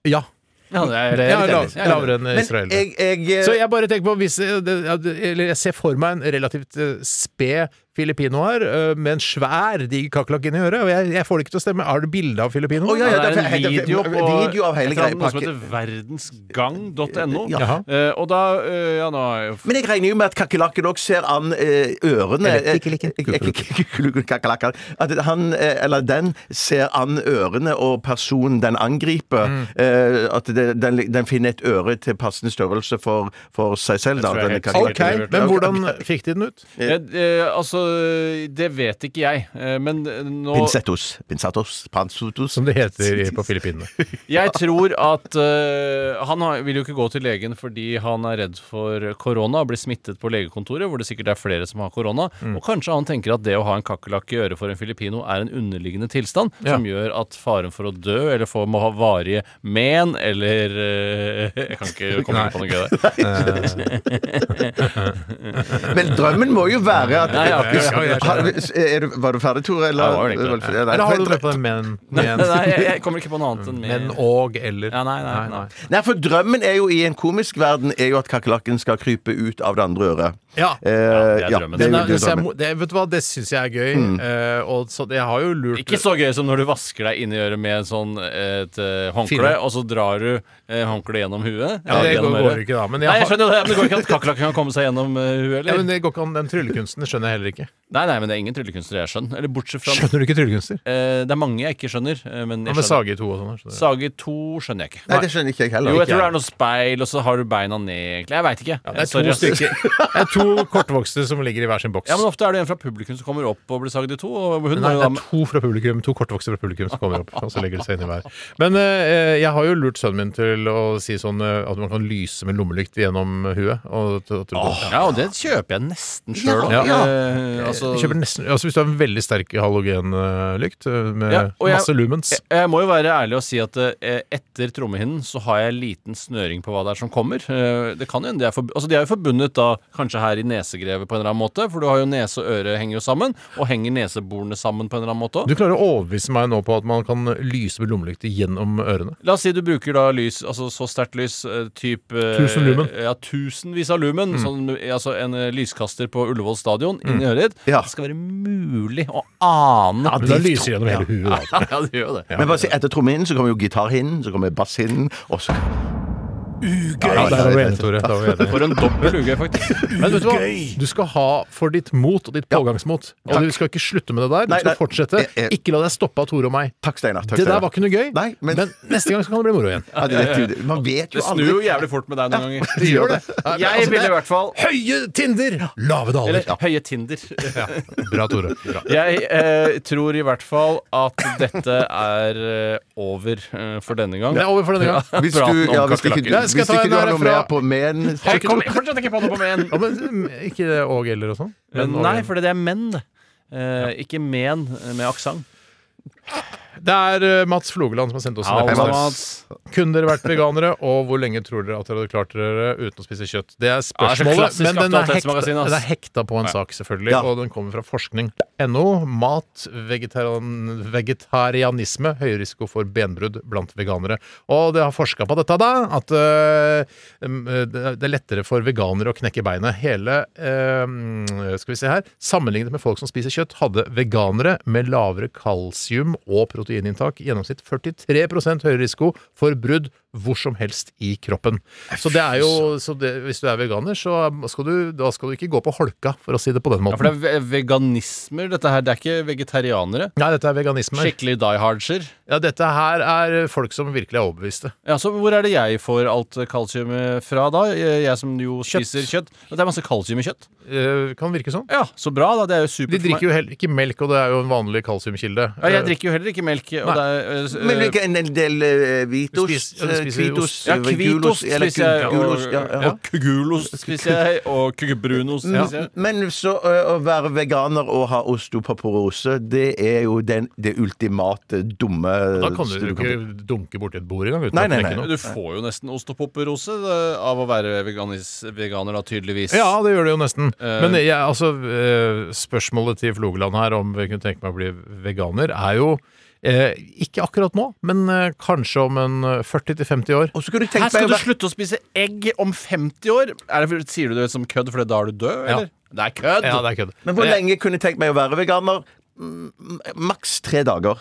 Speaker 4: Ja.
Speaker 6: Ja, det er, det er
Speaker 4: ja
Speaker 6: helt enig.
Speaker 4: lav,
Speaker 6: Jeg er
Speaker 4: lavere enn
Speaker 5: Men
Speaker 4: israelere.
Speaker 5: jeg, jeg, eh,
Speaker 4: Så jeg bare tenker på hvis, eh, det- ja, det- Eller jeg ser for meg en relativt eh, sped filipino her, eh, med en svær diger kakerlakk inni øret. Og jeg, jeg får det ikke til å stemme. Har du bilde av filipino?
Speaker 5: Å, ja,
Speaker 6: Ja,
Speaker 5: ja.
Speaker 6: det er
Speaker 5: derfor-
Speaker 6: en
Speaker 5: derfor-
Speaker 6: video på
Speaker 5: video av hele
Speaker 6: et eller annet
Speaker 5: greia,
Speaker 6: som heter verdensgang.no.
Speaker 4: Jaha.
Speaker 6: Eh, og da eh, Ja, nå er jeg jo f-
Speaker 5: men jeg regner jo med at kakerlakken òg ser an eh, ørene
Speaker 4: Eller
Speaker 5: eh,
Speaker 4: kikkelikken.
Speaker 5: kikkelikken, kakerlakken. At han eh, eller den ser an ørene og personen den angriper.
Speaker 6: Mm.
Speaker 5: Eh, at det, den, den finner et øre til passende størrelse for, for seg selv, da.
Speaker 6: tror jeg er
Speaker 5: Denne
Speaker 6: helt sikkert.
Speaker 5: kakerlakken.
Speaker 4: Ok, Men hvordan fikk de den ut?
Speaker 6: Eh, eh, altså, det vet ikke jeg, eh, men nå
Speaker 5: Pinsettos. Pinsettos. Pansotos.
Speaker 4: Som det heter i- på Filippinene.
Speaker 6: Jeg tror at eh, Han har, vil jo ikke gå til legen fordi han er redd for korona og blir smittet på legekontoret, hvor det sikkert er flere som har korona. Og kanskje han tenker at det å ha en kakerlakk i øret for en filippino er en underliggende tilstand som gjør at faren for å dø eller for å ha varige men eller eh, Jeg kan ikke komme på noe gøy der.
Speaker 5: Men drømmen må jo være at
Speaker 6: Nei, jeg har ikke- jeg har ikke-
Speaker 5: Har- er du, Var du ferdig, Tore? Eller,
Speaker 6: Ja, jeg var egentlig det.
Speaker 5: Nei,
Speaker 4: Eller har du
Speaker 5: for-
Speaker 4: det på den men,
Speaker 6: Nei,
Speaker 4: men,
Speaker 6: jeg, jeg kommer ikke på noe annet enn
Speaker 4: men
Speaker 6: men.
Speaker 4: og eller?
Speaker 6: Ja, nei, nei, nei.
Speaker 5: Nei, for drømmen er jo i en komisk verden Er jo at kakerlakken skal krype ut av det andre øret.
Speaker 4: Ja.
Speaker 5: Eh,
Speaker 6: det er
Speaker 5: ja,
Speaker 6: drømmen.
Speaker 5: det
Speaker 4: Den
Speaker 5: er
Speaker 4: er,
Speaker 5: jo
Speaker 4: så jeg,
Speaker 5: drømmen.
Speaker 4: må- det, vet du hva, det syns jeg er gøy. eh, og så, jeg har jo lurt
Speaker 6: Ikke så gøy som når du vasker deg inni øret med en sånn, et eh, håndkle,
Speaker 4: Fire.
Speaker 6: og så drar du eh, håndkleet gjennom huet.
Speaker 4: Ja, det
Speaker 6: eller gjennom
Speaker 4: går,
Speaker 6: øret.
Speaker 4: går ikke, da. Men, jeg
Speaker 6: Nei, jeg
Speaker 4: har,
Speaker 6: skjønner det, men det går ikke at kakerlakken kan komme seg gjennom eh, huet,
Speaker 4: ja,
Speaker 6: eller?
Speaker 4: men det går ikke an. Den tryllekunsten skjønner jeg heller ikke.
Speaker 6: Nei, nei, men det er ingen tryllekunstnere jeg skjønner. Eller bortsett fra
Speaker 4: Skjønner du ikke tryllekunster?
Speaker 6: Eh, Det er mange jeg ikke skjønner. eh, Men
Speaker 4: Hva med
Speaker 6: jeg skjønner.
Speaker 4: Sage 2 og sånn? skjønner du?
Speaker 6: Sage 2 skjønner jeg ikke.
Speaker 5: Nei, det skjønner ikke jeg heller.
Speaker 6: Jo, jeg
Speaker 5: Ikke
Speaker 6: tror det
Speaker 5: jeg.
Speaker 6: er noe speil, og så har du beina ned, egentlig. Jeg veit ikke.
Speaker 4: Det er, to stykker. det er to kortvokste som ligger i hver sin boks.
Speaker 6: Ja, men ofte er det en fra publikum som kommer opp og blir sagd i to. Og hun
Speaker 4: Nei,
Speaker 6: er jo
Speaker 4: det
Speaker 6: da
Speaker 4: er to fra publikum, to kortvokste fra publikum som kommer opp. Og så legger de seg inn i hver. Men eh, jeg har jo lurt sønnen min til å si sånn eh, at man kan lyse med lommelykt gjennom huet. Og, t- og, tro-
Speaker 6: Ja, og det kjøper jeg nesten sjøl òg.
Speaker 4: Ja, ja.
Speaker 6: altså,
Speaker 4: Jeg kjøper nesten, altså hvis du har en veldig sterk halogenlykt eh, med
Speaker 6: Ja, og jeg-
Speaker 4: masse lumens
Speaker 6: jeg, jeg må jo være ærlig og si at eh, etter trommehinnen så har jeg liten snøring på hva det er som kommer. Eh, Det kan jo hende de er, forb altså, de er jo forbundet da kanskje her i nesegrevet på en eller annen måte, for du har jo nese og øre henger jo sammen, og henger neseborene sammen på en eller annen måte òg.
Speaker 4: Du klarer å overbevise meg nå på at man kan lyse med lommelykter gjennom ørene.
Speaker 6: La oss si du bruker da lys, altså så sterkt lys, eh, typ eh,
Speaker 4: Tusen lumen. Mm.
Speaker 6: Ja, tusenvis av lumen. Sånn, eh, altså en eh, lyskaster på Ullevål stadion, inn i øret ditt.
Speaker 5: Ja.
Speaker 6: Det skal være mulig å ane
Speaker 4: Men da lyser gjennom hele huet. Da.
Speaker 6: <laughs> Ja, det gjør jo det.
Speaker 5: Men bare si, etter trommehinnen så kommer jo gitarhinnen, så kommer basshinnen, og så
Speaker 4: Ja, der er du enig, Tore. Der er du enig.
Speaker 6: For en dobbel uke, faktisk.
Speaker 4: Men vet <laughs> du hva? Du skal ha for ditt mot og ditt pågangsmot. Og du skal ikke slutte med det der.
Speaker 5: Nei,
Speaker 4: Du skal
Speaker 5: nei.
Speaker 4: fortsette.
Speaker 5: Jeg- jeg-
Speaker 4: Ikke la deg stoppe av Tore og meg.
Speaker 5: Takk, Steinar. Takk,
Speaker 4: Det der
Speaker 5: Steinar.
Speaker 4: var ikke noe gøy,
Speaker 5: Nei, men-
Speaker 4: men neste gang så kan det bli moro igjen.
Speaker 5: ja, det vet du, Man vet jo
Speaker 6: Det snur jo
Speaker 5: aldri.
Speaker 6: jævlig fort med deg noen
Speaker 4: <laughs>
Speaker 6: ganger.
Speaker 5: Det gjør det.
Speaker 4: Nei, men
Speaker 6: Jeg
Speaker 4: altså, det
Speaker 6: ville i hvert fall
Speaker 4: er Høye tinder, lave daler.
Speaker 6: Eller høye Tinder.
Speaker 4: Bra, Tore. Bra.
Speaker 6: <laughs> Jeg eh, tror i hvert fall at dette er eh, over eh, for denne gang.
Speaker 4: Det er over for denne gang.
Speaker 5: Hvis du, ja, hvis ikke, du,
Speaker 4: Ja, jeg skal
Speaker 5: hvis
Speaker 4: ta
Speaker 5: ikke
Speaker 4: en
Speaker 5: du
Speaker 4: her
Speaker 5: har noe
Speaker 4: fra-
Speaker 5: mer på men
Speaker 6: Jeg kom, jeg fortsatt ikke på noe på med en.
Speaker 4: Ja, men, mm, ikke det og eller og sånn? Men og
Speaker 6: Nei,
Speaker 4: eller.
Speaker 6: for det er menn. Eh, ikke men eh, med aksent.
Speaker 4: Det er eh, Mats Flogeland som har sendt oss en
Speaker 6: Hei,
Speaker 4: episode.
Speaker 6: Mats.
Speaker 4: Kunne dere vært veganere, og hvor lenge tror dere at dere hadde klart dere uten å spise kjøtt? Det er spørsmålet,
Speaker 6: klassisk
Speaker 4: men den er, hekta,
Speaker 6: aktualitetsmagasin, ass.
Speaker 4: den er hekta på en sak, selvfølgelig,
Speaker 5: Ja.
Speaker 4: og den kommer fra forskning.no. Mat, vegetarian, vegetarianisme, høy risiko for benbrudd blant veganere. Og det har forska på dette, da, at øh, um, øh, det er lettere for veganere å knekke beinet. Hele øh, Skal vi se her Sammenlignet med folk som spiser kjøtt, hadde veganere med lavere kalsium og proteininntak i gjennomsnitt 43 høyere risiko for brudd hvor som helst i kroppen. Så det er jo så det, Hvis du er veganer, så skal du, da skal du ikke gå på holka, for å si det på den
Speaker 6: Ja, for det
Speaker 4: måten.
Speaker 6: er ve- veganismer, dette her. Det er ikke vegetarianere.
Speaker 4: Nei, dette er veganisme.
Speaker 6: Skikkelig die hardser.
Speaker 4: Ja, dette her er folk som virkelig er overbeviste.
Speaker 6: Ja, så hvor er det jeg får alt kalsiumet fra da? Jeg som jo
Speaker 4: Kjøtt.
Speaker 6: spiser kjøtt. Det er masse kalsium i kjøtt.
Speaker 4: Eh, kan virke sånn.
Speaker 6: Ja, så bra da. Det er jo
Speaker 4: De
Speaker 6: supert. for meg.
Speaker 4: drikker jo heller ikke melk, og det er jo en vanlig kalsiumkilde.
Speaker 6: ja, jeg drikker jo heller ikke melk. Og det er, øh, øh,
Speaker 5: Men ikke en del eh, hvitost?
Speaker 4: Spis- ja, du
Speaker 5: eh,
Speaker 4: spiser
Speaker 5: Kvitos?
Speaker 4: ost.
Speaker 6: ja,
Speaker 5: eh,
Speaker 6: Kvitost
Speaker 5: gulost, eller
Speaker 6: spiser jeg,
Speaker 5: gu-
Speaker 6: og,
Speaker 5: gulost, ja, ja.
Speaker 6: ja, kugulost spiser jeg, og kukebrunost spiser jeg.
Speaker 5: Men så ø, å være veganer og ha osteopaporose, det er jo den, det ultimate dumme
Speaker 4: Eh, Da kan du jo ikke dunke borti et bord engang. uten
Speaker 5: Nei,
Speaker 4: å
Speaker 5: nei,
Speaker 4: knekke
Speaker 5: nei.
Speaker 4: noe.
Speaker 6: Du får jo nesten osteopoperose av å være veganis, veganer, da, tydeligvis.
Speaker 4: Ja, det gjør det jo nesten. Men jeg, altså, eh, spørsmålet til Flogeland her om jeg kunne tenke meg å bli veganer, er jo eh, ikke akkurat nå, men eh, kanskje om en eh, 40-50 år.
Speaker 5: Og så kunne du tenkt
Speaker 6: Her
Speaker 5: meg
Speaker 6: skal du
Speaker 5: å være-
Speaker 6: slutte å spise egg om 50 år! Er det, sier du det som kødd fordi da er du død,
Speaker 4: Ja.
Speaker 6: eller? Det er kødd!
Speaker 4: Ja, det er kødd. Eh,
Speaker 5: Men hvor lenge kunne jeg tenkt meg å være veganer? Mm, Maks tre dager.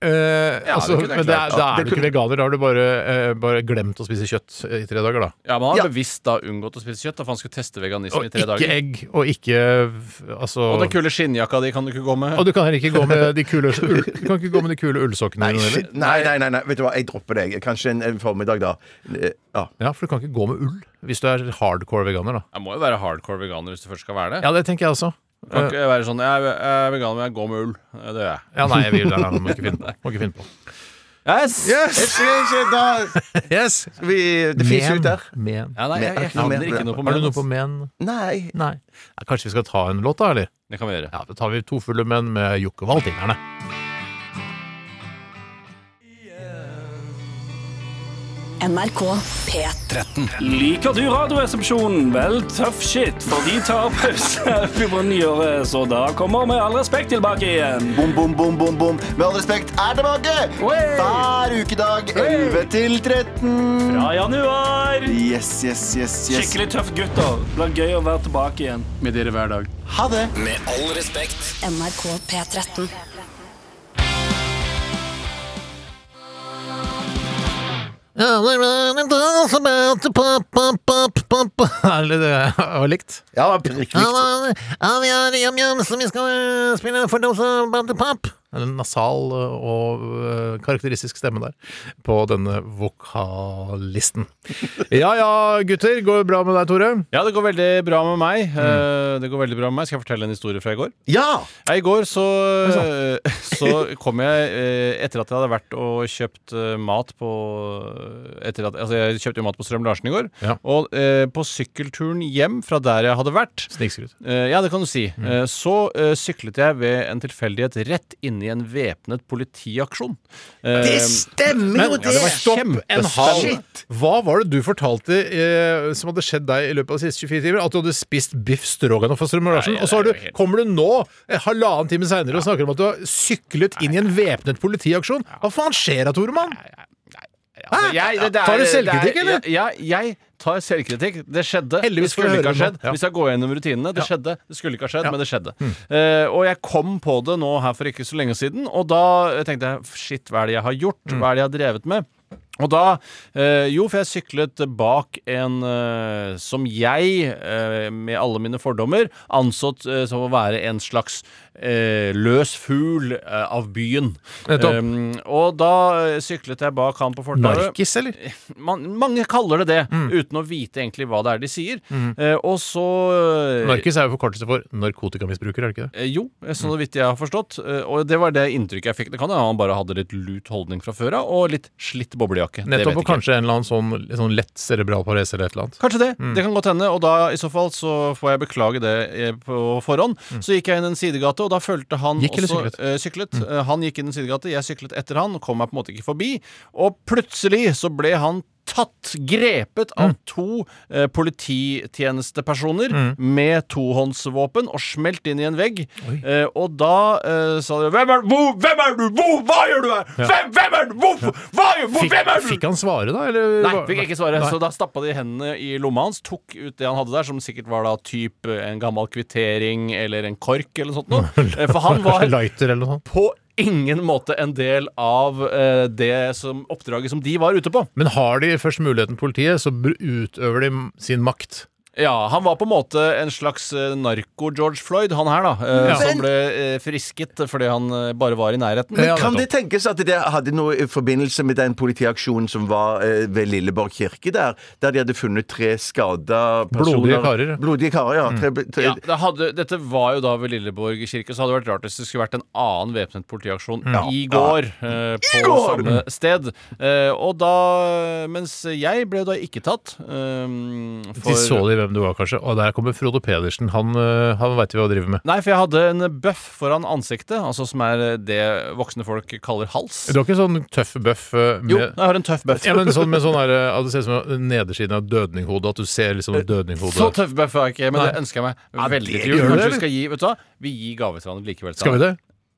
Speaker 4: Eh, altså,
Speaker 6: det
Speaker 4: men
Speaker 6: kunne jeg
Speaker 4: det er,
Speaker 6: klart.
Speaker 4: da er
Speaker 5: Det
Speaker 4: du ikke
Speaker 5: kunne-
Speaker 4: veganer, da har du bare, eh, bare glemt å spise kjøtt i tre dager, da.
Speaker 6: Ja, Man har
Speaker 5: Ja.
Speaker 6: bevisst da unngått å spise kjøtt, da, for han skulle teste veganisme
Speaker 4: Og
Speaker 6: i
Speaker 4: ikke
Speaker 6: tre dager.
Speaker 4: egg, og ikke altså,
Speaker 6: Og den kule skinnjakka di kan du ikke gå med.
Speaker 4: Og du kan heller ikke gå med de kule, ull- du kan ikke gå med de kule ullsokkene dine heller.
Speaker 5: Nei, nei, nei, nei, vet du hva, jeg dropper deg. Kanskje en, en formiddag, da. Eh, Ja.
Speaker 4: Ja, for du kan ikke gå med ull hvis du er hardcore veganer, da.
Speaker 6: Jeg må jo være hardcore veganer hvis du først skal være det.
Speaker 4: Ja, det tenker jeg også.
Speaker 6: Kan ikke være sånn Jeg er- jeg er veganer, men jeg går med ull. Ja, Det gjør jeg.
Speaker 4: Ja, nei, jeg vil det. Må ikke finne på. Må ikke finne på.
Speaker 6: Yes!
Speaker 5: Jeg ser ikke, da
Speaker 4: Yes!
Speaker 5: skal vi, Det fins ut der.
Speaker 4: Men.
Speaker 6: Ja, nei, jeg, jeg
Speaker 5: Men-
Speaker 6: finner ikke noe på
Speaker 4: Har du noe på
Speaker 6: meg.
Speaker 4: men?
Speaker 5: Nei.
Speaker 4: Nei. Ja, kanskje vi skal ta en låt, da, eller?
Speaker 6: Det kan vi gjøre.
Speaker 4: Ja, Da tar vi to fulle menn med Jokke Valtingerne.
Speaker 1: NRK P13.
Speaker 9: Liker du Radioresepsjonen? Vel, tough shit, for de tar pause <laughs> på nyåret, så da kommer Med all respekt tilbake igjen.
Speaker 10: Bom, bom, bom, bom, bom. Med all respekt er tilbake! Hver ukedag 11 til 13.
Speaker 9: Fra januar!
Speaker 10: Yes, yes, yes, yes.
Speaker 9: Skikkelig tøffe gutter. Det blir gøy å være tilbake igjen.
Speaker 10: Med dere hver dag. Ha det!
Speaker 1: NRK P13.
Speaker 4: Eller <laughs> det var likt.
Speaker 5: Ja, prikk likt.
Speaker 4: Vi er yam-yam, så vi skal eh, spille Fordose-bantepop. En nasal eh, og øh, karakteristisk stemme der på denne vokalisten. <laughs> Ja ja, gutter. Går det bra med deg, Tore?
Speaker 6: Ja, det går veldig bra med meg. Eh, Det går veldig bra med meg Skal jeg fortelle en historie fra i går?
Speaker 5: Ja!
Speaker 6: Ja, I går så, eh, så kom jeg eh, Etter at jeg hadde vært og kjøpt eh, mat på etter at, Altså jeg kjøpte jo mat på Strøm Larsen i går
Speaker 4: Ja.
Speaker 6: Og eh, på sykkelturen hjem Fra der jeg hadde vært
Speaker 4: Snikskryt.
Speaker 6: eh, Ja, det kan du si eh, Så eh, syklet jeg ved en tilfeldighet Rett inn i en væpnet politiaksjon Eh,
Speaker 5: stemmer
Speaker 6: men- ja, det var
Speaker 4: En halv.
Speaker 6: kjempespennende
Speaker 4: Hva var det du fortalte eh, som hadde skjedd deg i løpet av de siste 24 timer? At du hadde spist biff stroganoff og Strøm Larsen,
Speaker 6: Nei,
Speaker 4: og så har
Speaker 6: det er
Speaker 4: du,
Speaker 6: jo helt-
Speaker 4: kommer du nå, eh, halvannen time seinere, og snakker om at du har syklet inn i en væpnet politiaksjon? Hva faen skjer da, Toremann?
Speaker 6: Altså,
Speaker 4: Hæ?
Speaker 6: jeg, det, det er,
Speaker 4: Tar du
Speaker 6: det er-
Speaker 4: selvkritikk, eller?
Speaker 6: Ja, ja, jeg tar selvkritikk. Det skjedde.
Speaker 4: Heldigvis
Speaker 6: det skulle
Speaker 4: får vi
Speaker 6: ikke
Speaker 4: høre
Speaker 6: ha
Speaker 4: det
Speaker 6: skjedd.
Speaker 4: nå. Ja.
Speaker 6: Hvis jeg går gjennom rutinene. Det
Speaker 4: Ja.
Speaker 6: skjedde. Det skulle ikke ha skjedd,
Speaker 4: Ja. Mm.
Speaker 6: men det skjedde. Eh, og jeg kom på det nå her for ikke så lenge siden, og da tenkte jeg shit, hva er det jeg har gjort?
Speaker 4: Mm.
Speaker 6: Hva er det jeg har drevet med? Og da eh, Jo, for jeg syklet bak en eh, som jeg, eh, med alle mine fordommer, ansått eh, som å være en slags eh, løs fugl eh, av byen.
Speaker 4: Nettopp.
Speaker 6: Um, og da eh, syklet jeg bak han på fortauet.
Speaker 4: Narkis, eller?
Speaker 6: Man, mange kaller det det,
Speaker 4: Mm.
Speaker 6: uten å vite egentlig hva det er de sier. Eh, og så eh,
Speaker 4: <laughs> Narkis er jo forkortelse for narkotikamisbruker, er det ikke det?
Speaker 6: Eh, Jo, eh,
Speaker 4: Mm.
Speaker 6: så vidt jeg har forstått. Eh, Og det var det inntrykket jeg fikk. Det kan hende han bare hadde litt lut holdning fra før av, og litt slitt boblejakke. Det vet
Speaker 4: Nettopp, og
Speaker 6: ikke jeg.
Speaker 4: kanskje en eller annen sånn, sånn lett cerebral parese eller et eller annet.
Speaker 6: Kanskje det. Det kan godt hende. Og da i så fall så får jeg beklage det eh, på forhånd. Så gikk jeg inn en sidegate, og da fulgte han
Speaker 4: Mm. Gikk eller
Speaker 6: også
Speaker 4: syklet? Mm.
Speaker 6: eh, syklet. Eh, han gikk inn en sidegate, jeg syklet etter han, kom meg på en måte ikke forbi. Og plutselig så ble han tatt, grepet
Speaker 4: Mm.
Speaker 6: av to eh, polititjenestepersoner med tohåndsvåpen og smelt inn i en vegg. Eh, og da eh, sa de hvem er, hvor, 'Hvem er du? Hvor? Hva gjør du her? Hvem, hvem er du? Hvorfor? Hva gjør, hvor,
Speaker 4: Fikk,
Speaker 6: hvem er du?'
Speaker 4: fikk han svare, da? Eller?
Speaker 6: Nei, fikk ikke svare.
Speaker 4: Nei.
Speaker 6: Så da stappa de hendene i lomma hans, tok ut det han hadde der, som sikkert var da typ en gammel kvittering eller en kork eller noe sånt
Speaker 4: <laughs>
Speaker 6: noe. For han var
Speaker 4: Lighter eller noe sånt.
Speaker 6: på ingen måte en del av eh, det som, oppdraget som de var ute på.
Speaker 4: Men har de først muligheten politiet, så br- utøver de sin makt.
Speaker 6: Ja, han var på en måte en slags eh, narko-George Floyd, han her, da. eh,
Speaker 4: Ja.
Speaker 6: Som ble eh, frisket fordi han eh, bare var i nærheten.
Speaker 4: Ja,
Speaker 5: Kan
Speaker 4: nettopp.
Speaker 5: det tenkes at det hadde noe i forbindelse med den politiaksjonen som var eh, ved Lilleborg kirke der, der de hadde funnet tre skada personer?
Speaker 4: Blodige karer.
Speaker 5: Blodige karer, ja. Tre, tre,
Speaker 6: Ja, det hadde, dette var jo da ved Lilleborg kirke, så hadde det vært rart hvis det skulle vært en annen væpnet politiaksjon i går. eh, på samme sted. Eh, og da Mens jeg ble da ikke tatt. eh, for,
Speaker 4: De så de hvem du var, kanskje. Og der kommer Frode Pedersen. Han, øh, han veit vi hva driver med.
Speaker 6: Nei, for jeg hadde en bøff foran ansiktet, altså som er det voksne folk kaller hals.
Speaker 4: Du har ikke sånn tøff bøff øh,
Speaker 6: Jo,
Speaker 4: med
Speaker 6: jeg har en tøff bøff.
Speaker 4: ja, men sånn, med sånn her, øh, at det ser ut som nedersiden av dødninghodet. At du ser liksom dødninghodet.
Speaker 6: <laughs> Så tøff bøff har jeg ikke, men
Speaker 4: Nei.
Speaker 6: det ønsker jeg meg veldig
Speaker 4: det
Speaker 6: til jul.
Speaker 4: gjør du,
Speaker 6: Kanskje
Speaker 4: eller?
Speaker 6: vi skal gi Vet du hva, vi gir gave til hverandre likevel.
Speaker 4: Skal vi det?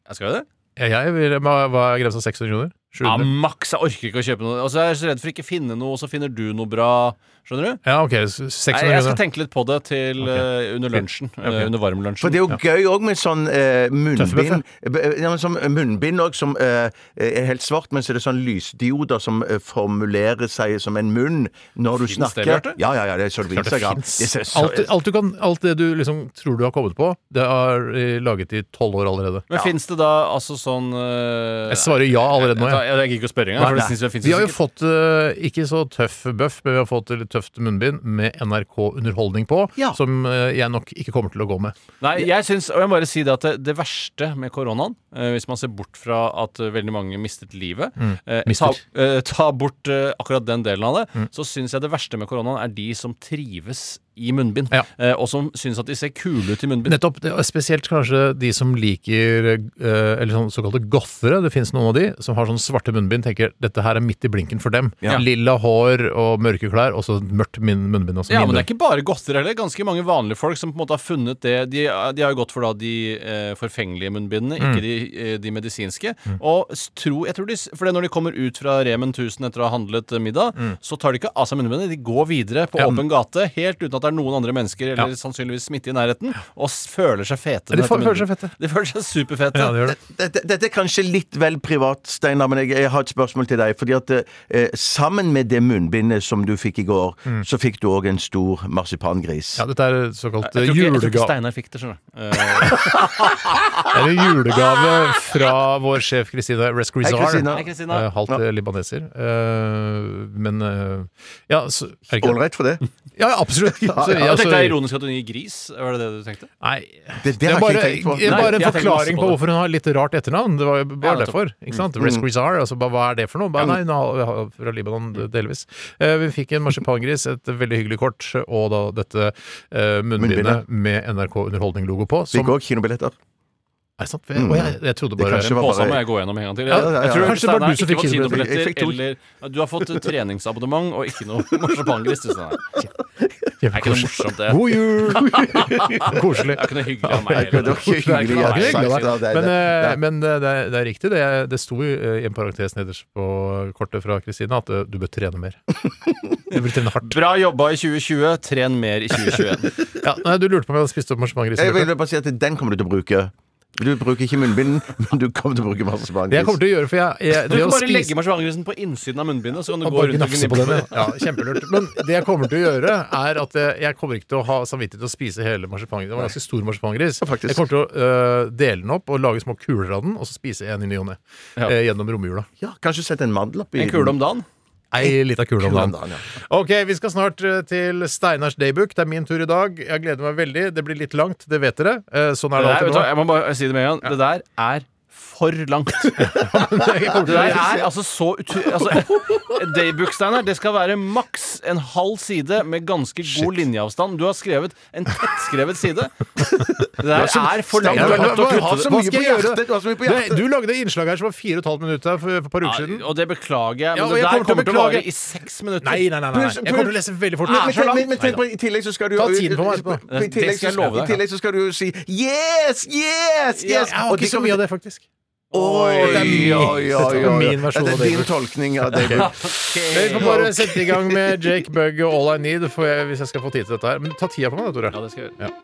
Speaker 6: Ja, Skal vi det?
Speaker 4: Ja, jeg vil, hva hva er grensa? 600 kroner?
Speaker 6: Ja,
Speaker 4: 700?
Speaker 6: maks. Jeg orker ikke å kjøpe noe. Og så er jeg så redd for ikke å finne noe, og så finner du noe bra. Skjønner du?
Speaker 4: Ja, ok. s-
Speaker 6: Nei,
Speaker 4: 600
Speaker 6: jeg skal
Speaker 4: kroner.
Speaker 6: tenke litt på det til eh, under lunsjen. eh, under varmlunsjen.
Speaker 5: For det er jo gøy òg med sånn eh, munnbind.
Speaker 4: Tøffebøffe.
Speaker 5: B- Ja, men sånn munnbind òg som eh, er helt svart, men så er det sånn lysdioder som eh, formulerer seg som en munn når du
Speaker 6: Finnes det,
Speaker 5: snakker.
Speaker 6: Bjarte?
Speaker 5: ja, ja, ja, det er sånn på Instagram. Det ser så-
Speaker 4: Alt, alt, du kan, alt det du liksom tror du har kommet på, det er øh, laget i tolv år allerede.
Speaker 6: Men fins det da altså sånn eh,
Speaker 4: Jeg svarer ja allerede nå, jeg.
Speaker 6: Jeg, jeg, gidder ikke å spørre engang. for det synes jeg finnes
Speaker 4: Vi har jo
Speaker 6: sikkert.
Speaker 4: fått eh, ikke så tøff bøff, men vi har fått litt tøft munnbind med NRK Underholdning på,
Speaker 5: Ja.
Speaker 4: som eh, jeg nok ikke kommer til å gå med.
Speaker 6: Nei, jeg syns, og jeg må bare si det at det, det verste med koronaen, eh, hvis man ser bort fra at eh, veldig mange mistet livet eh, ta,
Speaker 4: Mm. mister. Mm.
Speaker 6: eh, ta bort eh, akkurat den delen av det, så syns jeg det verste med koronaen er de som trives i munnbind,
Speaker 4: Ja.
Speaker 6: eh, og som syns at de ser kule ut i munnbind.
Speaker 4: Nettopp, det er spesielt kanskje de som liker eh, eller sånn såkalte gothere, det finnes noen av de, som har sånn svarte munnbind, tenker dette her er midt i blinken for dem.
Speaker 6: Ja.
Speaker 4: Lilla hår og mørke klær, og så mørkt min munnbind. Også,
Speaker 6: Ja,
Speaker 4: min
Speaker 6: men
Speaker 4: munn.
Speaker 6: det er ikke bare godter heller. Ganske mange vanlige folk som på en måte har funnet det De, de har jo gått for da de eh, forfengelige munnbindene,
Speaker 4: Mm.
Speaker 6: ikke de, eh, de medisinske. Og s- tro, jeg tror de, s- for det når de kommer ut fra
Speaker 4: Mm.
Speaker 6: Remen 1000 etter å ha handlet eh, middag, så tar de ikke av seg munnbindene. De går videre på åpen gate helt uten at at det er noen andre mennesker, eller
Speaker 4: Ja.
Speaker 6: sannsynligvis smitte, i nærheten, og s- føler seg fete.
Speaker 4: De
Speaker 6: med dette
Speaker 4: føler seg
Speaker 6: munnbindet.
Speaker 4: fete.
Speaker 6: De føler seg superfete.
Speaker 4: Ja, det gjør det.
Speaker 5: Dette, dette er kanskje litt vel privat, Steinar, men jeg, jeg har et spørsmål til deg. Fordi at eh, Sammen med det munnbindet som du fikk i går, så fikk du òg en stor marsipangris.
Speaker 4: Ja, dette er såkalt eh,
Speaker 6: Jeg tror ikke, jeg tror ikke
Speaker 4: julegave.
Speaker 6: Steinar fikk det, skjønner du.
Speaker 4: <laughs>
Speaker 6: Eh,
Speaker 4: Det er en julegave fra vår sjef Christina
Speaker 5: Hei,
Speaker 4: Rescrizar.
Speaker 5: Christina.
Speaker 6: Hei, Kristina.
Speaker 4: halvt eh, libaneser. Eh, men eh, ja, så, er det ikke det?
Speaker 5: Ålreit for det.
Speaker 4: Ja, ja, absolutt.
Speaker 5: <laughs>
Speaker 4: Så,
Speaker 6: Jeg
Speaker 4: altså,
Speaker 6: tenkte det er ironisk at hun gir gris. Var det det du tenkte?
Speaker 4: Nei.
Speaker 5: Det, det
Speaker 4: Det er
Speaker 5: har
Speaker 4: bare,
Speaker 5: jeg
Speaker 4: det er
Speaker 5: ikke tenkt på.
Speaker 6: Nei,
Speaker 4: bare en
Speaker 6: jeg tenker også
Speaker 4: forklaring på
Speaker 6: på det.
Speaker 4: hvorjo hun har litt rart etternavn. Det var jo bare
Speaker 6: Ja, nettopp.
Speaker 4: derfor. ikke sant?
Speaker 5: Mm.
Speaker 4: Rescrizar, altså, bare, hva er det for noe? Bare, nei, hun har- har- fra Libanon,
Speaker 5: Mm.
Speaker 4: delvis. Eh, vi fikk en marsipangris, et veldig hyggelig kort, og da dette eh, munnbindet
Speaker 5: Munnbindet.
Speaker 4: med NRK Underholdning-logo på.
Speaker 5: Fikk
Speaker 4: Som,
Speaker 5: òg kinobilletter.
Speaker 4: er det sant? Jeg, å, jeg, jeg trodde
Speaker 5: Mm. Det
Speaker 4: bare
Speaker 5: kanskje var
Speaker 6: Påsa må
Speaker 5: bare
Speaker 6: jeg gå gjennom en gang til.
Speaker 4: Ja,
Speaker 5: ja, ja,
Speaker 6: Jeg
Speaker 5: ja.
Speaker 6: tror
Speaker 4: Kanskje det var du
Speaker 6: Steinar
Speaker 4: som
Speaker 6: ikke
Speaker 4: fikk
Speaker 6: fått
Speaker 4: kinobilletter.
Speaker 5: Jeg fikk
Speaker 6: kinobilletter
Speaker 5: to.
Speaker 6: eller ja, Du har fått treningsabonnement og
Speaker 4: <laughs>
Speaker 6: ikke noe marsipangris. du, Steinar. Det er ikke noe morsomt, det.
Speaker 4: God jul!
Speaker 5: <laughs>
Speaker 4: Koselig.
Speaker 6: Det er ikke noe hyggelig av meg.
Speaker 5: Nei, det var ikke
Speaker 6: Det er
Speaker 5: hyggelig,
Speaker 6: ikke noe av meg.
Speaker 5: jeg sa ikke
Speaker 4: Men,
Speaker 5: det, det er det.
Speaker 4: eh,
Speaker 5: Nei.
Speaker 4: men eh, det, er, det er riktig. Det, er- det sto i eh, en parentes nederst på kortet fra Kristina at eh, du bør trene
Speaker 5: <laughs>
Speaker 4: mer. Du bør trene hardt.
Speaker 6: Bra jobba i 2020. Tren mer
Speaker 4: <laughs>
Speaker 6: i 2021.
Speaker 4: Ja, nei, du lurte på om jeg hadde spist opp marsipangris.
Speaker 5: Jeg vil bare si at den kommer du til å bruke. Du bruker ikke munnbind, <laughs> men du kommer til å bruke
Speaker 4: Det jeg kommer
Speaker 5: marsipangris.
Speaker 4: til å gjøre, for jeg, jeg det
Speaker 6: Du kan
Speaker 4: å
Speaker 6: bare
Speaker 4: spise-
Speaker 6: legge marsipanggrisen på innsiden av munnbindet, så kan du
Speaker 4: Og
Speaker 6: gå
Speaker 4: bare
Speaker 6: rundt og
Speaker 4: gnafse på
Speaker 6: gnippe
Speaker 4: den. Ja, Ja, kjempelurt. Men det jeg kommer til å gjøre, er at eh, jeg, jeg kommer ikke til å ha samvittighet til å spise hele marsipangrisen. Det var en ganske stor marsipangris.
Speaker 5: Ja, faktisk.
Speaker 4: jeg kommer til å øh, dele den opp og lage små kuler av den, og så spise en i ny og ne.
Speaker 6: Ja.
Speaker 4: Eh, gjennom romjula.
Speaker 5: Ja, kanskje sette en mandel oppi
Speaker 6: En kule om dagen.
Speaker 4: Ei lita kule om
Speaker 5: Kule om
Speaker 4: dagen.
Speaker 5: dagen, ja.
Speaker 4: Ok, vi skal snart eh, til Steinars daybook. Det er min tur i dag. Jeg gleder meg veldig. Det blir litt langt, det vet dere. Eh, Sånn er
Speaker 6: Det
Speaker 4: det
Speaker 6: der,
Speaker 4: alltid
Speaker 6: vet du, hva,
Speaker 4: nå. <laughs>
Speaker 6: jeg må bare si det med en gang. Det der er for langt.
Speaker 4: <laughs>
Speaker 6: Det der er altså så utu... Altså, <laughs> Daybook, Steinar, det skal være maks en halv side med ganske god linjeavstand. Du har skrevet en tettskrevet side.
Speaker 4: <laughs>
Speaker 6: Det der er for langt.
Speaker 4: Ja,
Speaker 5: Du
Speaker 4: men
Speaker 5: har
Speaker 4: hva-
Speaker 5: lagt opp-
Speaker 4: hva-
Speaker 5: har så
Speaker 4: hva
Speaker 5: mye
Speaker 4: skal
Speaker 5: på
Speaker 4: jeg gjøre?
Speaker 5: hjertet, du har så mye på
Speaker 4: Du-
Speaker 5: hjertet.
Speaker 4: Du lagde et innslag her som var fire og et halvt minutt her for for et par uker siden.
Speaker 6: Ja, og det beklager jeg,
Speaker 4: Ja,
Speaker 6: men
Speaker 4: og
Speaker 6: det
Speaker 4: jeg
Speaker 6: der
Speaker 4: kommer til å
Speaker 6: kommer til å vare
Speaker 4: beklage.
Speaker 6: i seks minutter.
Speaker 4: Nei, nei, nei. nei.
Speaker 5: Puls,
Speaker 4: Jeg kommer til å
Speaker 5: puls.
Speaker 4: lese veldig fort.
Speaker 5: Men,
Speaker 4: Ah,
Speaker 5: men,
Speaker 4: så langt.
Speaker 5: men, men tenk på, I tillegg så skal du jo
Speaker 4: Ta tiden på meg etterpå.
Speaker 5: I tillegg
Speaker 6: Det skal jeg love
Speaker 5: så-
Speaker 6: deg.
Speaker 5: I tillegg så skal du jo si Yes! Yes!
Speaker 4: Ja,
Speaker 5: Yes!
Speaker 4: jeg har
Speaker 5: Og
Speaker 4: ikke
Speaker 5: det
Speaker 4: så
Speaker 5: kommer
Speaker 4: mye av det, faktisk.
Speaker 5: Oi,
Speaker 4: det er min- det er min versjon
Speaker 5: Det
Speaker 4: av
Speaker 5: er din
Speaker 4: Daybrook.
Speaker 5: tolkning av
Speaker 4: <laughs>
Speaker 5: Daybrook.
Speaker 4: Vi får bare sette i gang med Jake Bugg og All I Need for jeg, hvis jeg skal få tid til dette her. Men ta tida på meg, da, Tore.
Speaker 6: Ja, det skal jeg gjøre.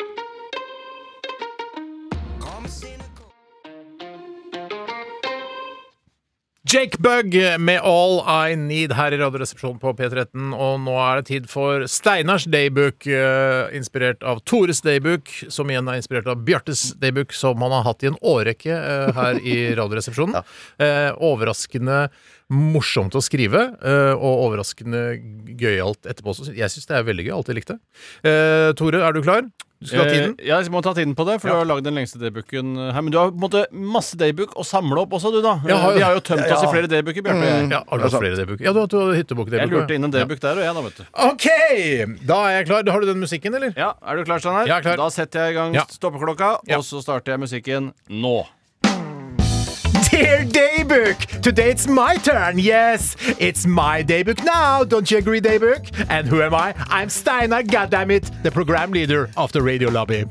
Speaker 4: Jake Bugg med All I Need her i Radioresepsjonen på P13. Og nå er det tid for Steinars Daybook, eh, inspirert av Tores Daybook, som igjen er inspirert av Bjartes Daybook, som han har hatt i en årrekke eh, her i Radioresepsjonen. Eh, overraskende morsomt å skrive, eh, og overraskende gøyalt etterpå. Så jeg syns det er veldig gøy. Alltid likt det. Eh, Tore, er du klar? Du skal ha
Speaker 6: Eh,
Speaker 4: tiden.
Speaker 6: ja, jeg må ta tiden på det, for
Speaker 4: Ja.
Speaker 6: du har lagd den lengste daybooken her. Men du har på en måte masse daybook å samle opp også, du, da.
Speaker 4: Jeg har jo- Mm,
Speaker 6: Vi har jo tømt oss i flere daybooker, Bjarte. og jeg.
Speaker 4: Ja, har du hatt flere daybooker? Ja, du har hatt hyttebok-daybook.
Speaker 6: Eh, altså- Jeg lurte inn en daybook der og jeg, da, vet du.
Speaker 4: OK! Da er jeg klar. Har du den musikken, eller?
Speaker 6: Ja, Er du klar, Steinar?
Speaker 4: Jeg er klar.
Speaker 6: Da setter jeg i gang
Speaker 4: Ja.
Speaker 6: stoppeklokka,
Speaker 4: Ja.
Speaker 6: og så starter jeg musikken nå.
Speaker 4: <laughs> Dear Daybook, today it's my turn. Yes, it's my daybook now. Don't you agree, Daybook? And who am I? I'm Steinar, goddammit, the program leader of the radio lobby.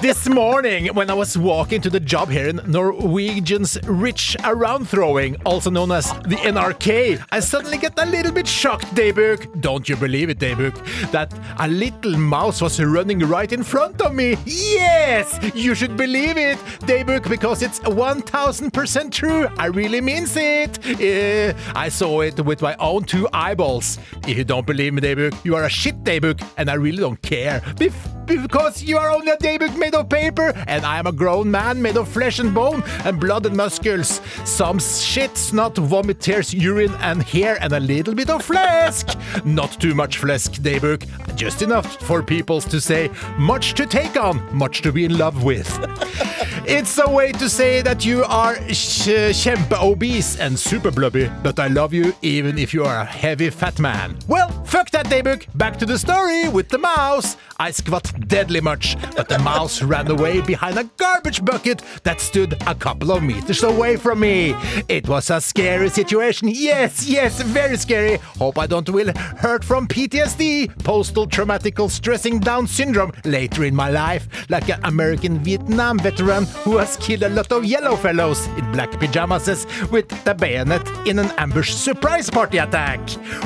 Speaker 4: This morning, when I was walking to the job here in Norwegian's Rich Around Throwing, also known as the NRK, I suddenly get a little bit shocked, Daybook. Don't you believe it, Daybook? That a little mouse was running right in front of me. Yes, you should believe it, Daybook, because it's 1000% true. I really means it. Eh, I saw it with my own two eyeballs. If you don't believe me, Daybook, you are a shit Daybook, and I really don't care. Bef- because you are only a Daybook made of paper, and I am a grown man made of flesh and bone and blood and muscles. Some shit, snot, vomit, tears, urine, and hair, and a little bit of flesk. Not too much flesk, Daybook, just enough for people to say, much to take on, much to be in love with. It's a way to say that you are sh- kjempe obese and super blubby, but I love you even if you are a heavy fat man. Well, fuck that daybook. Back to the story with the mouse. I squat deadly much, but the mouse <laughs> ran away behind a garbage bucket that stood a couple of meters away from me. It was a scary situation. Yes, yes, very scary. Hope I don't will hurt from PTSD, postal called traumatical stressing down syndrome later in my life, like an American Vietnam veteran who has killed a lot of yellow fellows in black pyjamas with the bayonet in an ambush surprise party attack.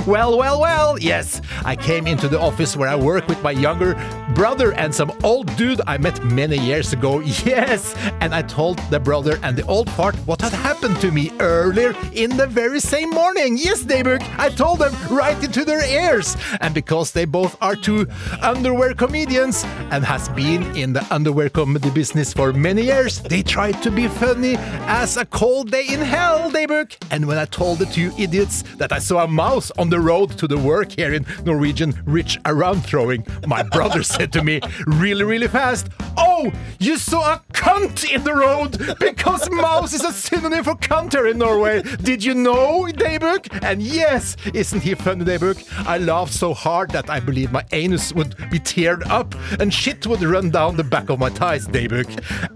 Speaker 4: Well, well, well, yes. I came into the office where I work with my younger brother and some old dude I met many years ago. <laughs> Yes! And I told the brother and the old part what had happened to me earlier in the very same morning. Yes, Daybook! I told them right into their ears. And because they both are two underwear comedians and has been in the underwear comedy business for many years, they tried to be funny as a cold day in hell, Daybook. And when I told the two idiots that I saw a mouse on the road to the work here in Norwegian rich around throwing, my brother said to me really, really fast, Oh, you saw a cunt in the road because mouse is a synonym for cunt here in Norway. Did you know, Daybook? And yes, isn't he funny, Daybook? I laughed so hard that I believed my anus would be teared up and shit would run down the back of my thighs, Daybook.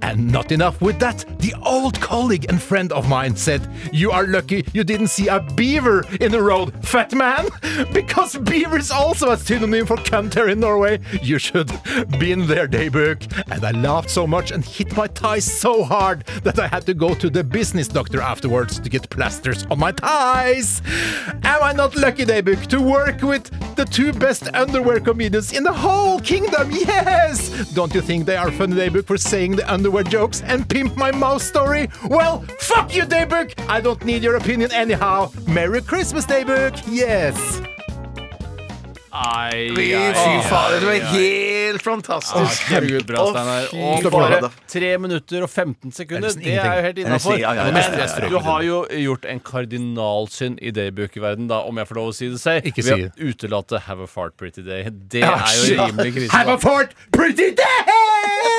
Speaker 4: And not enough with that, the old colleague and friend of mine said, You are lucky you didn't see a beaver in the road, fat man, <laughs> because beaver is also a synonym for cunt here in Norway. You should been there, Daybook. And I laughed so much and hit my thighs so hard that I had to go to the business doctor afterwards to get plasters on my thighs. Am I not lucky, Daybook, to work with the two best underwear comedians in the whole kingdom? Yes! Don't you think they are funny, Daybook, for saying the underwear jokes and pimp my mouse story? Well, fuck you, Daybook! I don't need your opinion anyhow. Merry Christmas, Daybook! Yes!
Speaker 6: Ai,
Speaker 5: Fy
Speaker 6: ai, ai,
Speaker 5: fader, det var
Speaker 6: ai, ai.
Speaker 5: helt
Speaker 6: Ah,
Speaker 5: fantastisk.
Speaker 6: Herregud, bra,
Speaker 5: Å,
Speaker 6: Steinar.
Speaker 5: fy
Speaker 6: Og
Speaker 5: fader.
Speaker 6: bare 3 minutter og 15 sekunder,
Speaker 5: nesten
Speaker 6: det er jo helt
Speaker 5: ingenting.
Speaker 6: innafor.
Speaker 5: Det er nesten- ja, ja, ja.
Speaker 6: Men eh,
Speaker 5: Det er strøket.
Speaker 6: du har jo gjort en kardinalsynd i daybook-verden, da, om jeg får lov å si det selv.
Speaker 11: Ikke si
Speaker 6: Ved
Speaker 11: det.
Speaker 6: å utelate 'Have a fart pretty day'. Det
Speaker 5: Ja,
Speaker 6: er
Speaker 5: shit.
Speaker 6: jo rimelig krise.
Speaker 5: Have a
Speaker 6: da.
Speaker 5: fart, pretty <laughs> day!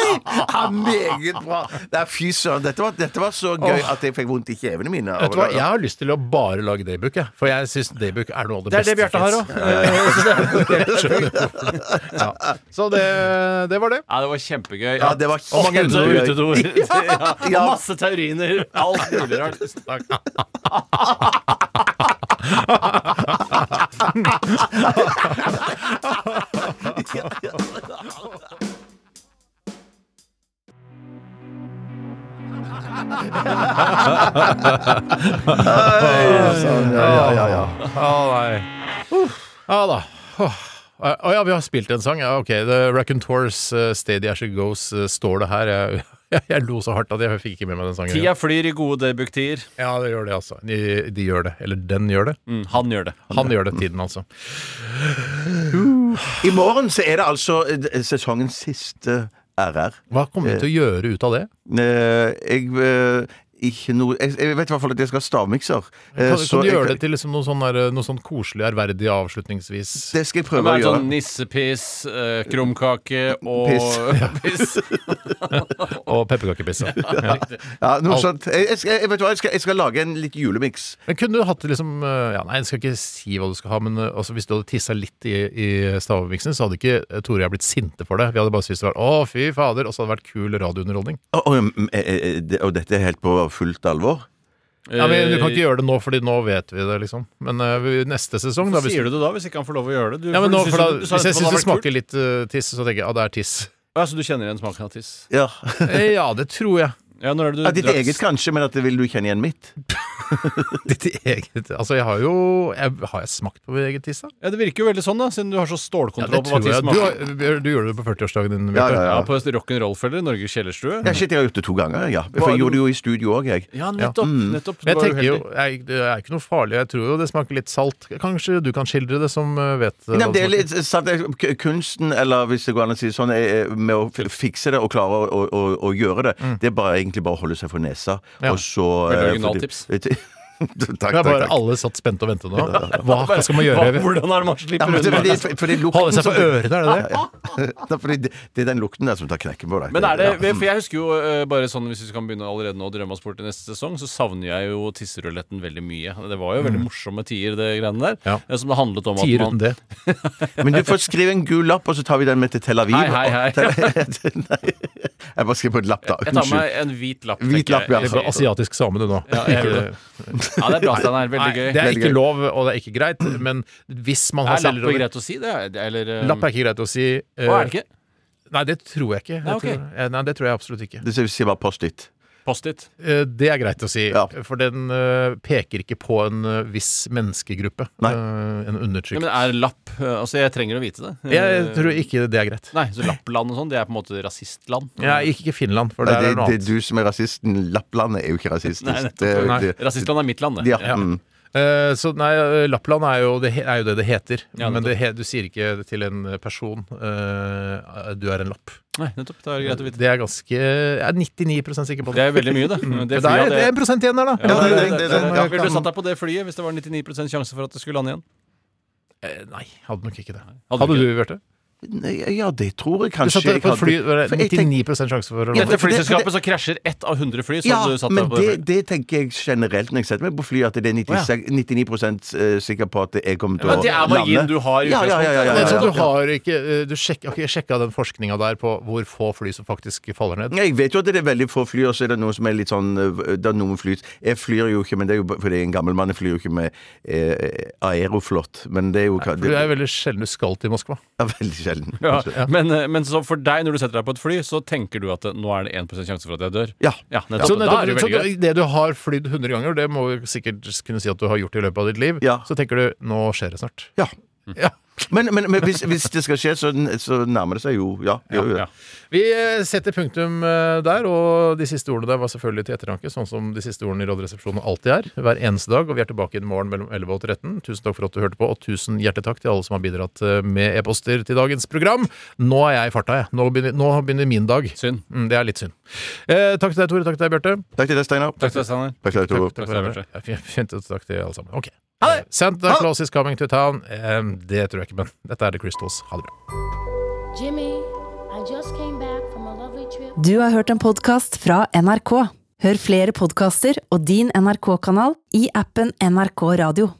Speaker 5: Ja, meget bra. Det er Fy søren, dette var, dette var så gøy
Speaker 11: Åh.
Speaker 5: at jeg fikk vondt i kjevene mine. av
Speaker 11: Vet du hva,
Speaker 5: det.
Speaker 11: Jeg har lyst til å bare lage daybook, jeg. For jeg syns daybook er noe av det,
Speaker 6: Det
Speaker 11: beste.
Speaker 6: er det Bjarte har
Speaker 11: som
Speaker 6: òg.
Speaker 11: finnes. Ja. Så det, det var det.
Speaker 6: Ja, det var kjempegøy.
Speaker 5: Ja, det var
Speaker 6: og mange
Speaker 5: kjempegøy.
Speaker 6: utedoer. <laughs> Ja,
Speaker 5: <laughs> Ja.
Speaker 6: og masse tauriner. Alt mulig rart.
Speaker 5: Sånn, ja, ja, ja, ja.
Speaker 11: Å nei. Ja da. Åh. Å ja, vi har spilt en sang. Ja, ok. The Raccoon Tours, uh, Steady As She Goes, uh, står det her. Jeg, <laughs> jeg, jeg lo så hardt at jeg fikk ikke med meg den sangen.
Speaker 6: Tida flyr i gode daybook-tider.
Speaker 11: Ja, det gjør det, altså. De, de gjør det. Eller den gjør det.
Speaker 6: Mm, han gjør det.
Speaker 11: Han gjør det, tiden, altså.
Speaker 5: I morgen så er det altså eh, sesongens siste RR.
Speaker 11: Hva kommer vi til å gjøre ut av det?
Speaker 5: Eh, Jeg eh, ikke noe jeg, jeg vet i hvert fall at jeg skal ha stavmikser. Eh,
Speaker 11: Kan,
Speaker 5: så
Speaker 11: kan du
Speaker 5: jeg
Speaker 11: gjøre det til liksom noe, sånn der, noe sånn koselig, ærverdig avslutningsvis?
Speaker 5: Det skal jeg
Speaker 6: Det
Speaker 5: prøve å
Speaker 6: er
Speaker 5: gjøre.
Speaker 6: sånn nissepiss, eh, krumkake og <laughs> piss.
Speaker 11: Og pepperkakepisse. Ja.
Speaker 5: Ja, noe
Speaker 11: Alt.
Speaker 5: sånt. Jeg, jeg, skal- jeg, vet du hva, jeg, skal, jeg skal lage en litt julemiks.
Speaker 11: Men kunne du hatt det liksom eh, ja, Nei, jeg skal ikke si hva du skal ha, men eh, altså, hvis du hadde tissa litt i, i stavmiksen, så hadde ikke eh, Tore og jeg blitt sinte for det. Vi hadde bare syntes det var å, fy fader, og så hadde det vært kul radiounderholdning.
Speaker 5: Og, og, eh, og dette er helt på fullt alvor?
Speaker 11: Ja, men Du kan ikke gjøre det nå, Fordi nå vet vi det, liksom. Men eh, vi- neste sesong, da
Speaker 6: Hvorfor
Speaker 11: hvis
Speaker 6: sier du det da, hvis ikke han får lov å gjøre det? Du,
Speaker 11: ja, men
Speaker 6: for du
Speaker 11: nå,
Speaker 6: synes
Speaker 11: for da,
Speaker 6: jo- du sa
Speaker 11: Hvis jeg
Speaker 6: etterpå
Speaker 11: syns det
Speaker 6: det hadde vært
Speaker 11: smaker litt eh, tiss, så tenker jeg ja, det er
Speaker 6: <laughs>
Speaker 11: tiss.
Speaker 6: kult. ja, Så du kjenner igjen smaken av tiss?
Speaker 5: Ja.
Speaker 11: Eh, Ja, det tror jeg.
Speaker 6: Ja, når er det du
Speaker 5: ja ditt
Speaker 6: drakk-
Speaker 5: eget kanskje, men at det vil du kjenne igjen mitt?
Speaker 11: <laughs> Ditt eget Altså, jeg har jo jeg, Har jeg smakt på mitt eget tiss, da?
Speaker 6: Ja, Det virker jo veldig sånn, da, siden du har så
Speaker 11: Ja, det
Speaker 6: stålkontroll på hva
Speaker 11: tror
Speaker 6: tiss
Speaker 11: jeg. Du,
Speaker 6: smaker.
Speaker 11: har- Bjørn, du gjorde det på 40-årsdagen din,
Speaker 5: Ja,
Speaker 11: Bjarte.
Speaker 5: ja,
Speaker 6: Ja,
Speaker 5: ja.
Speaker 6: på rock'n'roll-feller, Norges kjellerstue.
Speaker 5: ja shit, jeg har gjort det to ganger, ja. For jeg gjorde det jo i studio òg, jeg.
Speaker 6: Ja, nettopp. nettopp
Speaker 11: Mm. Men
Speaker 6: Du
Speaker 11: jeg
Speaker 6: var
Speaker 11: tenker jo,
Speaker 6: uheldig.
Speaker 11: jeg, det er ikke noe farlig. Jeg tror jo det smaker litt salt. Kanskje du kan skildre det, som eh, vet eh,
Speaker 5: Nei,
Speaker 11: hva
Speaker 5: men det er
Speaker 11: smaker.
Speaker 5: litt sant, det er k- Kunsten, eller hvis det går an å si det sånn, er- er med å f- fikse det og klare å, å, å, å gjøre det, det er bare egentlig bare å holde seg for nesa,
Speaker 11: Ja.
Speaker 5: og så
Speaker 6: Veldig
Speaker 5: eh,
Speaker 6: originaltips.
Speaker 5: fordi- <laughs> takk,
Speaker 11: Det
Speaker 5: takk,
Speaker 11: er bare
Speaker 5: takk.
Speaker 11: alle satt spent og ventet nå. Hva, hva skal man gjøre?
Speaker 6: Hva, hvordan er det man
Speaker 5: Ja,
Speaker 6: slipper
Speaker 5: men det,
Speaker 6: unna?
Speaker 5: fordi, fordi lukten
Speaker 11: Holde seg for
Speaker 5: som-
Speaker 11: ørene, er det det?
Speaker 5: Det er <laughs> fordi det, det er den lukten der som tar knekken på deg.
Speaker 6: Men er det,
Speaker 5: Ja.
Speaker 6: for jeg husker jo eh, bare sånn Hvis vi kan begynne allerede nå å drømme oss bort til neste sesong, så savner jeg jo tisseruletten veldig mye. Det var jo
Speaker 4: Mm.
Speaker 6: veldig morsomme tider, det greiene der.
Speaker 11: Ja.
Speaker 6: eh, Som det handlet om at
Speaker 11: Tier
Speaker 6: man
Speaker 11: uten det.
Speaker 5: Men du får skrive en gul lapp, og så tar vi den med til Tel Aviv.
Speaker 6: Hei, hei,
Speaker 4: <laughs>
Speaker 6: hei.
Speaker 5: Nei, <laughs> jeg bare skriver på en lapp, da.
Speaker 6: Jeg tar
Speaker 5: Unnskyld.
Speaker 6: meg en hvit lapp.
Speaker 5: Hvit
Speaker 6: tenker
Speaker 5: lapp, ja.
Speaker 11: Det
Speaker 6: jeg.
Speaker 11: er bare asiatisk same, du nå.
Speaker 6: Ja, jeg gjør det. Ja, det er bra, Steinar. Veldig
Speaker 4: Nei,
Speaker 6: gøy.
Speaker 4: Det er
Speaker 6: Veldig
Speaker 4: ikke
Speaker 6: gøy.
Speaker 4: lov, og det er ikke greit,
Speaker 6: <clears throat>
Speaker 4: men hvis man har
Speaker 6: Er lapp
Speaker 4: selgerolle-
Speaker 6: greit å si, det? er- Eller eh,
Speaker 4: Lapp er ikke greit å si. eh,
Speaker 6: Å, er det ikke?
Speaker 4: Nei, det tror jeg ikke. Jeg
Speaker 6: Nei, ok.
Speaker 4: tror, eh, nei, det tror jeg absolutt ikke.
Speaker 5: Det sier sier bare Post-It.
Speaker 6: Post-it.
Speaker 4: Eh, Det er greit å si, for den eh, peker ikke på en eh, viss menneskegruppe. Eh, En
Speaker 6: Ja,
Speaker 4: undertrykt.
Speaker 6: men er lapp eh, Altså, jeg trenger å vite det. Eh,
Speaker 4: Jeg tror ikke det er greit.
Speaker 6: Nei, så Lappland og sånn, det er på en måte rasistland?
Speaker 4: Ja, ikke Finland, for
Speaker 5: Nei,
Speaker 4: der
Speaker 5: det,
Speaker 4: er noe
Speaker 5: det
Speaker 4: annet.
Speaker 5: er du som er rasisten. Lapplandet er jo ikke rasistisk.
Speaker 6: Nei, nettopp.
Speaker 5: Det-
Speaker 6: Nei,
Speaker 5: det-
Speaker 6: Rasistland er mitt land, det.
Speaker 5: Ja.
Speaker 4: Ja.
Speaker 5: Mm.
Speaker 4: Eh, Så nei, eh, Lappland er jo det, he- er jo det det heter.
Speaker 6: Ja,
Speaker 4: men det, he- du sier ikke til en person eh, du er en lapp.
Speaker 6: Nei, nettopp. Det er greit å vite.
Speaker 4: Det er ganske Jeg er 99 sikker på det.
Speaker 6: Det er veldig mye, det.
Speaker 4: Mm.
Speaker 6: Det
Speaker 4: Men det
Speaker 6: flyet,
Speaker 4: er, det er
Speaker 6: det-
Speaker 4: 1 igjen der, da.
Speaker 6: Ja, det, det, det,
Speaker 4: Som, eh,
Speaker 6: Ville du
Speaker 4: kan-
Speaker 6: satt deg på det flyet hvis det var 99 sjanse for at det skulle lande igjen?
Speaker 4: Eh, Nei, hadde nok ikke det.
Speaker 6: Hadde
Speaker 4: Hadde,
Speaker 6: du
Speaker 4: du,
Speaker 6: ikke
Speaker 4: gjort det?
Speaker 5: Nei, ja, det tror jeg
Speaker 4: Du
Speaker 5: kanskje
Speaker 4: satt deg
Speaker 5: jeg
Speaker 4: på et fly,
Speaker 5: hadde.
Speaker 4: var det
Speaker 5: For jeg tenk-
Speaker 4: 99 sjanse for å
Speaker 5: Ja, for det-
Speaker 6: Etter
Speaker 5: for
Speaker 6: flyselskapet
Speaker 5: det-
Speaker 6: så krasjer ett av 100 fly. Så
Speaker 5: Ja,
Speaker 6: du satt
Speaker 5: men
Speaker 6: deg på det
Speaker 5: det,
Speaker 6: flyet.
Speaker 5: det tenker jeg generelt når jeg setter meg på fly, at det er 96, 99 sikker på at jeg kommer til å
Speaker 6: Men
Speaker 5: lande.
Speaker 6: det er marginen du har i
Speaker 5: ja, ja, ja, ja, ja,
Speaker 4: Men
Speaker 5: ja,
Speaker 4: så
Speaker 5: ja.
Speaker 4: du har ikke eh, Du sjek, har ikke sjekka den forskninga der på hvor få fly som faktisk faller ned?
Speaker 5: Ja, Jeg vet jo at det er veldig få fly, og så er det noen som er litt sånn øh, Det er noen fly Jeg flyr jo ikke, men det er jo b- fordi jeg er en gammel mann. Jeg flyr jo ikke med eh, aeroflot, men det er jo
Speaker 4: For det er veldig sjelden du skal til Moskva.
Speaker 5: Ja, veldig sjelden.
Speaker 6: Ja, men, eh, men så for deg, når du setter deg på et fly, så tenker du at eh, nå er det 1 sjanse for at jeg dør?
Speaker 5: Ja.
Speaker 6: nettopp.
Speaker 4: Så
Speaker 6: da er det
Speaker 4: nettopp,
Speaker 6: jo veldig
Speaker 4: så
Speaker 6: gøy.
Speaker 4: det du har flydd 100 ganger, det må vi sikkert kunne si at du har gjort i løpet av ditt liv,
Speaker 5: Ja.
Speaker 4: så tenker du 'nå skjer det snart'.
Speaker 5: Ja.
Speaker 4: Ja.
Speaker 5: Men, men, men hvis, hvis det skal skje, så, så nærmer det seg jo Ja. gjør jo det.
Speaker 6: ja.
Speaker 4: Vi eh, setter punktum eh, der, og de siste ordene der var selvfølgelig til ettertanke, sånn som de siste ordene i Radioresepsjonen alltid er, hver eneste dag, og vi er tilbake i morgen mellom 11 og 13. Tusen takk for at du hørte på, og tusen hjertelig takk til alle som har bidratt eh, med e-poster til dagens program. Nå er jeg i farta, jeg. Nå begynner, nå begynner min dag.
Speaker 6: Synd.
Speaker 4: Mm, det er litt synd. Eh, takk til deg, Tore. Takk til deg, Bjarte.
Speaker 5: Takk til deg, Steinar.
Speaker 6: Takk til deg, Steinar.
Speaker 5: Takk til deg, Tore.
Speaker 4: Takk
Speaker 6: for
Speaker 4: for
Speaker 6: det,
Speaker 4: det. Ja, fint- Fint, og takk til alle sammen. Ok. Ha det! Santa Claus is coming to town. Eh, det tror jeg ikke, men dette er The Crystals. Ha det bra.
Speaker 12: Jimmy, I just came back from a lovely trip.
Speaker 1: Du har hørt en podkast fra NRK. Hør flere podkaster og din NRK-kanal i appen NRK Radio.